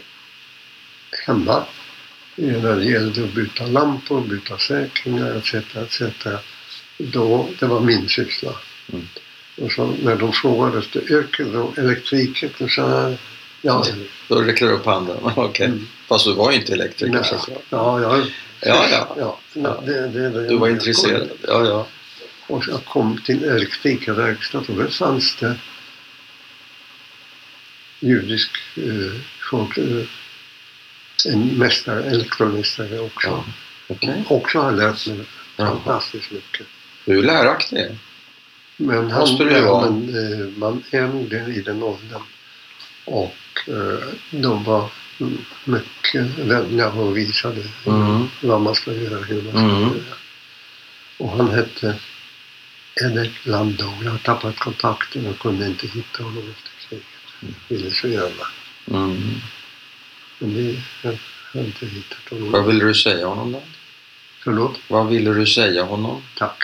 Speaker 1: hemma eh, när det gällde att byta lampor, byta säkringar etc. etc. Då, det var min syssla.
Speaker 2: Mm.
Speaker 1: Och så när de frågade efter yrke, då elektriker, då sa jag ja,
Speaker 2: Då räcker du upp handen, okej.
Speaker 1: Mm.
Speaker 2: Fast du var ju inte elektriker
Speaker 1: Nej.
Speaker 2: såklart.
Speaker 1: Ja, ja.
Speaker 2: Ja, ja.
Speaker 1: ja det, det, det,
Speaker 2: Du var
Speaker 1: jag
Speaker 2: intresserad.
Speaker 1: kom.
Speaker 2: Ja, ja.
Speaker 1: Och jag kom till elektrikerverkstaden och där fanns det judisk eh, folk, eh, en mästare, elektromästare också.
Speaker 2: ja. Okej.
Speaker 1: Också har lärt mig
Speaker 2: Ja.
Speaker 1: fantastiskt mycket.
Speaker 2: Du är läraktig.
Speaker 1: Men han,
Speaker 2: Måste du
Speaker 1: ja,
Speaker 2: vara.
Speaker 1: men, eh, man är nog den i den åldern. Och eh, de var mycket vänliga och visade
Speaker 2: Mm.
Speaker 1: vad man ska göra, hur man ska
Speaker 2: Mm.
Speaker 1: göra. Och han hette Henrik Landau. Jag har tappat kontakten och kunde inte hitta honom efter kriget. Ville så gärna.
Speaker 2: Mm.
Speaker 1: Men det, jag har inte hittat
Speaker 2: Vad
Speaker 1: honom.
Speaker 2: ville du säga honom då?
Speaker 1: Förlåt?
Speaker 2: Vad ville du säga honom?
Speaker 1: Tack.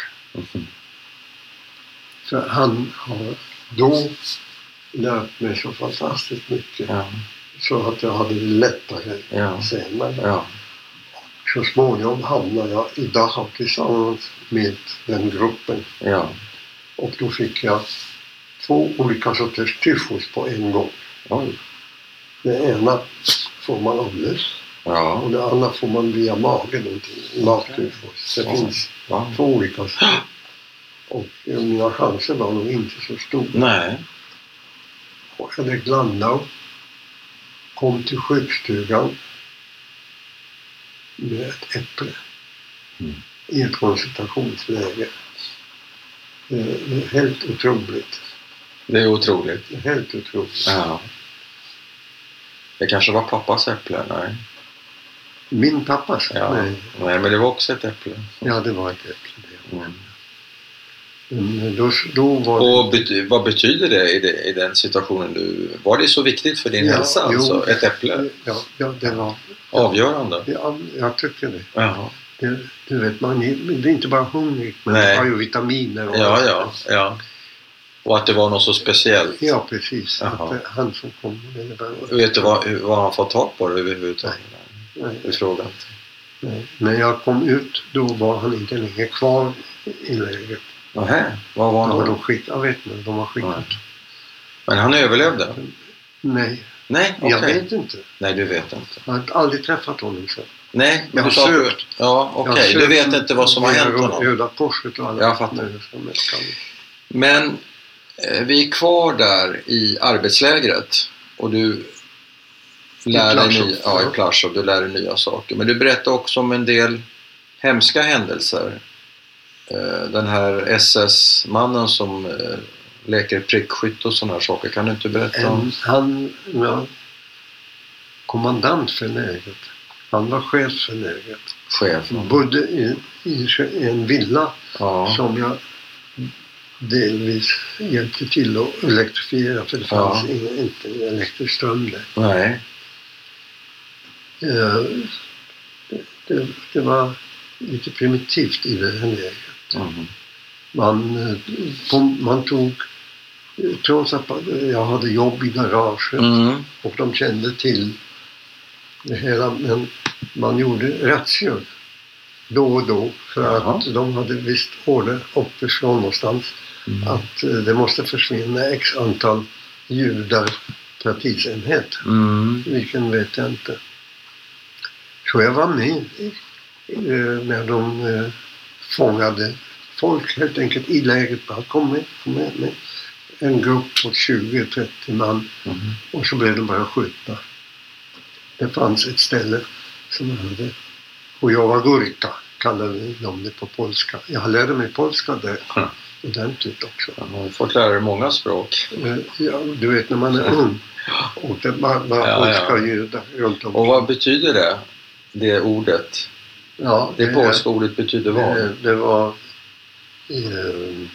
Speaker 1: För han har då lärt mig så fantastiskt mycket
Speaker 2: Ja,
Speaker 1: så att jag hade det lättare
Speaker 2: ja,
Speaker 1: senare.
Speaker 2: ja.
Speaker 1: Så småningom hamnade jag i Dachau tillsammans med den gruppen
Speaker 2: ja.
Speaker 1: och då fick jag två olika sorters tyfus på en gång.
Speaker 2: Oj.
Speaker 1: Det ena får man åndes och
Speaker 2: Ja.
Speaker 1: det andra får man via magen, någonting, magtyfus. Det
Speaker 2: Ja.
Speaker 1: finns
Speaker 2: ja.
Speaker 1: två olika sorter. Och eh, mina chanser var nog inte så stora.
Speaker 2: Nej.
Speaker 1: Och Henrik Landau kom till sjukstugan med ett äpple
Speaker 2: Mm.
Speaker 1: i ett koncentrationsläger. Det är Eh, helt otroligt.
Speaker 2: Det är otroligt.
Speaker 1: Det är Helt otroligt.
Speaker 2: Ja. Det kanske var pappas äpple? Nej.
Speaker 1: Min pappa sa
Speaker 2: Ja.
Speaker 1: nej.
Speaker 2: Nej, men det var också ett äpple.
Speaker 1: Ja, det var ett äpple. det.
Speaker 2: Mm.
Speaker 1: Men eh, då, då var det...
Speaker 2: Och bety- vad betyder det i, det i den situationen du... Var det så viktigt för din
Speaker 1: Ja,
Speaker 2: hälsa?
Speaker 1: jo.
Speaker 2: Alltså, ett äpple?
Speaker 1: Ja, ja, det var...
Speaker 2: Avgörande?
Speaker 1: Ja, jag tycker det.
Speaker 2: Ja,
Speaker 1: det. Du vet, man är, det är inte bara hungrig, men
Speaker 2: Nej.
Speaker 1: man har ju vitaminer och
Speaker 2: ja, ja. ja. Och att det var något så speciellt.
Speaker 1: Ja, precis.
Speaker 2: Jaha.
Speaker 1: Att, eh, han som kom med det där.
Speaker 2: Vet du vad, hur- vad han fått tag på det överhuvudtaget?
Speaker 1: Nej,
Speaker 2: Du frågar inte.
Speaker 1: nej. När jag kom ut, då var han inte längre kvar i lägret.
Speaker 2: Nähä, vad var
Speaker 1: Han
Speaker 2: han
Speaker 1: var
Speaker 2: då?
Speaker 1: de skick, jag vet inte, de har skickat.
Speaker 2: Nej. Men han överlevde?
Speaker 1: Nej,
Speaker 2: Nej, okej.
Speaker 1: jag vet inte.
Speaker 2: Nej, du vet inte.
Speaker 1: Jag har aldrig träffat honom sen.
Speaker 2: Nej, men
Speaker 1: Jag
Speaker 2: du
Speaker 1: har
Speaker 2: sa...
Speaker 1: sökt.
Speaker 2: Ja, okej.
Speaker 1: Jag
Speaker 2: Du
Speaker 1: sökt
Speaker 2: vet inte vad som har
Speaker 1: via
Speaker 2: hänt honom.
Speaker 1: Röda Korset och alla
Speaker 2: Jag fattar.
Speaker 1: människor som jag kan.
Speaker 2: Men eh, vi är kvar där i arbetslägret och du lär dig,
Speaker 1: Plaszow,
Speaker 2: nya, ja,
Speaker 1: ja.
Speaker 2: i Plaszow, du lär dig nya saker. Men du berättade också om en del hemska händelser. Eh, Den här SS-mannen som eh, leker prickskytt och sådana här saker. Kan du inte berätta om?
Speaker 1: En, han var kommandant för lägret. Han var chef för lägret.
Speaker 2: Chefen.
Speaker 1: Bodde i, i en villa
Speaker 2: Ja.
Speaker 1: som jag delvis hjälpte till att elektrifiera för det fanns
Speaker 2: Ja.
Speaker 1: ingen- inte elektrisk ström där.
Speaker 2: Nej.
Speaker 1: Eh, Det, det var lite primitivt i det här läget.
Speaker 2: Mhm.
Speaker 1: Man, eh, kom- man tog, eh, trots att jag hade jobb i garaget
Speaker 2: Mm.
Speaker 1: och de kände till det hela, men man gjorde razzior då och då för
Speaker 2: Jaha.
Speaker 1: att de hade visst order uppifrån någonstans.
Speaker 2: Mm.
Speaker 1: att eh, det måste försvinna x antal judar per tidsenhet.
Speaker 2: Mm.
Speaker 1: Vilken vet jag inte. Så jag var med eh, när de eh, fångade folk helt enkelt i lägret. Bara, kom med, kom med, med. En grupp på 20-30 man
Speaker 2: Mhm.
Speaker 1: och så blev de bara skjutna. Det fanns ett ställe som jag hade Hujowa Gurka kallade de det på polska. Jag lärde mig polska där
Speaker 2: Mm.
Speaker 1: ordentligt också.
Speaker 2: Ja, Du har fått lära dig många språk.
Speaker 1: Eh, Ja, du vet när man är ung och det bara, bara
Speaker 2: Ja, ja.
Speaker 1: polska judar runt om.
Speaker 2: Och vad betyder det? Det ordet?
Speaker 1: ja,
Speaker 2: Det polska ordet betyder vad?
Speaker 1: eh, Det var eh,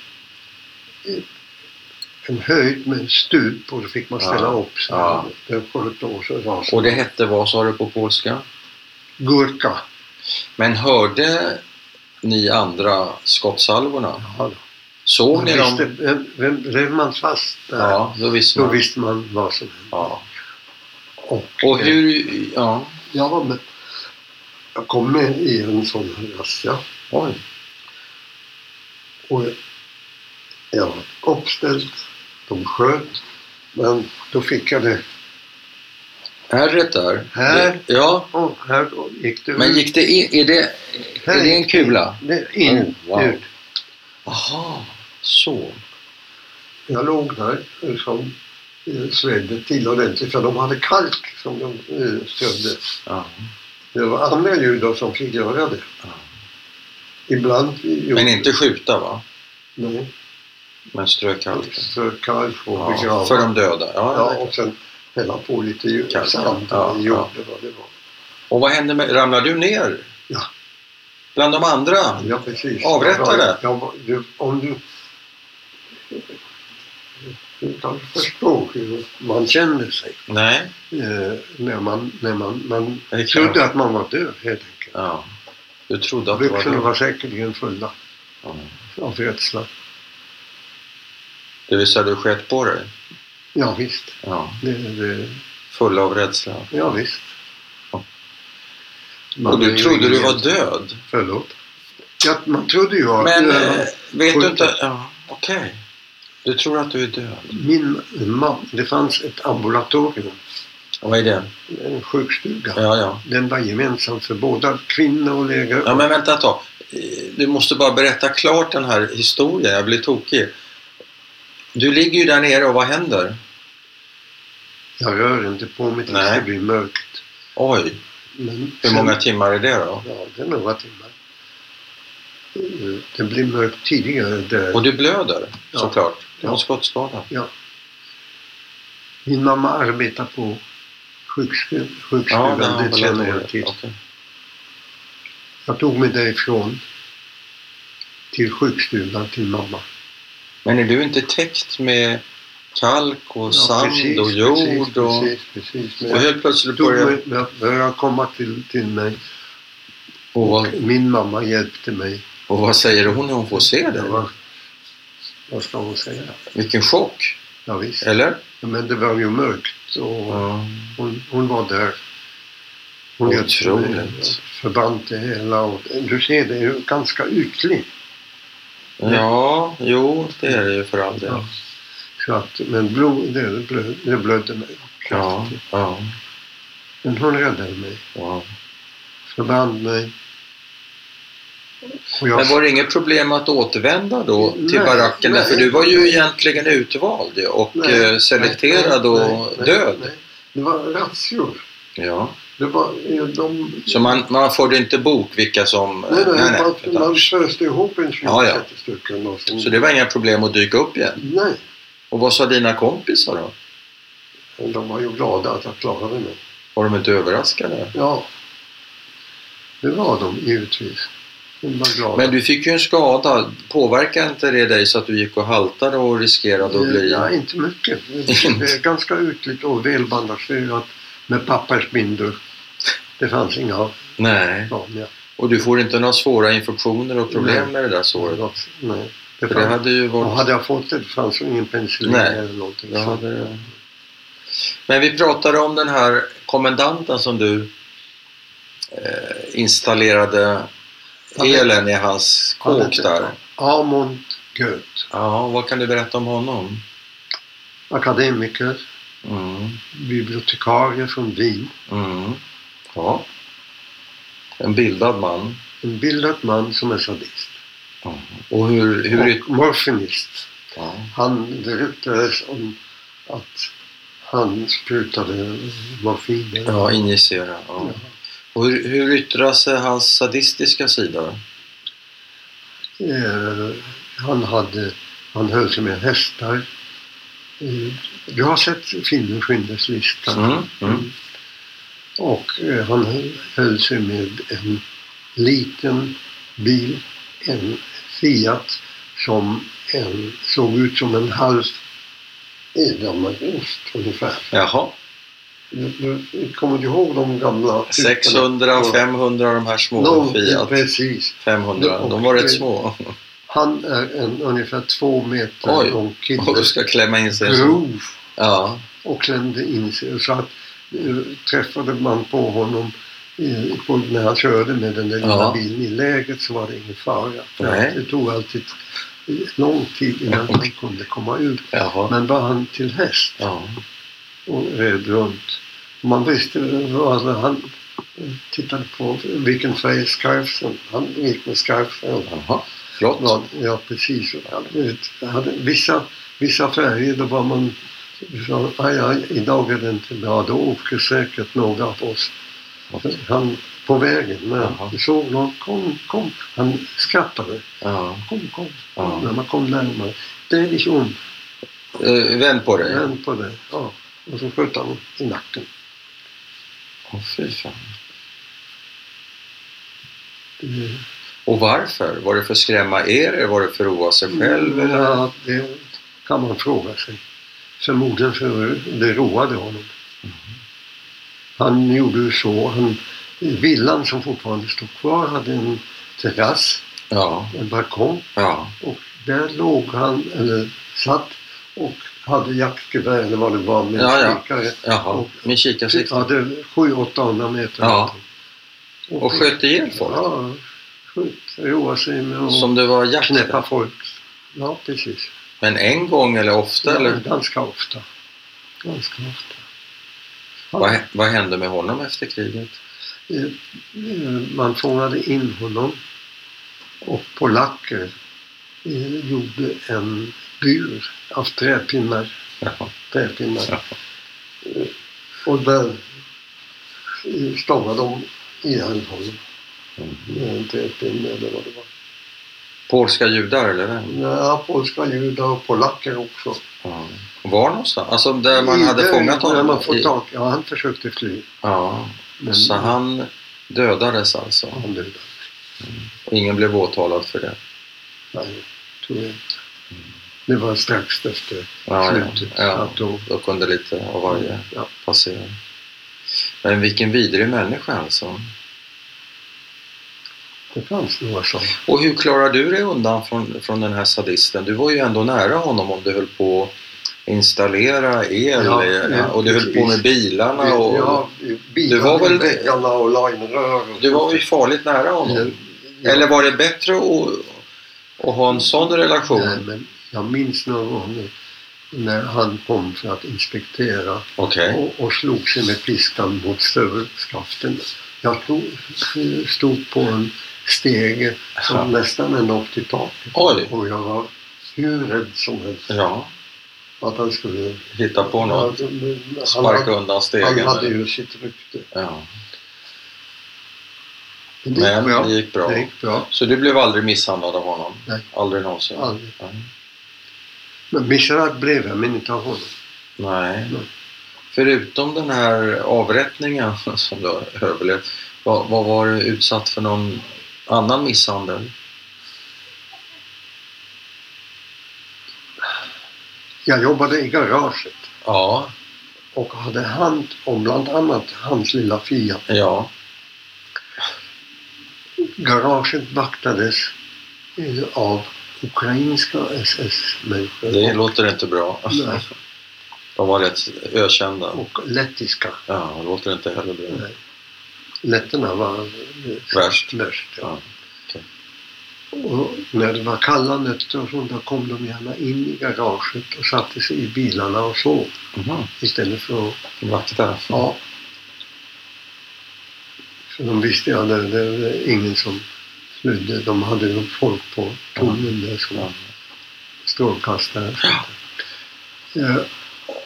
Speaker 1: en höjd med en stup och då fick man ställa
Speaker 2: Ja.
Speaker 1: upp sig.
Speaker 2: Ja.
Speaker 1: Det sköt då så rasade
Speaker 2: Och det hette vad sa du på polska?
Speaker 1: Gurka.
Speaker 2: Men hörde ni andra skottsalvorna?
Speaker 1: Ja, då.
Speaker 2: Såg ni
Speaker 1: visste,
Speaker 2: dem?
Speaker 1: vem, vem, vem man fast där,
Speaker 2: Ja, då visste
Speaker 1: då
Speaker 2: man.
Speaker 1: visste man vad som hände.
Speaker 2: Ja.
Speaker 1: Och,
Speaker 2: Och
Speaker 1: eh,
Speaker 2: hur... Ja.
Speaker 1: Jag var med. Jag kom med i en sån här razzia.
Speaker 2: Oj.
Speaker 1: Och jag var uppställd. De sköt. Men då fick jag det.
Speaker 2: Ärret där.
Speaker 1: Här.
Speaker 2: Det- Ja.
Speaker 1: Och här då gick det
Speaker 2: Men
Speaker 1: ut.
Speaker 2: gick det in... Är det,
Speaker 1: Här
Speaker 2: är det en
Speaker 1: gick
Speaker 2: kula?
Speaker 1: det in.
Speaker 2: Oh, wow.
Speaker 1: ut.
Speaker 2: Aha. Så.
Speaker 1: Jag låg där eh, som eh, svedde till ordentligt för de hade kalk som de eh, stödde.
Speaker 2: Ja.
Speaker 1: Det var andra judar som fick göra det.
Speaker 2: Ja.
Speaker 1: Ibland gjorde
Speaker 2: Men inte skjuta va?
Speaker 1: Nej,
Speaker 2: Men strök halken.
Speaker 1: strök kalk och
Speaker 2: Ja.
Speaker 1: begrava.
Speaker 2: För de döda? Ja.
Speaker 1: Ja, och sen hälla på lite ju-
Speaker 2: Kallt,
Speaker 1: sand
Speaker 2: ja,
Speaker 1: eller
Speaker 2: ja.
Speaker 1: jord eller vad det var.
Speaker 2: Och vad hände med, ramlade du ner?
Speaker 1: Ja.
Speaker 2: Bland de andra?
Speaker 1: Ja, precis.
Speaker 2: Avrätta det.
Speaker 1: Ja, du, om du... Du kanske förstår hur man känner sig
Speaker 2: Nej.
Speaker 1: eh, när man, när man, man
Speaker 2: Det är klart.
Speaker 1: trodde att man var död helt enkelt.
Speaker 2: Ja. Du trodde att det var
Speaker 1: Byxorna
Speaker 2: du.
Speaker 1: var säkerligen fulla
Speaker 2: Ja.
Speaker 1: av rädsla.
Speaker 2: Det vill säga du sket på dig?
Speaker 1: Ja, visst.
Speaker 2: Ja.
Speaker 1: Det, det,
Speaker 2: Full av rädsla.
Speaker 1: ja, visst.
Speaker 2: Ja.
Speaker 1: Man
Speaker 2: och
Speaker 1: är
Speaker 2: du
Speaker 1: ju
Speaker 2: trodde du
Speaker 1: ingen-
Speaker 2: var död?
Speaker 1: Förlåt. Ja, man trodde ju att...
Speaker 2: Men
Speaker 1: eh,
Speaker 2: eh, vet du
Speaker 1: sjukt.
Speaker 2: inte... Ja, Okej. Du tror att du är död.
Speaker 1: Min mamma, det fanns ett ambulatorium,
Speaker 2: Vad är det?
Speaker 1: en sjukstuga.
Speaker 2: Ja, ja.
Speaker 1: Den var gemensam för båda kvinnor och läger.
Speaker 2: Ja, men vänta ett tag. Eh, Du måste bara berätta klart den här historien. Jag blir tokig. Du ligger ju där nere och vad händer?
Speaker 1: Jag rör inte på mig tills
Speaker 2: Nej.
Speaker 1: det blir mörkt.
Speaker 2: Oj,
Speaker 1: Men
Speaker 2: hur många timmar är det då?
Speaker 1: Ja, det är några timmar. Eh, Det blir mörkt tidigare där.
Speaker 2: Och du blöder
Speaker 1: Ja.
Speaker 2: såklart. Du har
Speaker 1: Ja.
Speaker 2: en skottskada.
Speaker 1: Min mamma arbetar på sjukstu- sjukstugan,
Speaker 2: har
Speaker 1: det känner jag till.
Speaker 2: Okej.
Speaker 1: Jag tog mig därifrån till sjukstugan till mamma.
Speaker 2: Men är du inte täckt med kalk och sand och jord?
Speaker 1: precis,
Speaker 2: och,
Speaker 1: Precis, precis. Men
Speaker 2: och
Speaker 1: jag
Speaker 2: helt plötsligt
Speaker 1: tog
Speaker 2: börjar...
Speaker 1: mig, jag började komma till, till mig.
Speaker 2: Och vad,
Speaker 1: Min mamma hjälpte mig.
Speaker 2: och vad säger hon när hon får se
Speaker 1: Det
Speaker 2: dig?
Speaker 1: var, vad ska hon säga?
Speaker 2: Vilken chock!
Speaker 1: Ja, visst.
Speaker 2: Eller?
Speaker 1: Men det var ju mörkt och hon, hon var där. Hon hjälpte mig.
Speaker 2: Otroligt.
Speaker 1: Förband det hela. Och, du ser, det är ju ganska ytligt.
Speaker 2: Ja, jo, det är det ju för all del.
Speaker 1: Ja. Så att, men blod, det, blöd, det blödde mig.
Speaker 2: Ja, ja,
Speaker 1: Men hon räddade mig.
Speaker 2: ja.
Speaker 1: Förband mig. Och jag,
Speaker 2: Men var det inget problem att återvända då till
Speaker 1: Nej,
Speaker 2: baracken?
Speaker 1: nej.
Speaker 2: Därför du var ju egentligen utvald ju och
Speaker 1: Nej,
Speaker 2: eh, selekterad
Speaker 1: nej,
Speaker 2: och
Speaker 1: nej, nej,
Speaker 2: död.
Speaker 1: nej. Det var razzior.
Speaker 2: Ja.
Speaker 1: Det var, eh, de,
Speaker 2: Så man, man förde inte bok vilka som... eh,
Speaker 1: nej, nej, man,
Speaker 2: utan-
Speaker 1: man föste ihop en 20
Speaker 2: Ja, ja.
Speaker 1: stycken. Och sen,
Speaker 2: Så det var inga problem att dyka upp igen?
Speaker 1: Nej,
Speaker 2: Och vad sa dina kompisar då?
Speaker 1: de var ju glada att jag klarade mig.
Speaker 2: Var de inte överraskade?
Speaker 1: Ja, det var de givetvis. De var glada.
Speaker 2: Men du fick ju en skada. Påverkade inte det dig så att du gick och haltade och riskerade att bli...
Speaker 1: Ja, inte mycket. Det är ganska ytligt och välbandagerat med pappersbindor. Det fanns inga
Speaker 2: Nej.
Speaker 1: vanliga.
Speaker 2: Och du får inte några svåra infektioner och problem
Speaker 1: Nej.
Speaker 2: med det där såret?
Speaker 1: Nej. Det
Speaker 2: För det
Speaker 1: fanns.
Speaker 2: hade ju
Speaker 1: Och
Speaker 2: varit...
Speaker 1: hade jag fått det, det fanns ju ingen penicillin
Speaker 2: Nej.
Speaker 1: eller någonting.
Speaker 2: Jag
Speaker 1: Så-
Speaker 2: hade... Men vi pratade om den här kommendanten som du eh, installerade
Speaker 1: Ja, det-
Speaker 2: elen i hans
Speaker 1: Ja, det-
Speaker 2: kåk där.
Speaker 1: Amund Goeth,
Speaker 2: Ja, vad kan du berätta om honom?
Speaker 1: akademiker,
Speaker 2: Mm.
Speaker 1: bibliotekarie från Wien.
Speaker 2: Mm. Ja. En bildad man.
Speaker 1: En bildad man som är sadist.
Speaker 2: Och hur... hur
Speaker 1: Och morfinist.
Speaker 2: ja.
Speaker 1: Han, det ryktades om att han sprutade morfin. eller-
Speaker 2: ja, injicera. Ja.
Speaker 1: Ja.
Speaker 2: Och hur, hur yttrar sig hans sadistiska sida?
Speaker 1: Eh, han, hade, han höll sig med hästar. Eh, du har sett filmen Schindler's lista.
Speaker 2: Mm. Mm.
Speaker 1: Och eh, han höll- höll sig med en liten bil, en Fiat, som en, såg ut som en halv edamerost ungefär.
Speaker 2: Jaha.
Speaker 1: Du, du, kommer du ihåg de gamla? typerna?
Speaker 2: 600,
Speaker 1: Ja.
Speaker 2: 500 de här små.
Speaker 1: Någon-
Speaker 2: Fiat
Speaker 1: Precis.
Speaker 2: 500. De var rätt små.
Speaker 1: Han är en ungefär två meter
Speaker 2: Oj.
Speaker 1: lång
Speaker 2: Och
Speaker 1: kille.
Speaker 2: du ska klämma in sig. så.
Speaker 1: Grov
Speaker 2: Ja.
Speaker 1: och klämde in sig. Så att, eh, träffade man på honom eh, på, när han körde med den där lilla
Speaker 2: Ja.
Speaker 1: bilen i lägret så var det ingen fara. För
Speaker 2: Nej.
Speaker 1: att Det tog alltid eh, lång tid innan han kunde komma ut.
Speaker 2: Jaha.
Speaker 1: Men var han till häst
Speaker 2: Ja.
Speaker 1: och red runt. Man visste vad han tittade på, vilken färg scarfen, han gick med scarfen.
Speaker 2: Jaha. Flott.
Speaker 1: Ja, ja precis. Ja, du vet, jag hade vissa, vissa färger, då var man... Så, aj, aj, idag är det inte bra, då åker säkert några av oss. Han på vägen,
Speaker 2: Jaha.
Speaker 1: när vi såg någon, kom, kom. Han skrattade.
Speaker 2: Ja.
Speaker 1: Kom, kom.
Speaker 2: Ja.
Speaker 1: När man kom närmare. Det är liksom
Speaker 2: Eh, Vänd på dig.
Speaker 1: vänd på det. Ja. Och så sköt han i nacken.
Speaker 2: Åh fy fan. Mm.
Speaker 1: Det-
Speaker 2: Och varför? Var det för att skrämma er? Var det för att roa sig själv?
Speaker 1: Mm.
Speaker 2: eller?
Speaker 1: Ja, det kan man fråga sig. Förmodligen för det roade honom. Han gjorde ju så. Han, villan som fortfarande stod kvar hade en terrass,
Speaker 2: Ja,
Speaker 1: en balkong.
Speaker 2: ja,
Speaker 1: Och där låg han, eller satt, och hade jaktgevär eller vad det var med
Speaker 2: Ja, ja.
Speaker 1: kikare.
Speaker 2: jaha.
Speaker 1: Och-
Speaker 2: Med kikarsikte.
Speaker 1: Ja, det var 700-800 meter.
Speaker 2: Ja. Och sköt ihjäl folk?
Speaker 1: Ja, sköt. Roade sig med att
Speaker 2: Som det var jakt?
Speaker 1: Mm. knäppa folk. Ja, precis.
Speaker 2: Men en gång eller ofta?
Speaker 1: Ja,
Speaker 2: Eller?
Speaker 1: ganska ofta. Ganska ofta. Han,
Speaker 2: Vad, hä- vad hände med honom efter kriget?
Speaker 1: eh, eh, Man fångade in honom och polacker eh, gjorde en bur av träpinnar.
Speaker 2: Jaha.
Speaker 1: träpinnar.
Speaker 2: Ja.
Speaker 1: Eh, Och där eh, stångade de ihjäl honom
Speaker 2: Mm.
Speaker 1: med en träpinne eller vad det var.
Speaker 2: Polska judar eller vem?
Speaker 1: Ja, polska judar och polacker också.
Speaker 2: Ja. Var någonstans? Alltså där man
Speaker 1: I-
Speaker 2: hade
Speaker 1: där-
Speaker 2: fångat honom?
Speaker 1: Där man fått
Speaker 2: i-
Speaker 1: tag. Ja, han försökte fly.
Speaker 2: Ja,
Speaker 1: Men
Speaker 2: så han dödades alltså?
Speaker 1: han dödades.
Speaker 2: Och ingen blev åtalad för det?
Speaker 1: Nej, tror jag inte. Det var strax efter
Speaker 2: Ja, ja,
Speaker 1: slutet.
Speaker 2: ja.
Speaker 1: Att då,
Speaker 2: Då kunde lite av varje
Speaker 1: ja,
Speaker 2: passera. Men vilken vidrig människa alltså.
Speaker 1: det fanns några sådana.
Speaker 2: Och hur klarar du dig undan från, från den här sadisten? Du var ju ändå nära honom om du höll på att installera el
Speaker 1: Ja,
Speaker 2: eh,
Speaker 1: ja,
Speaker 2: och du höll på med bilarna. Och,
Speaker 1: Ja, bilar
Speaker 2: Det var väl
Speaker 1: i
Speaker 2: det-
Speaker 1: väggarna och linrör. och-
Speaker 2: Du var ju farligt nära honom.
Speaker 1: Ja.
Speaker 2: Eller var det bättre att, att ha en sån relation?
Speaker 1: Nej, men jag minns någon gång när han kom för att inspektera
Speaker 2: Okej.
Speaker 1: och, och slog sig med piskan mot stövelskaften. Jag tog, stod på en stege som
Speaker 2: Ja.
Speaker 1: nästan ända upp till taket.
Speaker 2: Oj!
Speaker 1: Och jag var hur rädd som helst
Speaker 2: Ja,
Speaker 1: att han skulle
Speaker 2: hitta på något.
Speaker 1: Ja, men han
Speaker 2: Sparka
Speaker 1: hade-
Speaker 2: undan
Speaker 1: Han
Speaker 2: stegen.
Speaker 1: hade ju sitt rykte.
Speaker 2: Ja.
Speaker 1: Men
Speaker 2: Men det gick
Speaker 1: Det
Speaker 2: bra.
Speaker 1: gick bra.
Speaker 2: Så du blev aldrig misshandlad av honom?
Speaker 1: Nej.
Speaker 2: Aldrig någonsin?
Speaker 1: Aldrig.
Speaker 2: Nej.
Speaker 1: Men Micharat blev jag, men inte av honom.
Speaker 2: Nej.
Speaker 1: Nej.
Speaker 2: Förutom den här avrättningen som du har överlevt, vad, vad var du utsatt för någon annan misshandel?
Speaker 1: Jag jobbade i garaget
Speaker 2: Ja,
Speaker 1: och hade hand om bland annat hans lilla Fiat.
Speaker 2: ja,
Speaker 1: Garaget vaktades eh, av ukrainska SS-människor.
Speaker 2: det låter inte bra.
Speaker 1: Nej,
Speaker 2: De var rätt ökända.
Speaker 1: och lettiska.
Speaker 2: Ja, det låter inte heller bra.
Speaker 1: Nej. Letterna var eh,
Speaker 2: Värst.
Speaker 1: värst ja.
Speaker 2: Ja, okej.
Speaker 1: Och när det var kalla nätter och sånt, då kom de gärna in i garaget och satte sig i bilarna och sov
Speaker 2: Mhm.
Speaker 1: istället för att
Speaker 2: Vakta.
Speaker 1: Ja. För de visste ju att det, det var ingen som flydde. De hade ju folk på tunneln där som
Speaker 2: Ja.
Speaker 1: strålkastare. och sånt där. Eh,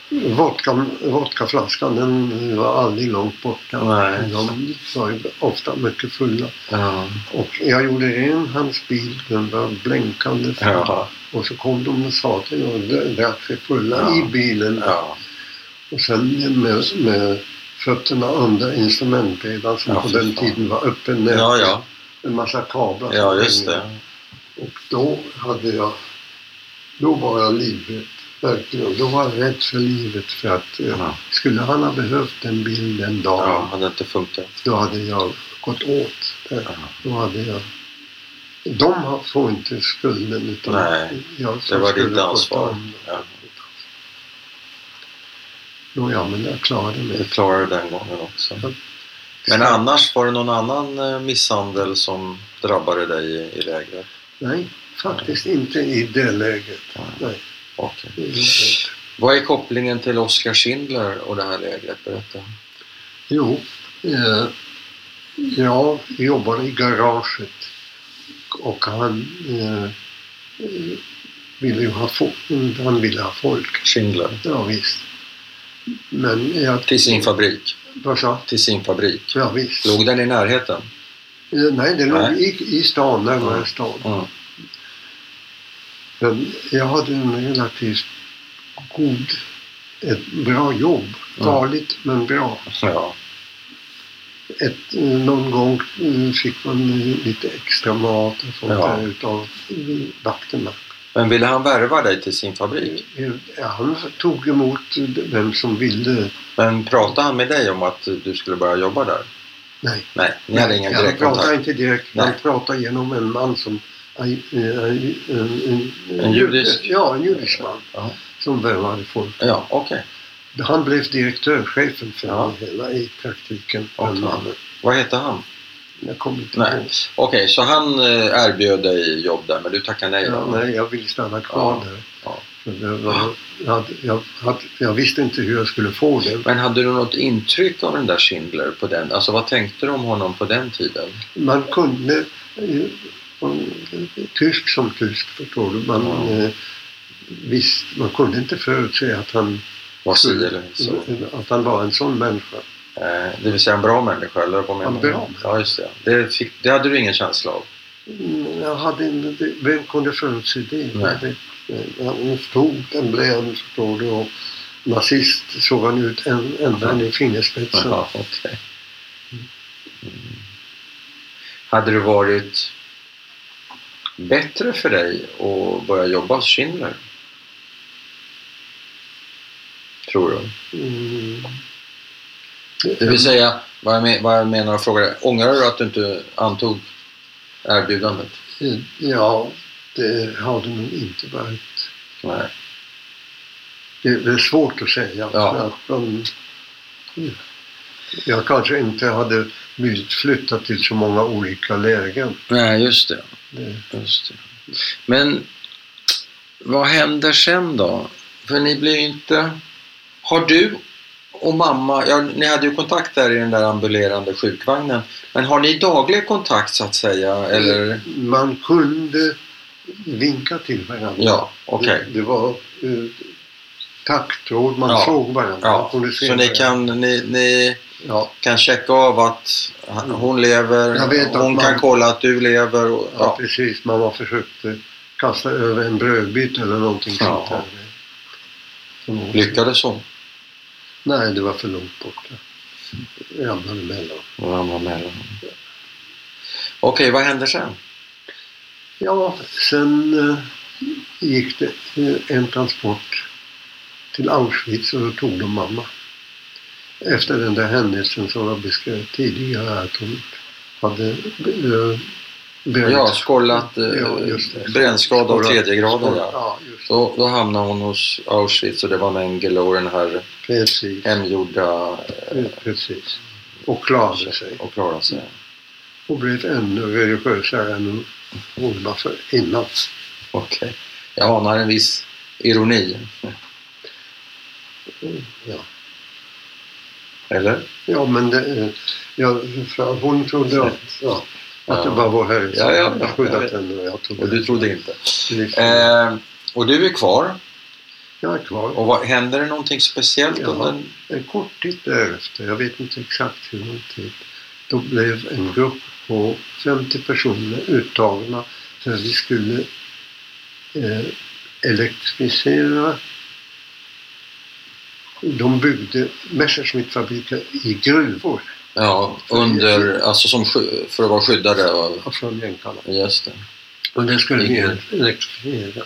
Speaker 1: Vodka, vodkaflaskan den var aldrig långt borta.
Speaker 2: Nej.
Speaker 1: De var ju ofta mycket fulla.
Speaker 2: Ja.
Speaker 1: Och jag gjorde ren hans bil, den var blänkande. full.
Speaker 2: Ja.
Speaker 1: Och så kom de och sa till mig och dö- drack sig fulla
Speaker 2: Ja.
Speaker 1: i bilen.
Speaker 2: Ja.
Speaker 1: Och sen med, med fötterna under instrumentbrädan som
Speaker 2: Ja,
Speaker 1: på
Speaker 2: fy
Speaker 1: den
Speaker 2: fan.
Speaker 1: tiden var öppen med
Speaker 2: ja, ja,
Speaker 1: en massa kablar. som
Speaker 2: ja, just
Speaker 1: hängde.
Speaker 2: det.
Speaker 1: Och då hade jag, då var jag livrädd. Verkligen. Då var jag rädd för livet för att eh,
Speaker 2: Ja.
Speaker 1: skulle han ha behövt en bil den dagen,
Speaker 2: Ja, hade inte funkat.
Speaker 1: då hade jag gått åt. det.
Speaker 2: Ja.
Speaker 1: Då hade jag de har- får inte skulden utan
Speaker 2: Nej,
Speaker 1: jag
Speaker 2: Det
Speaker 1: som
Speaker 2: var
Speaker 1: skulle
Speaker 2: ditt
Speaker 1: fått
Speaker 2: ansvar.
Speaker 1: dem.
Speaker 2: Ja.
Speaker 1: Nåja, men jag klarade
Speaker 2: Du
Speaker 1: mig.
Speaker 2: klarade det den gången också.
Speaker 1: Ja.
Speaker 2: Men annars, var det någon annan eh, misshandel som drabbade dig i, i lägret?
Speaker 1: Nej, faktiskt inte i det läget. Nej.
Speaker 2: Okej.
Speaker 1: det är inte.
Speaker 2: Vad är kopplingen till Oskar Schindler och det här lägret? Berätta.
Speaker 1: Jo, eh, jag jobbar i garaget och han eh, eh, ville ju ha folk. Han ville ha folk,
Speaker 2: Schindler.
Speaker 1: ja, visst. Men jag...
Speaker 2: Till sin fabrik.
Speaker 1: Vad sa
Speaker 2: Till sin fabrik.
Speaker 1: Ja, visst.
Speaker 2: Låg den i närheten?
Speaker 1: Eh, Nej, det låg
Speaker 2: Nej.
Speaker 1: i, i stan, närmare
Speaker 2: Ja.
Speaker 1: stan.
Speaker 2: Mm.
Speaker 1: Men jag hade en relativt god ett bra jobb. Farligt men bra.
Speaker 2: Ja.
Speaker 1: Ett, eh, någon gång eh, fick man eh, lite extra mat och sånt
Speaker 2: Ja.
Speaker 1: där utav eh, vakterna.
Speaker 2: Men ville han värva dig till sin fabrik?
Speaker 1: Eh, Han tog emot eh, vem som ville.
Speaker 2: Men pratade han med dig om att du skulle börja jobba där?
Speaker 1: Nej.
Speaker 2: Nej, ni hade ingen
Speaker 1: han pratade
Speaker 2: direktkontakt.
Speaker 1: inte direkt.
Speaker 2: Nej.
Speaker 1: Han pratade genom en man som... En, en, en,
Speaker 2: En judisk?
Speaker 1: Ja, en judisk man.
Speaker 2: Ja.
Speaker 1: Som värvade folk.
Speaker 2: Ja, okej.
Speaker 1: Han blev direktörschefen för
Speaker 2: Ja.
Speaker 1: hela i praktiken.
Speaker 2: Okej.
Speaker 1: Den mannen.
Speaker 2: Vad hette han?
Speaker 1: Jag kommer inte
Speaker 2: Nej.
Speaker 1: ihåg.
Speaker 2: Okej, så han eh, erbjöd dig jobb där, men du tackade nej?
Speaker 1: Ja, nej, jag ville stanna kvar
Speaker 2: Ja.
Speaker 1: där.
Speaker 2: Ja.
Speaker 1: För det var, jag, hade, jag, hade, jag visste inte hur jag skulle få det.
Speaker 2: Men hade du något intryck av den där Schindler på den? Alltså vad tänkte du om honom på den tiden?
Speaker 1: Man kunde, eh, om- tysk som tysk förstår du, man,
Speaker 2: Ja.
Speaker 1: eh, visst, man kunde inte förutse att han,
Speaker 2: Var si
Speaker 1: Mm.
Speaker 2: eller så?
Speaker 1: att han var en sån människa.
Speaker 2: Eh, Det vill säga en bra människa, eller vad menar
Speaker 1: En
Speaker 2: du?
Speaker 1: bra.
Speaker 2: Ja, just det. Det, fick, det hade du ingen känsla av?
Speaker 1: Mm, Jag hade en, det- vem kunde förutse det?
Speaker 2: Nej.
Speaker 1: det eh, han stod en blev förstår du, och nazist såg han ut en- ända
Speaker 2: Ja.
Speaker 1: ner i fingerspetsen.
Speaker 2: Jaha, okej. Mm. Hade det varit bättre för dig att börja jobba hos Schindler? Tror du?
Speaker 1: Mm.
Speaker 2: Det vill säga, vad jag, men, vad jag menar och frågar är, ångrar du att du inte antog erbjudandet?
Speaker 1: Ja, det har det nog inte varit.
Speaker 2: Nej.
Speaker 1: Det det är svårt att säga.
Speaker 2: Ja.
Speaker 1: För att de, jag kanske inte hade blivit flyttat till så många olika lägen.
Speaker 2: Nej, just det.
Speaker 1: Det-
Speaker 2: Just det. Men vad händer sen då? För ni blir ju inte... Har du och mamma, ja, ni hade ju kontakt där i den där ambulerande sjukvagnen. Men har ni daglig kontakt så att säga? Eller?
Speaker 1: Man kunde vinka till varandra.
Speaker 2: Ja, okej.
Speaker 1: det, det var eh, taktråd, man
Speaker 2: Ja.
Speaker 1: såg varandra. man
Speaker 2: Ja,
Speaker 1: kunde se
Speaker 2: så ni
Speaker 1: varandra.
Speaker 2: kan, ni, ni
Speaker 1: Ja,
Speaker 2: kan checka av att han- hon lever,
Speaker 1: Jag vet att
Speaker 2: hon
Speaker 1: man-
Speaker 2: kan kolla att du lever. Och,
Speaker 1: ja.
Speaker 2: ja.
Speaker 1: precis. Mamma försökte kasta över en brödbit eller någonting
Speaker 2: Ja.
Speaker 1: sånt där. Som hon-
Speaker 2: Lyckades hon?
Speaker 1: Nej, det var för långt borta. Jag Ramlade emellan.
Speaker 2: Hon ramlade mellan. Okej, vad händer sen?
Speaker 1: Ja, sen eh, gick det eh, en transport till Auschwitz och då tog de mamma. Efter den där händelsen som jag beskrev tidigare att hon hade eh, bränt-
Speaker 2: Ja, skollat eh,
Speaker 1: Ja, just det.
Speaker 2: brännskada av
Speaker 1: Skollat-
Speaker 2: tredje graden.
Speaker 1: skollat-
Speaker 2: Ja.
Speaker 1: Ja, just
Speaker 2: Då, då hamnade hon hos Auschwitz och det var Mengele och den här
Speaker 1: precis.
Speaker 2: hemgjorda
Speaker 1: Eh, Precis. Och klarade sig.
Speaker 2: och klarade sig.
Speaker 1: Och blev ännu religiösare än hon var för innan.
Speaker 2: Okej. Jag anar en viss ironi.
Speaker 1: Ja.
Speaker 2: Eller?
Speaker 1: Ja, men det, eh, ja, för hon trodde att, ja, att det
Speaker 2: Ja.
Speaker 1: var vår Herre som
Speaker 2: Ja, ja,
Speaker 1: hade
Speaker 2: ja, jag
Speaker 1: skyddat
Speaker 2: vet.
Speaker 1: henne. Och jag trodde
Speaker 2: Och du trodde inte.
Speaker 1: liksom,
Speaker 2: Eh, och du är kvar.
Speaker 1: Jag är kvar.
Speaker 2: Och vad, händer det någonting speciellt?
Speaker 1: Ja.
Speaker 2: Under,
Speaker 1: En kort tid därefter, jag vet inte exakt hur lång tid, då blev en grupp på 50 personer uttagna för att vi skulle eh, elektrifiera. De byggde Messerschmittfabriker i gruvor
Speaker 2: ja, under, alltså som, sky- för att vara skyddade. Och,
Speaker 1: från jänkarna.
Speaker 2: just det.
Speaker 1: Och det skulle
Speaker 2: I
Speaker 1: vi
Speaker 2: gruvor.
Speaker 1: elektrifiera.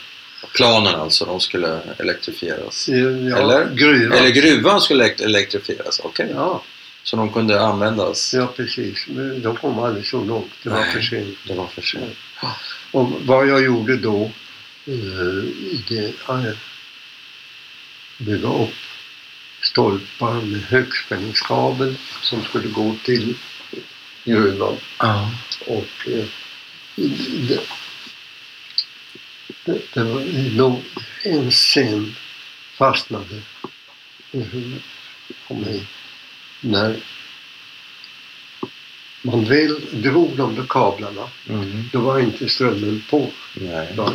Speaker 2: Planen alltså, de skulle elektrifieras.
Speaker 1: Ja,
Speaker 2: Eller?
Speaker 1: gruvan.
Speaker 2: Eller gruvan skulle elekt- elektrifieras, okej.
Speaker 1: Ja,
Speaker 2: Så de kunde användas.
Speaker 1: ja, precis. Men de kom aldrig så långt. Det var
Speaker 2: Nej.
Speaker 1: för sent.
Speaker 2: Det var för sent.
Speaker 1: Och vad jag gjorde då, eh, det eh, bygga upp stolpar med högspänningskabel som skulle gå till gruvan.
Speaker 2: Ja.
Speaker 1: Och eh, det, det, det var nog en scen fastnade i huvudet på mig. När man väl drog de där kablarna,
Speaker 2: Mm.
Speaker 1: då var inte strömmen på.
Speaker 2: Nej.
Speaker 1: Ja.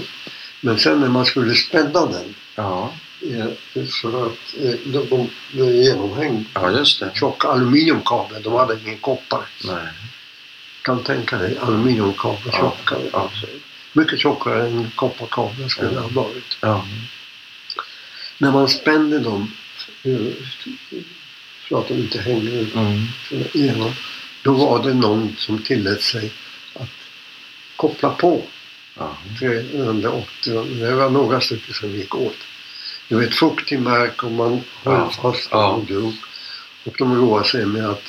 Speaker 1: Men sen när man skulle spänna den
Speaker 2: Ja.
Speaker 1: eh, så att eh, de, de, de genomhängd
Speaker 2: ja, just det.
Speaker 1: tjock aluminiumkabel, de hade ingen koppar.
Speaker 2: Nej.
Speaker 1: Kan tänka dig aluminiumkabel,
Speaker 2: Ja,
Speaker 1: tjockare.
Speaker 2: ja.
Speaker 1: Mycket tjockare än kopparkabeln skulle
Speaker 2: Ja.
Speaker 1: det ha varit.
Speaker 2: Ja.
Speaker 1: När man spände dem hur- så att de inte hänger
Speaker 2: Mm.
Speaker 1: igenom. Då var det någon som tillät sig att koppla på
Speaker 2: Ja.
Speaker 1: 380. Det var några stycken som gick åt. Det var ett fuktig mark och man höll
Speaker 2: Ja.
Speaker 1: fast
Speaker 2: Ja.
Speaker 1: och drog. Och de roade sig med att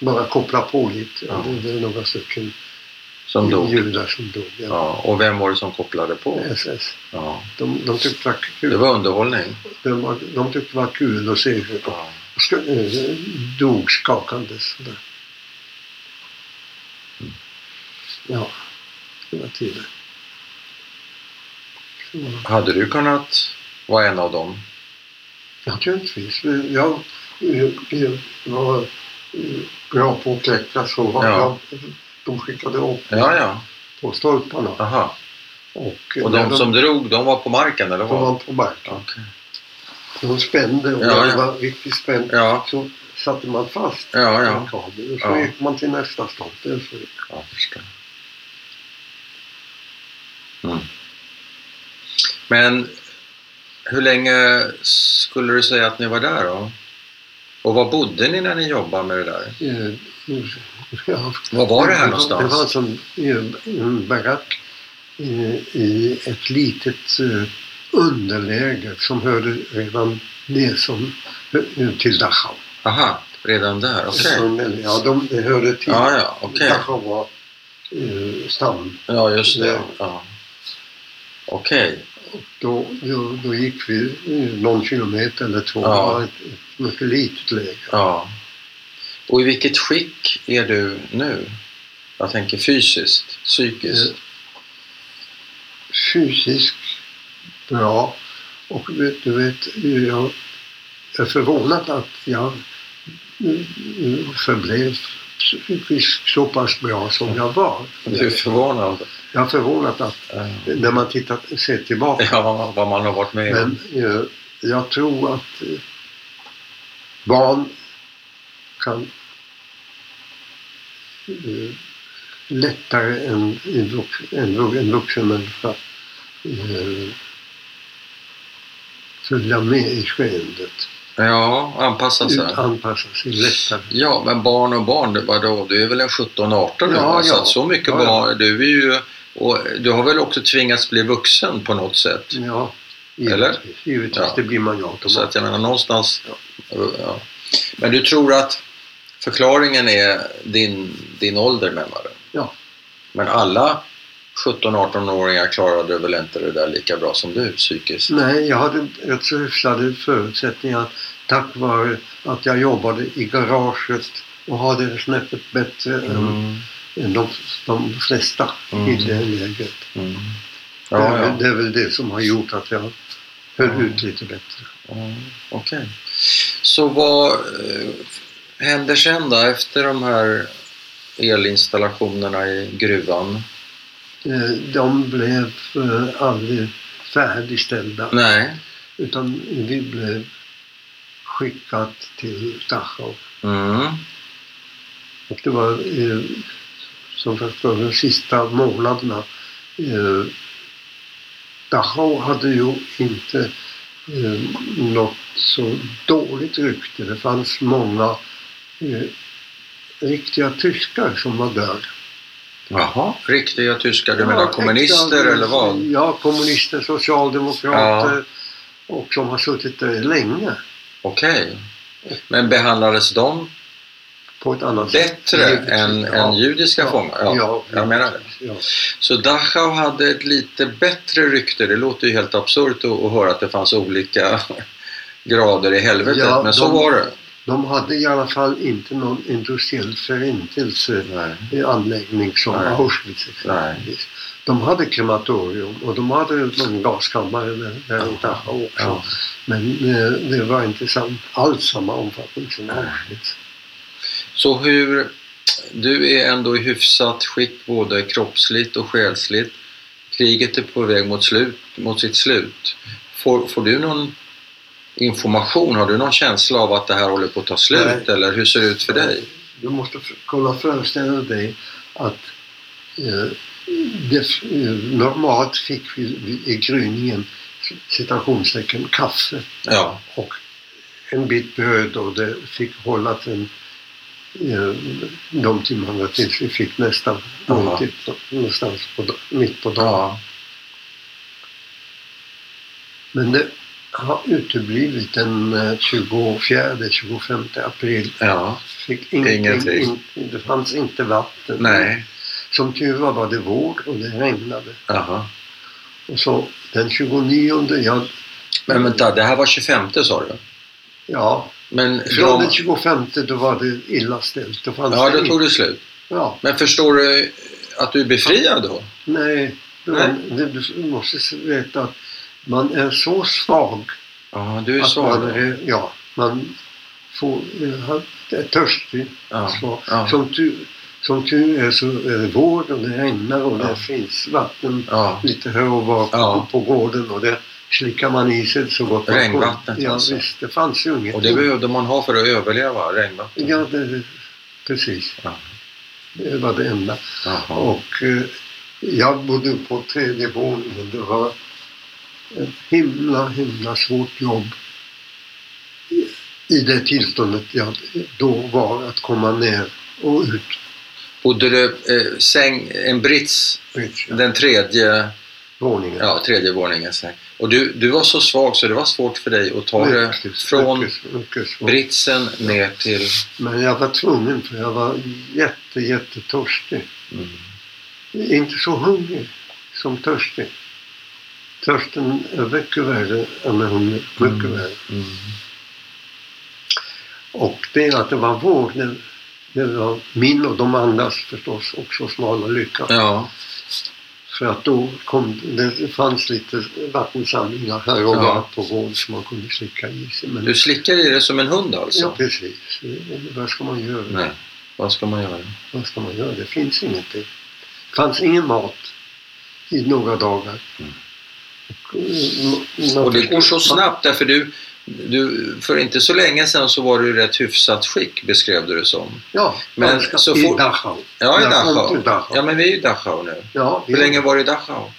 Speaker 1: bara koppla på lite.
Speaker 2: Ja.
Speaker 1: Det var några stycken
Speaker 2: Som dog.
Speaker 1: judar som dog. Ja.
Speaker 2: Ja. Och vem var det som kopplade på?
Speaker 1: SS.
Speaker 2: Ja.
Speaker 1: De, de tyckte det var
Speaker 2: Det
Speaker 1: kul.
Speaker 2: var underhållning.
Speaker 1: De, var, de tyckte det var kul att se hur de
Speaker 2: Ja.
Speaker 1: sk- eh, dog skakandes. Sådär. Ja, det var tiden. Så var det.
Speaker 2: Hade du kunnat vara en av dem?
Speaker 1: Naturligtvis. Jag, eh, eh, var eh, bra på att klättra så var
Speaker 2: Ja.
Speaker 1: jag, de skickade upp
Speaker 2: Ja, ja.
Speaker 1: på stolparna.
Speaker 2: Aha.
Speaker 1: Och, eh,
Speaker 2: Och
Speaker 1: när
Speaker 2: de som drog, de var på marken eller
Speaker 1: de
Speaker 2: vad?
Speaker 1: var på marken.
Speaker 2: Okej.
Speaker 1: De spände och
Speaker 2: Ja,
Speaker 1: när
Speaker 2: ja.
Speaker 1: det var riktigt spänt
Speaker 2: Ja,
Speaker 1: så satte man fast
Speaker 2: ja, ja.
Speaker 1: en kabel och så
Speaker 2: Ja.
Speaker 1: gick man till nästa stolpe. Så
Speaker 2: Ja, jag förstår. Mm. Men hur länge skulle du säga att ni var där då? Och var bodde ni när ni jobbade med det där?
Speaker 1: Eh, nu- ja.
Speaker 2: Var var det här
Speaker 1: Det var
Speaker 2: någonstans?
Speaker 1: alltså en, en barack eh, i ett litet eh, underläge som hörde redan ner som, eh, till Dachau.
Speaker 2: Aha, redan där, okej.
Speaker 1: Som, eller, ja, de, det hörde till.
Speaker 2: Ja, ja, okej.
Speaker 1: Dachau var eh, stam.
Speaker 2: Ja, just det. Ja. Okej.
Speaker 1: Då, då, då gick vi eh, någon kilometer eller två.
Speaker 2: Ja.
Speaker 1: Det var ett, ett mycket litet läge.
Speaker 2: Ja. Och i vilket skick är du nu? Jag tänker fysiskt, psykiskt.
Speaker 1: fysiskt bra. Och vet- du vet, jag är förvånad att jag eh, förblev psykiskt så pass bra som jag var.
Speaker 2: Du är förvånad.
Speaker 1: Jag är förvånad att
Speaker 2: Ja.
Speaker 1: när man tittar, ser tillbaka.
Speaker 2: Ja, vad man har varit med om.
Speaker 1: Men eh, jag tror att eh, barn kan eh, lättare än en, vux, en, vu- en vuxen människa eh, följa med i skeendet.
Speaker 2: Ja, anpassa sig.
Speaker 1: Ut- Anpassa sig lättare.
Speaker 2: Ja, men barn och barn, vadå? Du är väl en 17-18 nu?
Speaker 1: Ja,
Speaker 2: va? Så
Speaker 1: ja.
Speaker 2: att så mycket
Speaker 1: Ja, ja.
Speaker 2: barn, du är ju... Och du har väl också tvingats bli vuxen på något sätt?
Speaker 1: Ja,
Speaker 2: Eller?
Speaker 1: givetvis. givetvis
Speaker 2: Ja.
Speaker 1: Det blir man ju
Speaker 2: Så att
Speaker 1: automatiskt.
Speaker 2: jag menar någonstans... Ja. Men du tror att förklaringen är din, din ålder, menar du?
Speaker 1: Ja.
Speaker 2: Men alla 17-18-åringar klarade väl inte det där lika bra som du psykiskt?
Speaker 1: Nej, jag hade rätt så hyfsade förutsättningar tack vare att jag jobbade i garaget och hade det snäppet bättre än,
Speaker 2: Mm.
Speaker 1: än de, de flesta i
Speaker 2: Mm.
Speaker 1: det läget.
Speaker 2: Mm.
Speaker 1: det,
Speaker 2: Ja,
Speaker 1: är väl-
Speaker 2: ja.
Speaker 1: det är väl det som har gjort att jag höll
Speaker 2: Ja.
Speaker 1: ut lite bättre.
Speaker 2: Mm, Okej. Så vad eh, händer sen då efter de här elinstallationerna i gruvan?
Speaker 1: Eh, De blev eh, aldrig färdigställda
Speaker 2: Nej.
Speaker 1: utan vi blev skickat till Dachau.
Speaker 2: Mm.
Speaker 1: Och det var eh, som sagt var de sista månaderna. Eh, Dachau hade ju inte eh, något så dåligt rykte. Det fanns många eh, riktiga tyskar som var där.
Speaker 2: Jaha. Riktiga tyskar, du
Speaker 1: Ja,
Speaker 2: menar
Speaker 1: äkta-
Speaker 2: kommunister eller vad?
Speaker 1: Ja, kommunister, socialdemokrater och som har suttit där länge
Speaker 2: Okej. Men behandlades de
Speaker 1: på ett annat
Speaker 2: bättre
Speaker 1: Givetvis,
Speaker 2: än,
Speaker 1: ja.
Speaker 2: än judiska fångar? Ja, jag menar det.
Speaker 1: Ja.
Speaker 2: Så Dachau hade ett lite bättre rykte. Det låter ju helt absurt att, att höra att det fanns olika grader i helvetet,
Speaker 1: Ja,
Speaker 2: men så
Speaker 1: de-
Speaker 2: var det.
Speaker 1: De hade i alla fall inte någon industriell förintelse
Speaker 2: Nej.
Speaker 1: eh, anläggning som
Speaker 2: Nej.
Speaker 1: Auschwitz
Speaker 2: Nej.
Speaker 1: exempelvis. De hade krematorium och de hade någon gaskammare där- där i Dachau också.
Speaker 2: Ja.
Speaker 1: Men eh, det var inte sam, alls samma omfattning som
Speaker 2: Nej.
Speaker 1: Auschwitz.
Speaker 2: Så hur... Du är ändå i hyfsat skick både kroppsligt och själsligt. Kriget är på väg mot, slut, mot sitt slut. Får, får du någon information? Har du någon känsla av att det här håller på att ta slut? Eller hur ser det ut för dig?
Speaker 1: Eh, Du måste f- kunna föreställa dig att eh, det, f- eh, normalt fick vi vi i gryningen citationstecken kaffe
Speaker 2: Ja.
Speaker 1: och en bit bröd och det fick hålla till eh, de timmarna tills vi fick nästan
Speaker 2: Jaha.
Speaker 1: måltid. Någonstans på, da- mitt på dagen.
Speaker 2: Ja.
Speaker 1: Men det har uteblivit den eh, 24-25 april.
Speaker 2: ja.
Speaker 1: Fick ingenting.
Speaker 2: Ingenting.
Speaker 1: in- det fanns inte vatten.
Speaker 2: Nej.
Speaker 1: Som tur var var det vår och det regnade.
Speaker 2: Jaha.
Speaker 1: Och så den 29, ja,
Speaker 2: Men vänta, det här var 25 sa du?
Speaker 1: ja
Speaker 2: Men
Speaker 1: från
Speaker 2: de-
Speaker 1: den 25 då var det illa ställt. Då fanns
Speaker 2: ja,
Speaker 1: det
Speaker 2: då tog det slut.
Speaker 1: Ja,
Speaker 2: Men förstår du att du är befriad då?
Speaker 1: nej. Du,
Speaker 2: Nej.
Speaker 1: Du, du måste veta att man är så svag.
Speaker 2: Ja, du är
Speaker 1: att man,
Speaker 2: svag.
Speaker 1: är, ja, man får, eh, är törstig.
Speaker 2: Ja.
Speaker 1: Så,
Speaker 2: Ja.
Speaker 1: Som, tur, som tur är så är det vår och det regnar och
Speaker 2: Ja.
Speaker 1: det finns vatten
Speaker 2: Ja.
Speaker 1: lite här och var på-
Speaker 2: Ja.
Speaker 1: på gården och det slickar man i sig så gott man
Speaker 2: Regnvattnet
Speaker 1: Ja,
Speaker 2: alltså.
Speaker 1: visst. Det fanns ju inget.
Speaker 2: Och det behövde man ha för att överleva regnvatten?
Speaker 1: Ja, det, precis.
Speaker 2: Ja.
Speaker 1: Det var det enda.
Speaker 2: Jaha.
Speaker 1: Och eh, jag bodde på tredje våningen. Det var ett himla, himla svårt jobb i det tillståndet jag då var, att komma ner och ut.
Speaker 2: Bodde du eh, säng, en brits,
Speaker 1: ut
Speaker 2: den tredje,
Speaker 1: våningen.
Speaker 2: ja, tredje våningen säng. Och du, du var så svag så det var svårt för dig att ta det
Speaker 1: Mycket,
Speaker 2: från
Speaker 1: mycket, mycket svårt.
Speaker 2: britsen ner till...
Speaker 1: Men jag var tvungen för jag var jätte, jättetorstig. Inte så hungrig som törstig. Törsten är mycket värre än hungrig. Mycket
Speaker 2: Mm.
Speaker 1: värre.
Speaker 2: Mm.
Speaker 1: Och det att det var vår, det, det var min och de andras förstås också smala lycka.
Speaker 2: Ja,
Speaker 1: För att då kom, det fanns lite vattensamlingar här och
Speaker 2: Ja.
Speaker 1: var på vår som man kunde slicka i sig. Men,
Speaker 2: du slickar i det som en hund
Speaker 1: ja,
Speaker 2: alltså?
Speaker 1: precis. Det- Vad ska man göra?
Speaker 2: Nej, vad ska man göra?
Speaker 1: Vad ska man göra? Det finns ingenting. Det fanns ingen mat i några dagar. Och,
Speaker 2: Mm. Och det går så snabbt därför du, du, för inte så länge sedan så var du i rätt hyfsat skick beskrev du det som.
Speaker 1: Ja,
Speaker 2: Men
Speaker 1: ganska-
Speaker 2: så
Speaker 1: i
Speaker 2: fort-
Speaker 1: Dachau.
Speaker 2: Ja, i
Speaker 1: Jag kom
Speaker 2: Dachau.
Speaker 1: till Dachau.
Speaker 2: Ja, men vi är i Dachau nu.
Speaker 1: Ja,
Speaker 2: Hur länge var du i Dachau?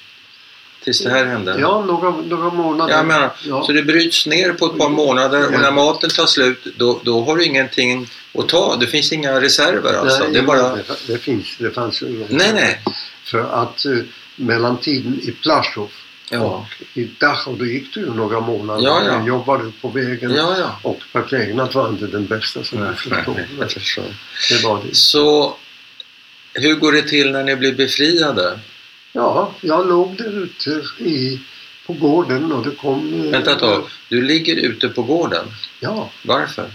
Speaker 2: Tills det här hände?
Speaker 1: Ja, några, några månader.
Speaker 2: Jag menar,
Speaker 1: Ja.
Speaker 2: Så det bryts ner på ett par månader
Speaker 1: Ja.
Speaker 2: och när maten tar slut då, då har du ingenting att ta. Det finns inga reserver alltså.
Speaker 1: nej,
Speaker 2: det är bara...
Speaker 1: det, det, finns, det fanns ju inga.
Speaker 2: Nej, nej.
Speaker 1: För att eh, mellan tiden i Plaschow
Speaker 2: Ja,
Speaker 1: och i Dachau, då gick det ju några månader.
Speaker 2: Ja, ja.
Speaker 1: Jag jobbade på vägen
Speaker 2: ja. ja.
Speaker 1: och parkeringsplatsen var inte den bästa som du förstår.
Speaker 2: Jag förstår.
Speaker 1: Det var det.
Speaker 2: Så hur går det till när ni blir befriade?
Speaker 1: Ja, jag låg där ute i, på gården och det kom... eh,
Speaker 2: Vänta ett tag. Du ligger ute på gården.
Speaker 1: Ja,
Speaker 2: Varför?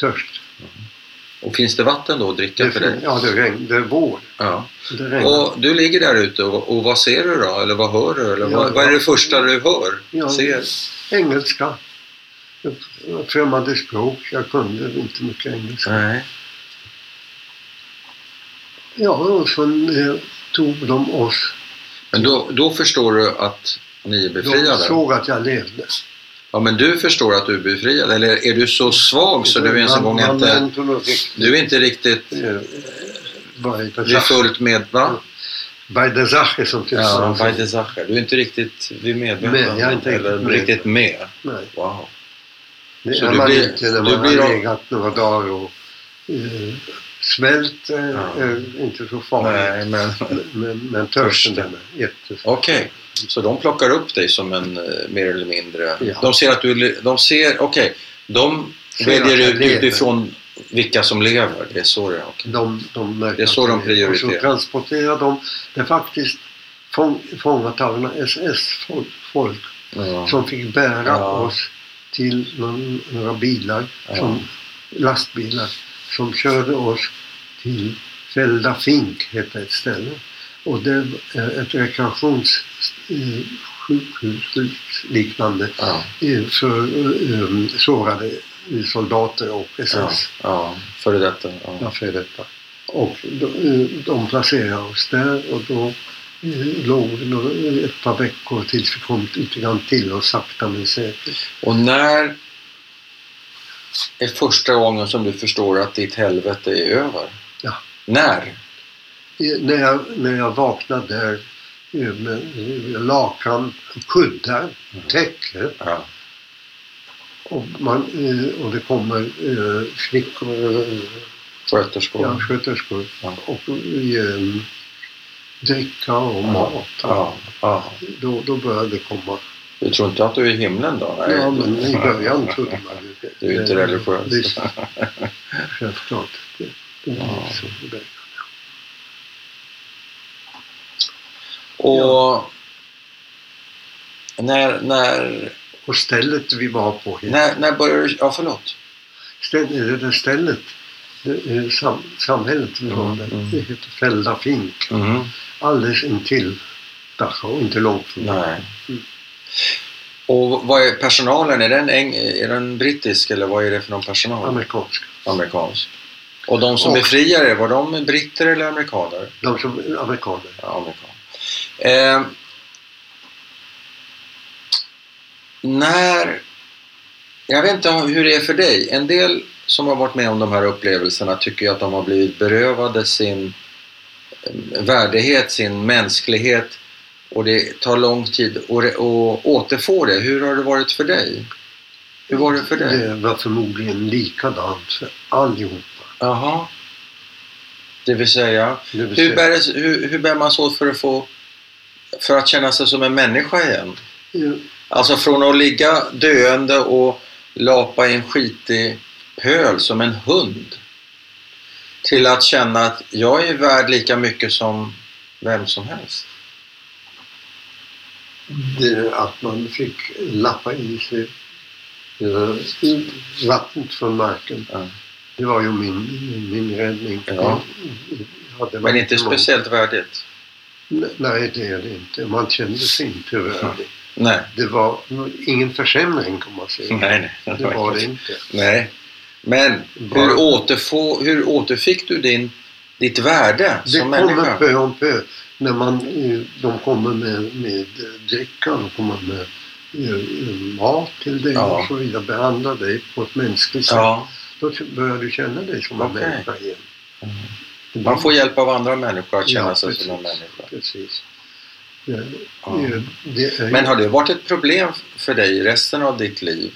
Speaker 1: törst.
Speaker 2: Och finns det vatten då att dricka för dig?
Speaker 1: ja, det regn, det är vår.
Speaker 2: Ja.
Speaker 1: Det regnar.
Speaker 2: Och du ligger där ute och, och vad ser du då? Eller vad hör du? Eller
Speaker 1: Ja,
Speaker 2: vad, vad är
Speaker 1: ja.
Speaker 2: det första du hör?
Speaker 1: Ja.
Speaker 2: Ser?
Speaker 1: Engelska. Främmande språk. Jag kunde inte mycket engelska.
Speaker 2: Nej.
Speaker 1: Ja, och sen eh, tog de oss.
Speaker 2: Men då, då förstår du att ni är
Speaker 1: De
Speaker 2: befriade?
Speaker 1: såg att jag levde.
Speaker 2: Ja, men du förstår att du är befriad? Eller är du så svag så du ens en gång
Speaker 1: Man- man
Speaker 2: inte...
Speaker 1: vände nog riktigt,
Speaker 2: Du är inte riktigt...
Speaker 1: eh, Bei der
Speaker 2: Du är
Speaker 1: Sache.
Speaker 2: fullt med... Va?
Speaker 1: Bei der Sache som
Speaker 2: Ja,
Speaker 1: tyskarna
Speaker 2: vad är
Speaker 1: säger.
Speaker 2: det Sacher? Du är inte riktigt vid
Speaker 1: Med,
Speaker 2: medvetande?
Speaker 1: jag är inte
Speaker 2: eller
Speaker 1: riktigt med.
Speaker 2: riktigt med.
Speaker 1: Nej,
Speaker 2: Wow.
Speaker 1: det
Speaker 2: Så
Speaker 1: är
Speaker 2: du
Speaker 1: man
Speaker 2: blir-
Speaker 1: inte när
Speaker 2: du
Speaker 1: man
Speaker 2: blir-
Speaker 1: har legat några dagar och eh, svält eh,
Speaker 2: Ja.
Speaker 1: är inte så farligt.
Speaker 2: Nej, men...
Speaker 1: Men, men törsten
Speaker 2: Törsten.
Speaker 1: den är jättestor.
Speaker 2: Okej, så de plockar upp dig som en eh, mer eller mindre...
Speaker 1: Ja.
Speaker 2: De ser att du... De ser... Okej, de
Speaker 1: Ser att
Speaker 2: väljer
Speaker 1: jag
Speaker 2: ut
Speaker 1: lever.
Speaker 2: utifrån vilka som lever. Det är så det är. okej.
Speaker 1: De, de märker
Speaker 2: Det är så de
Speaker 1: att är. Och
Speaker 2: prioriterar.
Speaker 1: så transporterar de, det är faktiskt fång, fångatagna SS-folk folk
Speaker 2: Ja.
Speaker 1: som fick bära
Speaker 2: Ja.
Speaker 1: oss till någon, några bilar,
Speaker 2: Ja.
Speaker 1: som, lastbilar, som körde oss till Felda Fink, hette ett ställe. Och det är ett rekreationssjukhus liknande
Speaker 2: Ja.
Speaker 1: eh, för eh, eh, sårade soldater och
Speaker 2: Ja.
Speaker 1: SS.
Speaker 2: ja, före detta.
Speaker 1: Ja,
Speaker 2: Ja.
Speaker 1: för detta. Och de, eh, de placerade oss där och då eh, låg vi några- ett par veckor tills vi kom lite grann till och sakta men säkert.
Speaker 2: Och när är första gången som du förstår att ditt helvete är över?
Speaker 1: Ja.
Speaker 2: När?
Speaker 1: Eh, När jag, när jag vaknade där eh,
Speaker 2: Mm.
Speaker 1: med eh, lakan, kuddar, täcke
Speaker 2: Ja.
Speaker 1: Och, man, eh, och det kommer eh, flickor, eh,
Speaker 2: Sköterskor.
Speaker 1: ja, sköterskor
Speaker 2: Ja.
Speaker 1: och eh, dricka och mat.
Speaker 2: Ja, ja.
Speaker 1: Då, då börjar det komma.
Speaker 2: Du tror inte att du är i himlen då? Nej.
Speaker 1: Ja, men i början trodde man ju det.
Speaker 2: Du är inte
Speaker 1: Eh,
Speaker 2: religiös.
Speaker 1: Visst, självklart. Det, det är
Speaker 2: Ja.
Speaker 1: så det.
Speaker 2: Och när, när,
Speaker 1: Och stället vi var på, här,
Speaker 2: när, när började du... Ja, förlåt.
Speaker 1: ställ, det där stället, det, eh, sam, samhället vi var
Speaker 2: Mm,
Speaker 1: där,
Speaker 2: mm.
Speaker 1: det heter Fällafink.
Speaker 2: Mm.
Speaker 1: Alldeles intill Dachau, inte långt från
Speaker 2: Nej.
Speaker 1: Mm.
Speaker 2: Och vad är personalen? Är den, eng, är den brittisk eller vad är det för någon personal?
Speaker 1: amerikansk.
Speaker 2: Amerikansk. Och de som
Speaker 1: Och-
Speaker 2: befriar er, var de britter eller amerikaner?
Speaker 1: De som amerikaner.
Speaker 2: Ja, amerikan. Eh, när... Jag vet inte hur det är för dig. En del som har varit med om de här upplevelserna tycker ju att de har blivit berövade sin eh, värdighet, sin mänsklighet och det tar lång tid att re- att återfå det. Hur har det varit för dig? Hur var det för dig?
Speaker 1: Det var förmodligen likadant för allihopa.
Speaker 2: Jaha. Det vill säga,
Speaker 1: Det vill
Speaker 2: hur
Speaker 1: säga,
Speaker 2: bär, det, hur, hur bär man sig åt för att få för att känna sig som en människa igen?
Speaker 1: eh,
Speaker 2: Alltså från att ligga döende och lapa i en skitig pöl som en hund till att känna att jag är värd lika mycket som vem som helst.
Speaker 1: det, att man fick lappa i sig eh, vattnet från marken.
Speaker 2: Ja.
Speaker 1: Det var ju min, min räddning.
Speaker 2: Ja.
Speaker 1: Jag hade
Speaker 2: Men inte
Speaker 1: varit emot.
Speaker 2: speciellt värdigt.
Speaker 1: Nej, det är det inte. Man kände sig inte värdig.
Speaker 2: Nej.
Speaker 1: Det var ingen försämring kan man säga.
Speaker 2: Nej, nej.
Speaker 1: Det var det inte.
Speaker 2: Nej. Men
Speaker 1: Bara-
Speaker 2: hur, återfå, hur återfick du din, ditt värde
Speaker 1: Det
Speaker 2: som
Speaker 1: kommer
Speaker 2: människa?
Speaker 1: pö om pö. När man, eh, de kommer med, med eh, dricka, de kommer med eh, eh, mat till dig
Speaker 2: Ja.
Speaker 1: och så vidare. Behandlar dig på ett mänskligt sätt.
Speaker 2: Ja.
Speaker 1: Då t- börjar du känna dig som en
Speaker 2: Okej. Mm.
Speaker 1: människa igen. Det
Speaker 2: Man
Speaker 1: blir-
Speaker 2: får hjälp av andra människor att känna
Speaker 1: Ja,
Speaker 2: sig
Speaker 1: precis.
Speaker 2: som en människa.
Speaker 1: Precis. Ja,
Speaker 2: Ja.
Speaker 1: eh, Det är,
Speaker 2: Men
Speaker 1: Men
Speaker 2: har det varit ett problem för dig resten av ditt liv?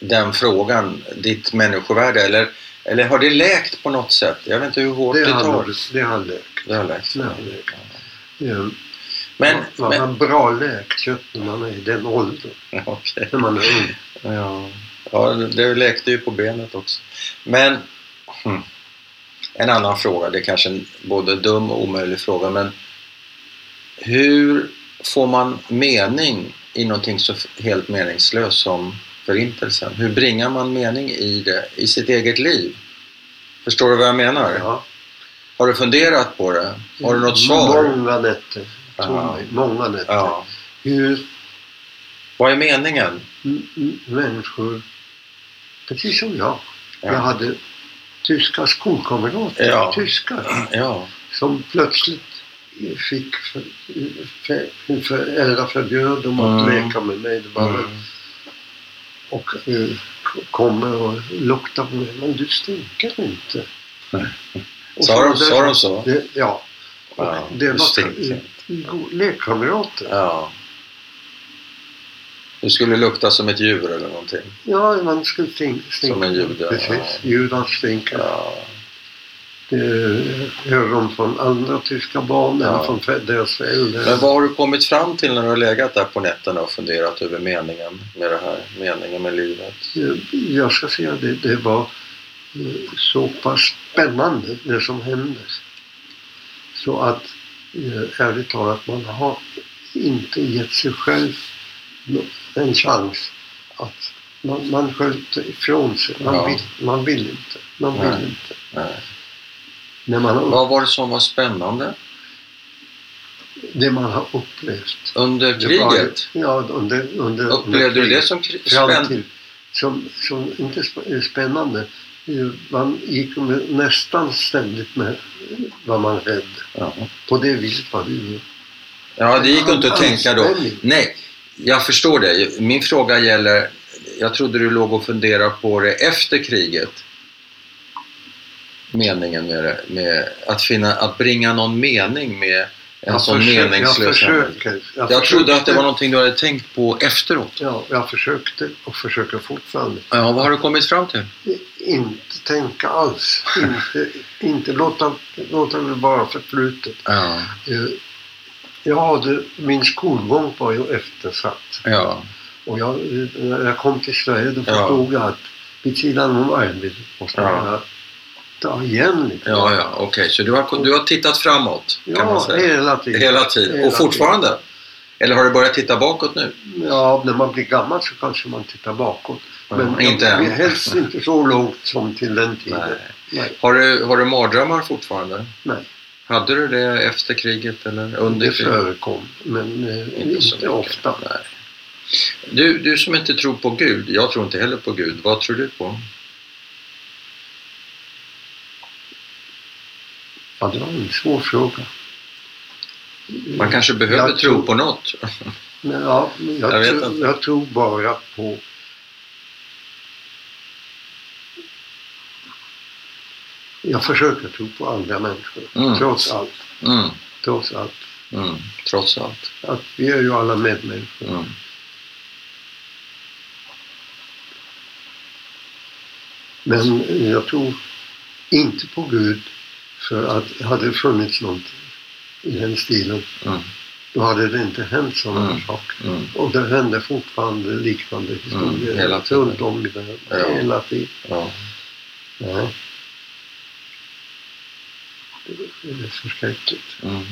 Speaker 2: Den frågan, ditt människovärde, eller, eller har det läkt på något sätt? Jag vet inte hur hårt det,
Speaker 1: det
Speaker 2: tar.
Speaker 1: handlar det handlar
Speaker 2: Det har läkt.
Speaker 1: Det har läkt. eh,
Speaker 2: Men,
Speaker 1: man
Speaker 2: men,
Speaker 1: har bra läkkött när man är i den åldern.
Speaker 2: okej.
Speaker 1: När man är ung.
Speaker 2: Ja. ja, det läkte ju på benet också. Men, hmm. en annan fråga, det är kanske en både dum och omöjlig fråga, men hur får man mening i någonting så helt meningslöst som förintelsen? Hur bringar man mening i det, i sitt eget liv? Förstår du vad jag menar?
Speaker 1: Ja.
Speaker 2: Har du funderat på det? Har du något svar?
Speaker 1: Många nätter. Tro
Speaker 2: Ja.
Speaker 1: mig, många nätter.
Speaker 2: Ja.
Speaker 1: Hur
Speaker 2: Vad är meningen?
Speaker 1: m- m- människor, precis som jag.
Speaker 2: Ja.
Speaker 1: Jag hade tyska skolkamrater,
Speaker 2: Ja.
Speaker 1: tyskar,
Speaker 2: Ja.
Speaker 1: som plötsligt fick för- för- min föräldrar förbjöd dem att
Speaker 2: Mm.
Speaker 1: leka med mig. Det var
Speaker 2: Mm.
Speaker 1: Och eh, k- kommer och luktar på mig. Men du stinker inte.
Speaker 2: Nej.
Speaker 1: Och
Speaker 2: Sa de-
Speaker 1: det-
Speaker 2: sa de så?
Speaker 1: Det, ja. Och
Speaker 2: Ja,
Speaker 1: det
Speaker 2: du
Speaker 1: var
Speaker 2: stinker
Speaker 1: eh, go- lekkamrater.
Speaker 2: Ja. Du skulle lukta som ett djur eller någonting.
Speaker 1: Ja, man skulle stink, stinka.
Speaker 2: Som en jude,
Speaker 1: Precis,
Speaker 2: ja.
Speaker 1: judar stinker.
Speaker 2: Ja.
Speaker 1: Det hör de från andra tyska barn eller
Speaker 2: Ja.
Speaker 1: från för- deras föräldrar.
Speaker 2: Men vad har du kommit fram till när du har legat där på nätterna och funderat över meningen med det här? Meningen med livet?
Speaker 1: Eh, Jag ska säga det, det var eh, så pass spännande det som hände. Så att eh, ärligt talat, man har inte gett sig själv nå- en chans. att Man, man sköt ifrån sig. Man,
Speaker 2: Ja.
Speaker 1: vill, man vill inte. Man vill
Speaker 2: Nej.
Speaker 1: inte.
Speaker 2: Nej.
Speaker 1: När man, har upp-
Speaker 2: Vad var det som var spännande
Speaker 1: det man har upplevt.
Speaker 2: under
Speaker 1: Det var ju-
Speaker 2: kriget?
Speaker 1: Ja, under, under, under
Speaker 2: Upplevde du det
Speaker 1: kriget.
Speaker 2: som kri-
Speaker 1: fram
Speaker 2: spännande?
Speaker 1: till, som, som inte sp- är spännande. Eh, Man gick med, nästan ständigt med var man rädd.
Speaker 2: Ja.
Speaker 1: På det viset var det ju.
Speaker 2: ja, det gick ju inte att
Speaker 1: Anspänning.
Speaker 2: tänka då. Nej, jag förstår det. Min fråga gäller, jag trodde du låg och funderade på det efter kriget. Meningen med det, med att, finna, att bringa någon mening med en sån
Speaker 1: försöker- Jag
Speaker 2: meningslös handling.
Speaker 1: försöker. Jag,
Speaker 2: Jag
Speaker 1: försökte,
Speaker 2: trodde att det var någonting du hade tänkt på efteråt.
Speaker 1: Ja, jag försökte och försöker fortfarande.
Speaker 2: Ja, vad har du kommit fram till?
Speaker 1: Inte tänka alls. Inte, inte låta, låta det vara förflutet.
Speaker 2: Ja,
Speaker 1: Eh, Jag hade, min skolgång var ju eftersatt.
Speaker 2: ja,
Speaker 1: Och jag, eh, när jag kom till Sverige då
Speaker 2: Ja.
Speaker 1: förstod jag att vid sidan om arbetet måste
Speaker 2: Ja.
Speaker 1: man ta igen lite.
Speaker 2: ja, ja okej. Så du har, du har tittat framåt kan man
Speaker 1: ja
Speaker 2: säga?
Speaker 1: hela tiden.
Speaker 2: Hela tiden.
Speaker 1: hela
Speaker 2: Och fortfarande? Eller har du börjat titta bakåt nu?
Speaker 1: Ja, när man blir gammal så kanske man tittar bakåt. Men
Speaker 2: Mm, inte
Speaker 1: jag,
Speaker 2: än.
Speaker 1: helst inte så långt som till den tiden.
Speaker 2: Nej.
Speaker 1: Nej.
Speaker 2: Har du, har du mardrömmar fortfarande?
Speaker 1: Nej.
Speaker 2: Hade du det efter kriget eller under
Speaker 1: Det
Speaker 2: kriget?
Speaker 1: förekom, men eh, inte,
Speaker 2: så mycket.
Speaker 1: ofta.
Speaker 2: Nej. Du, du som inte tror på Gud, jag tror inte heller på Gud. Vad tror du på?
Speaker 1: Ja, det var en svår fråga.
Speaker 2: Man kanske behöver
Speaker 1: Jag
Speaker 2: tro
Speaker 1: tror-
Speaker 2: på något.
Speaker 1: Men, ja, men jag,
Speaker 2: Jag vet
Speaker 1: tror,
Speaker 2: inte.
Speaker 1: jag tror bara på... Jag försöker tro på andra människor,
Speaker 2: Mm.
Speaker 1: trots allt.
Speaker 2: Mm,
Speaker 1: Trots allt.
Speaker 2: mm, trots allt.
Speaker 1: Att vi är ju alla medmänniskor.
Speaker 2: Mm.
Speaker 1: Men jag tror inte på Gud för att hade det funnits något i den stilen
Speaker 2: Mm.
Speaker 1: då hade det inte hänt sådana
Speaker 2: Mm.
Speaker 1: saker.
Speaker 2: Mm.
Speaker 1: Och det händer fortfarande liknande historier
Speaker 2: hela tiden.
Speaker 1: runt om i världen.
Speaker 2: Ja.
Speaker 1: Hela tiden.
Speaker 2: Ja.
Speaker 1: Ja. Det är förskräckligt.
Speaker 2: Mm.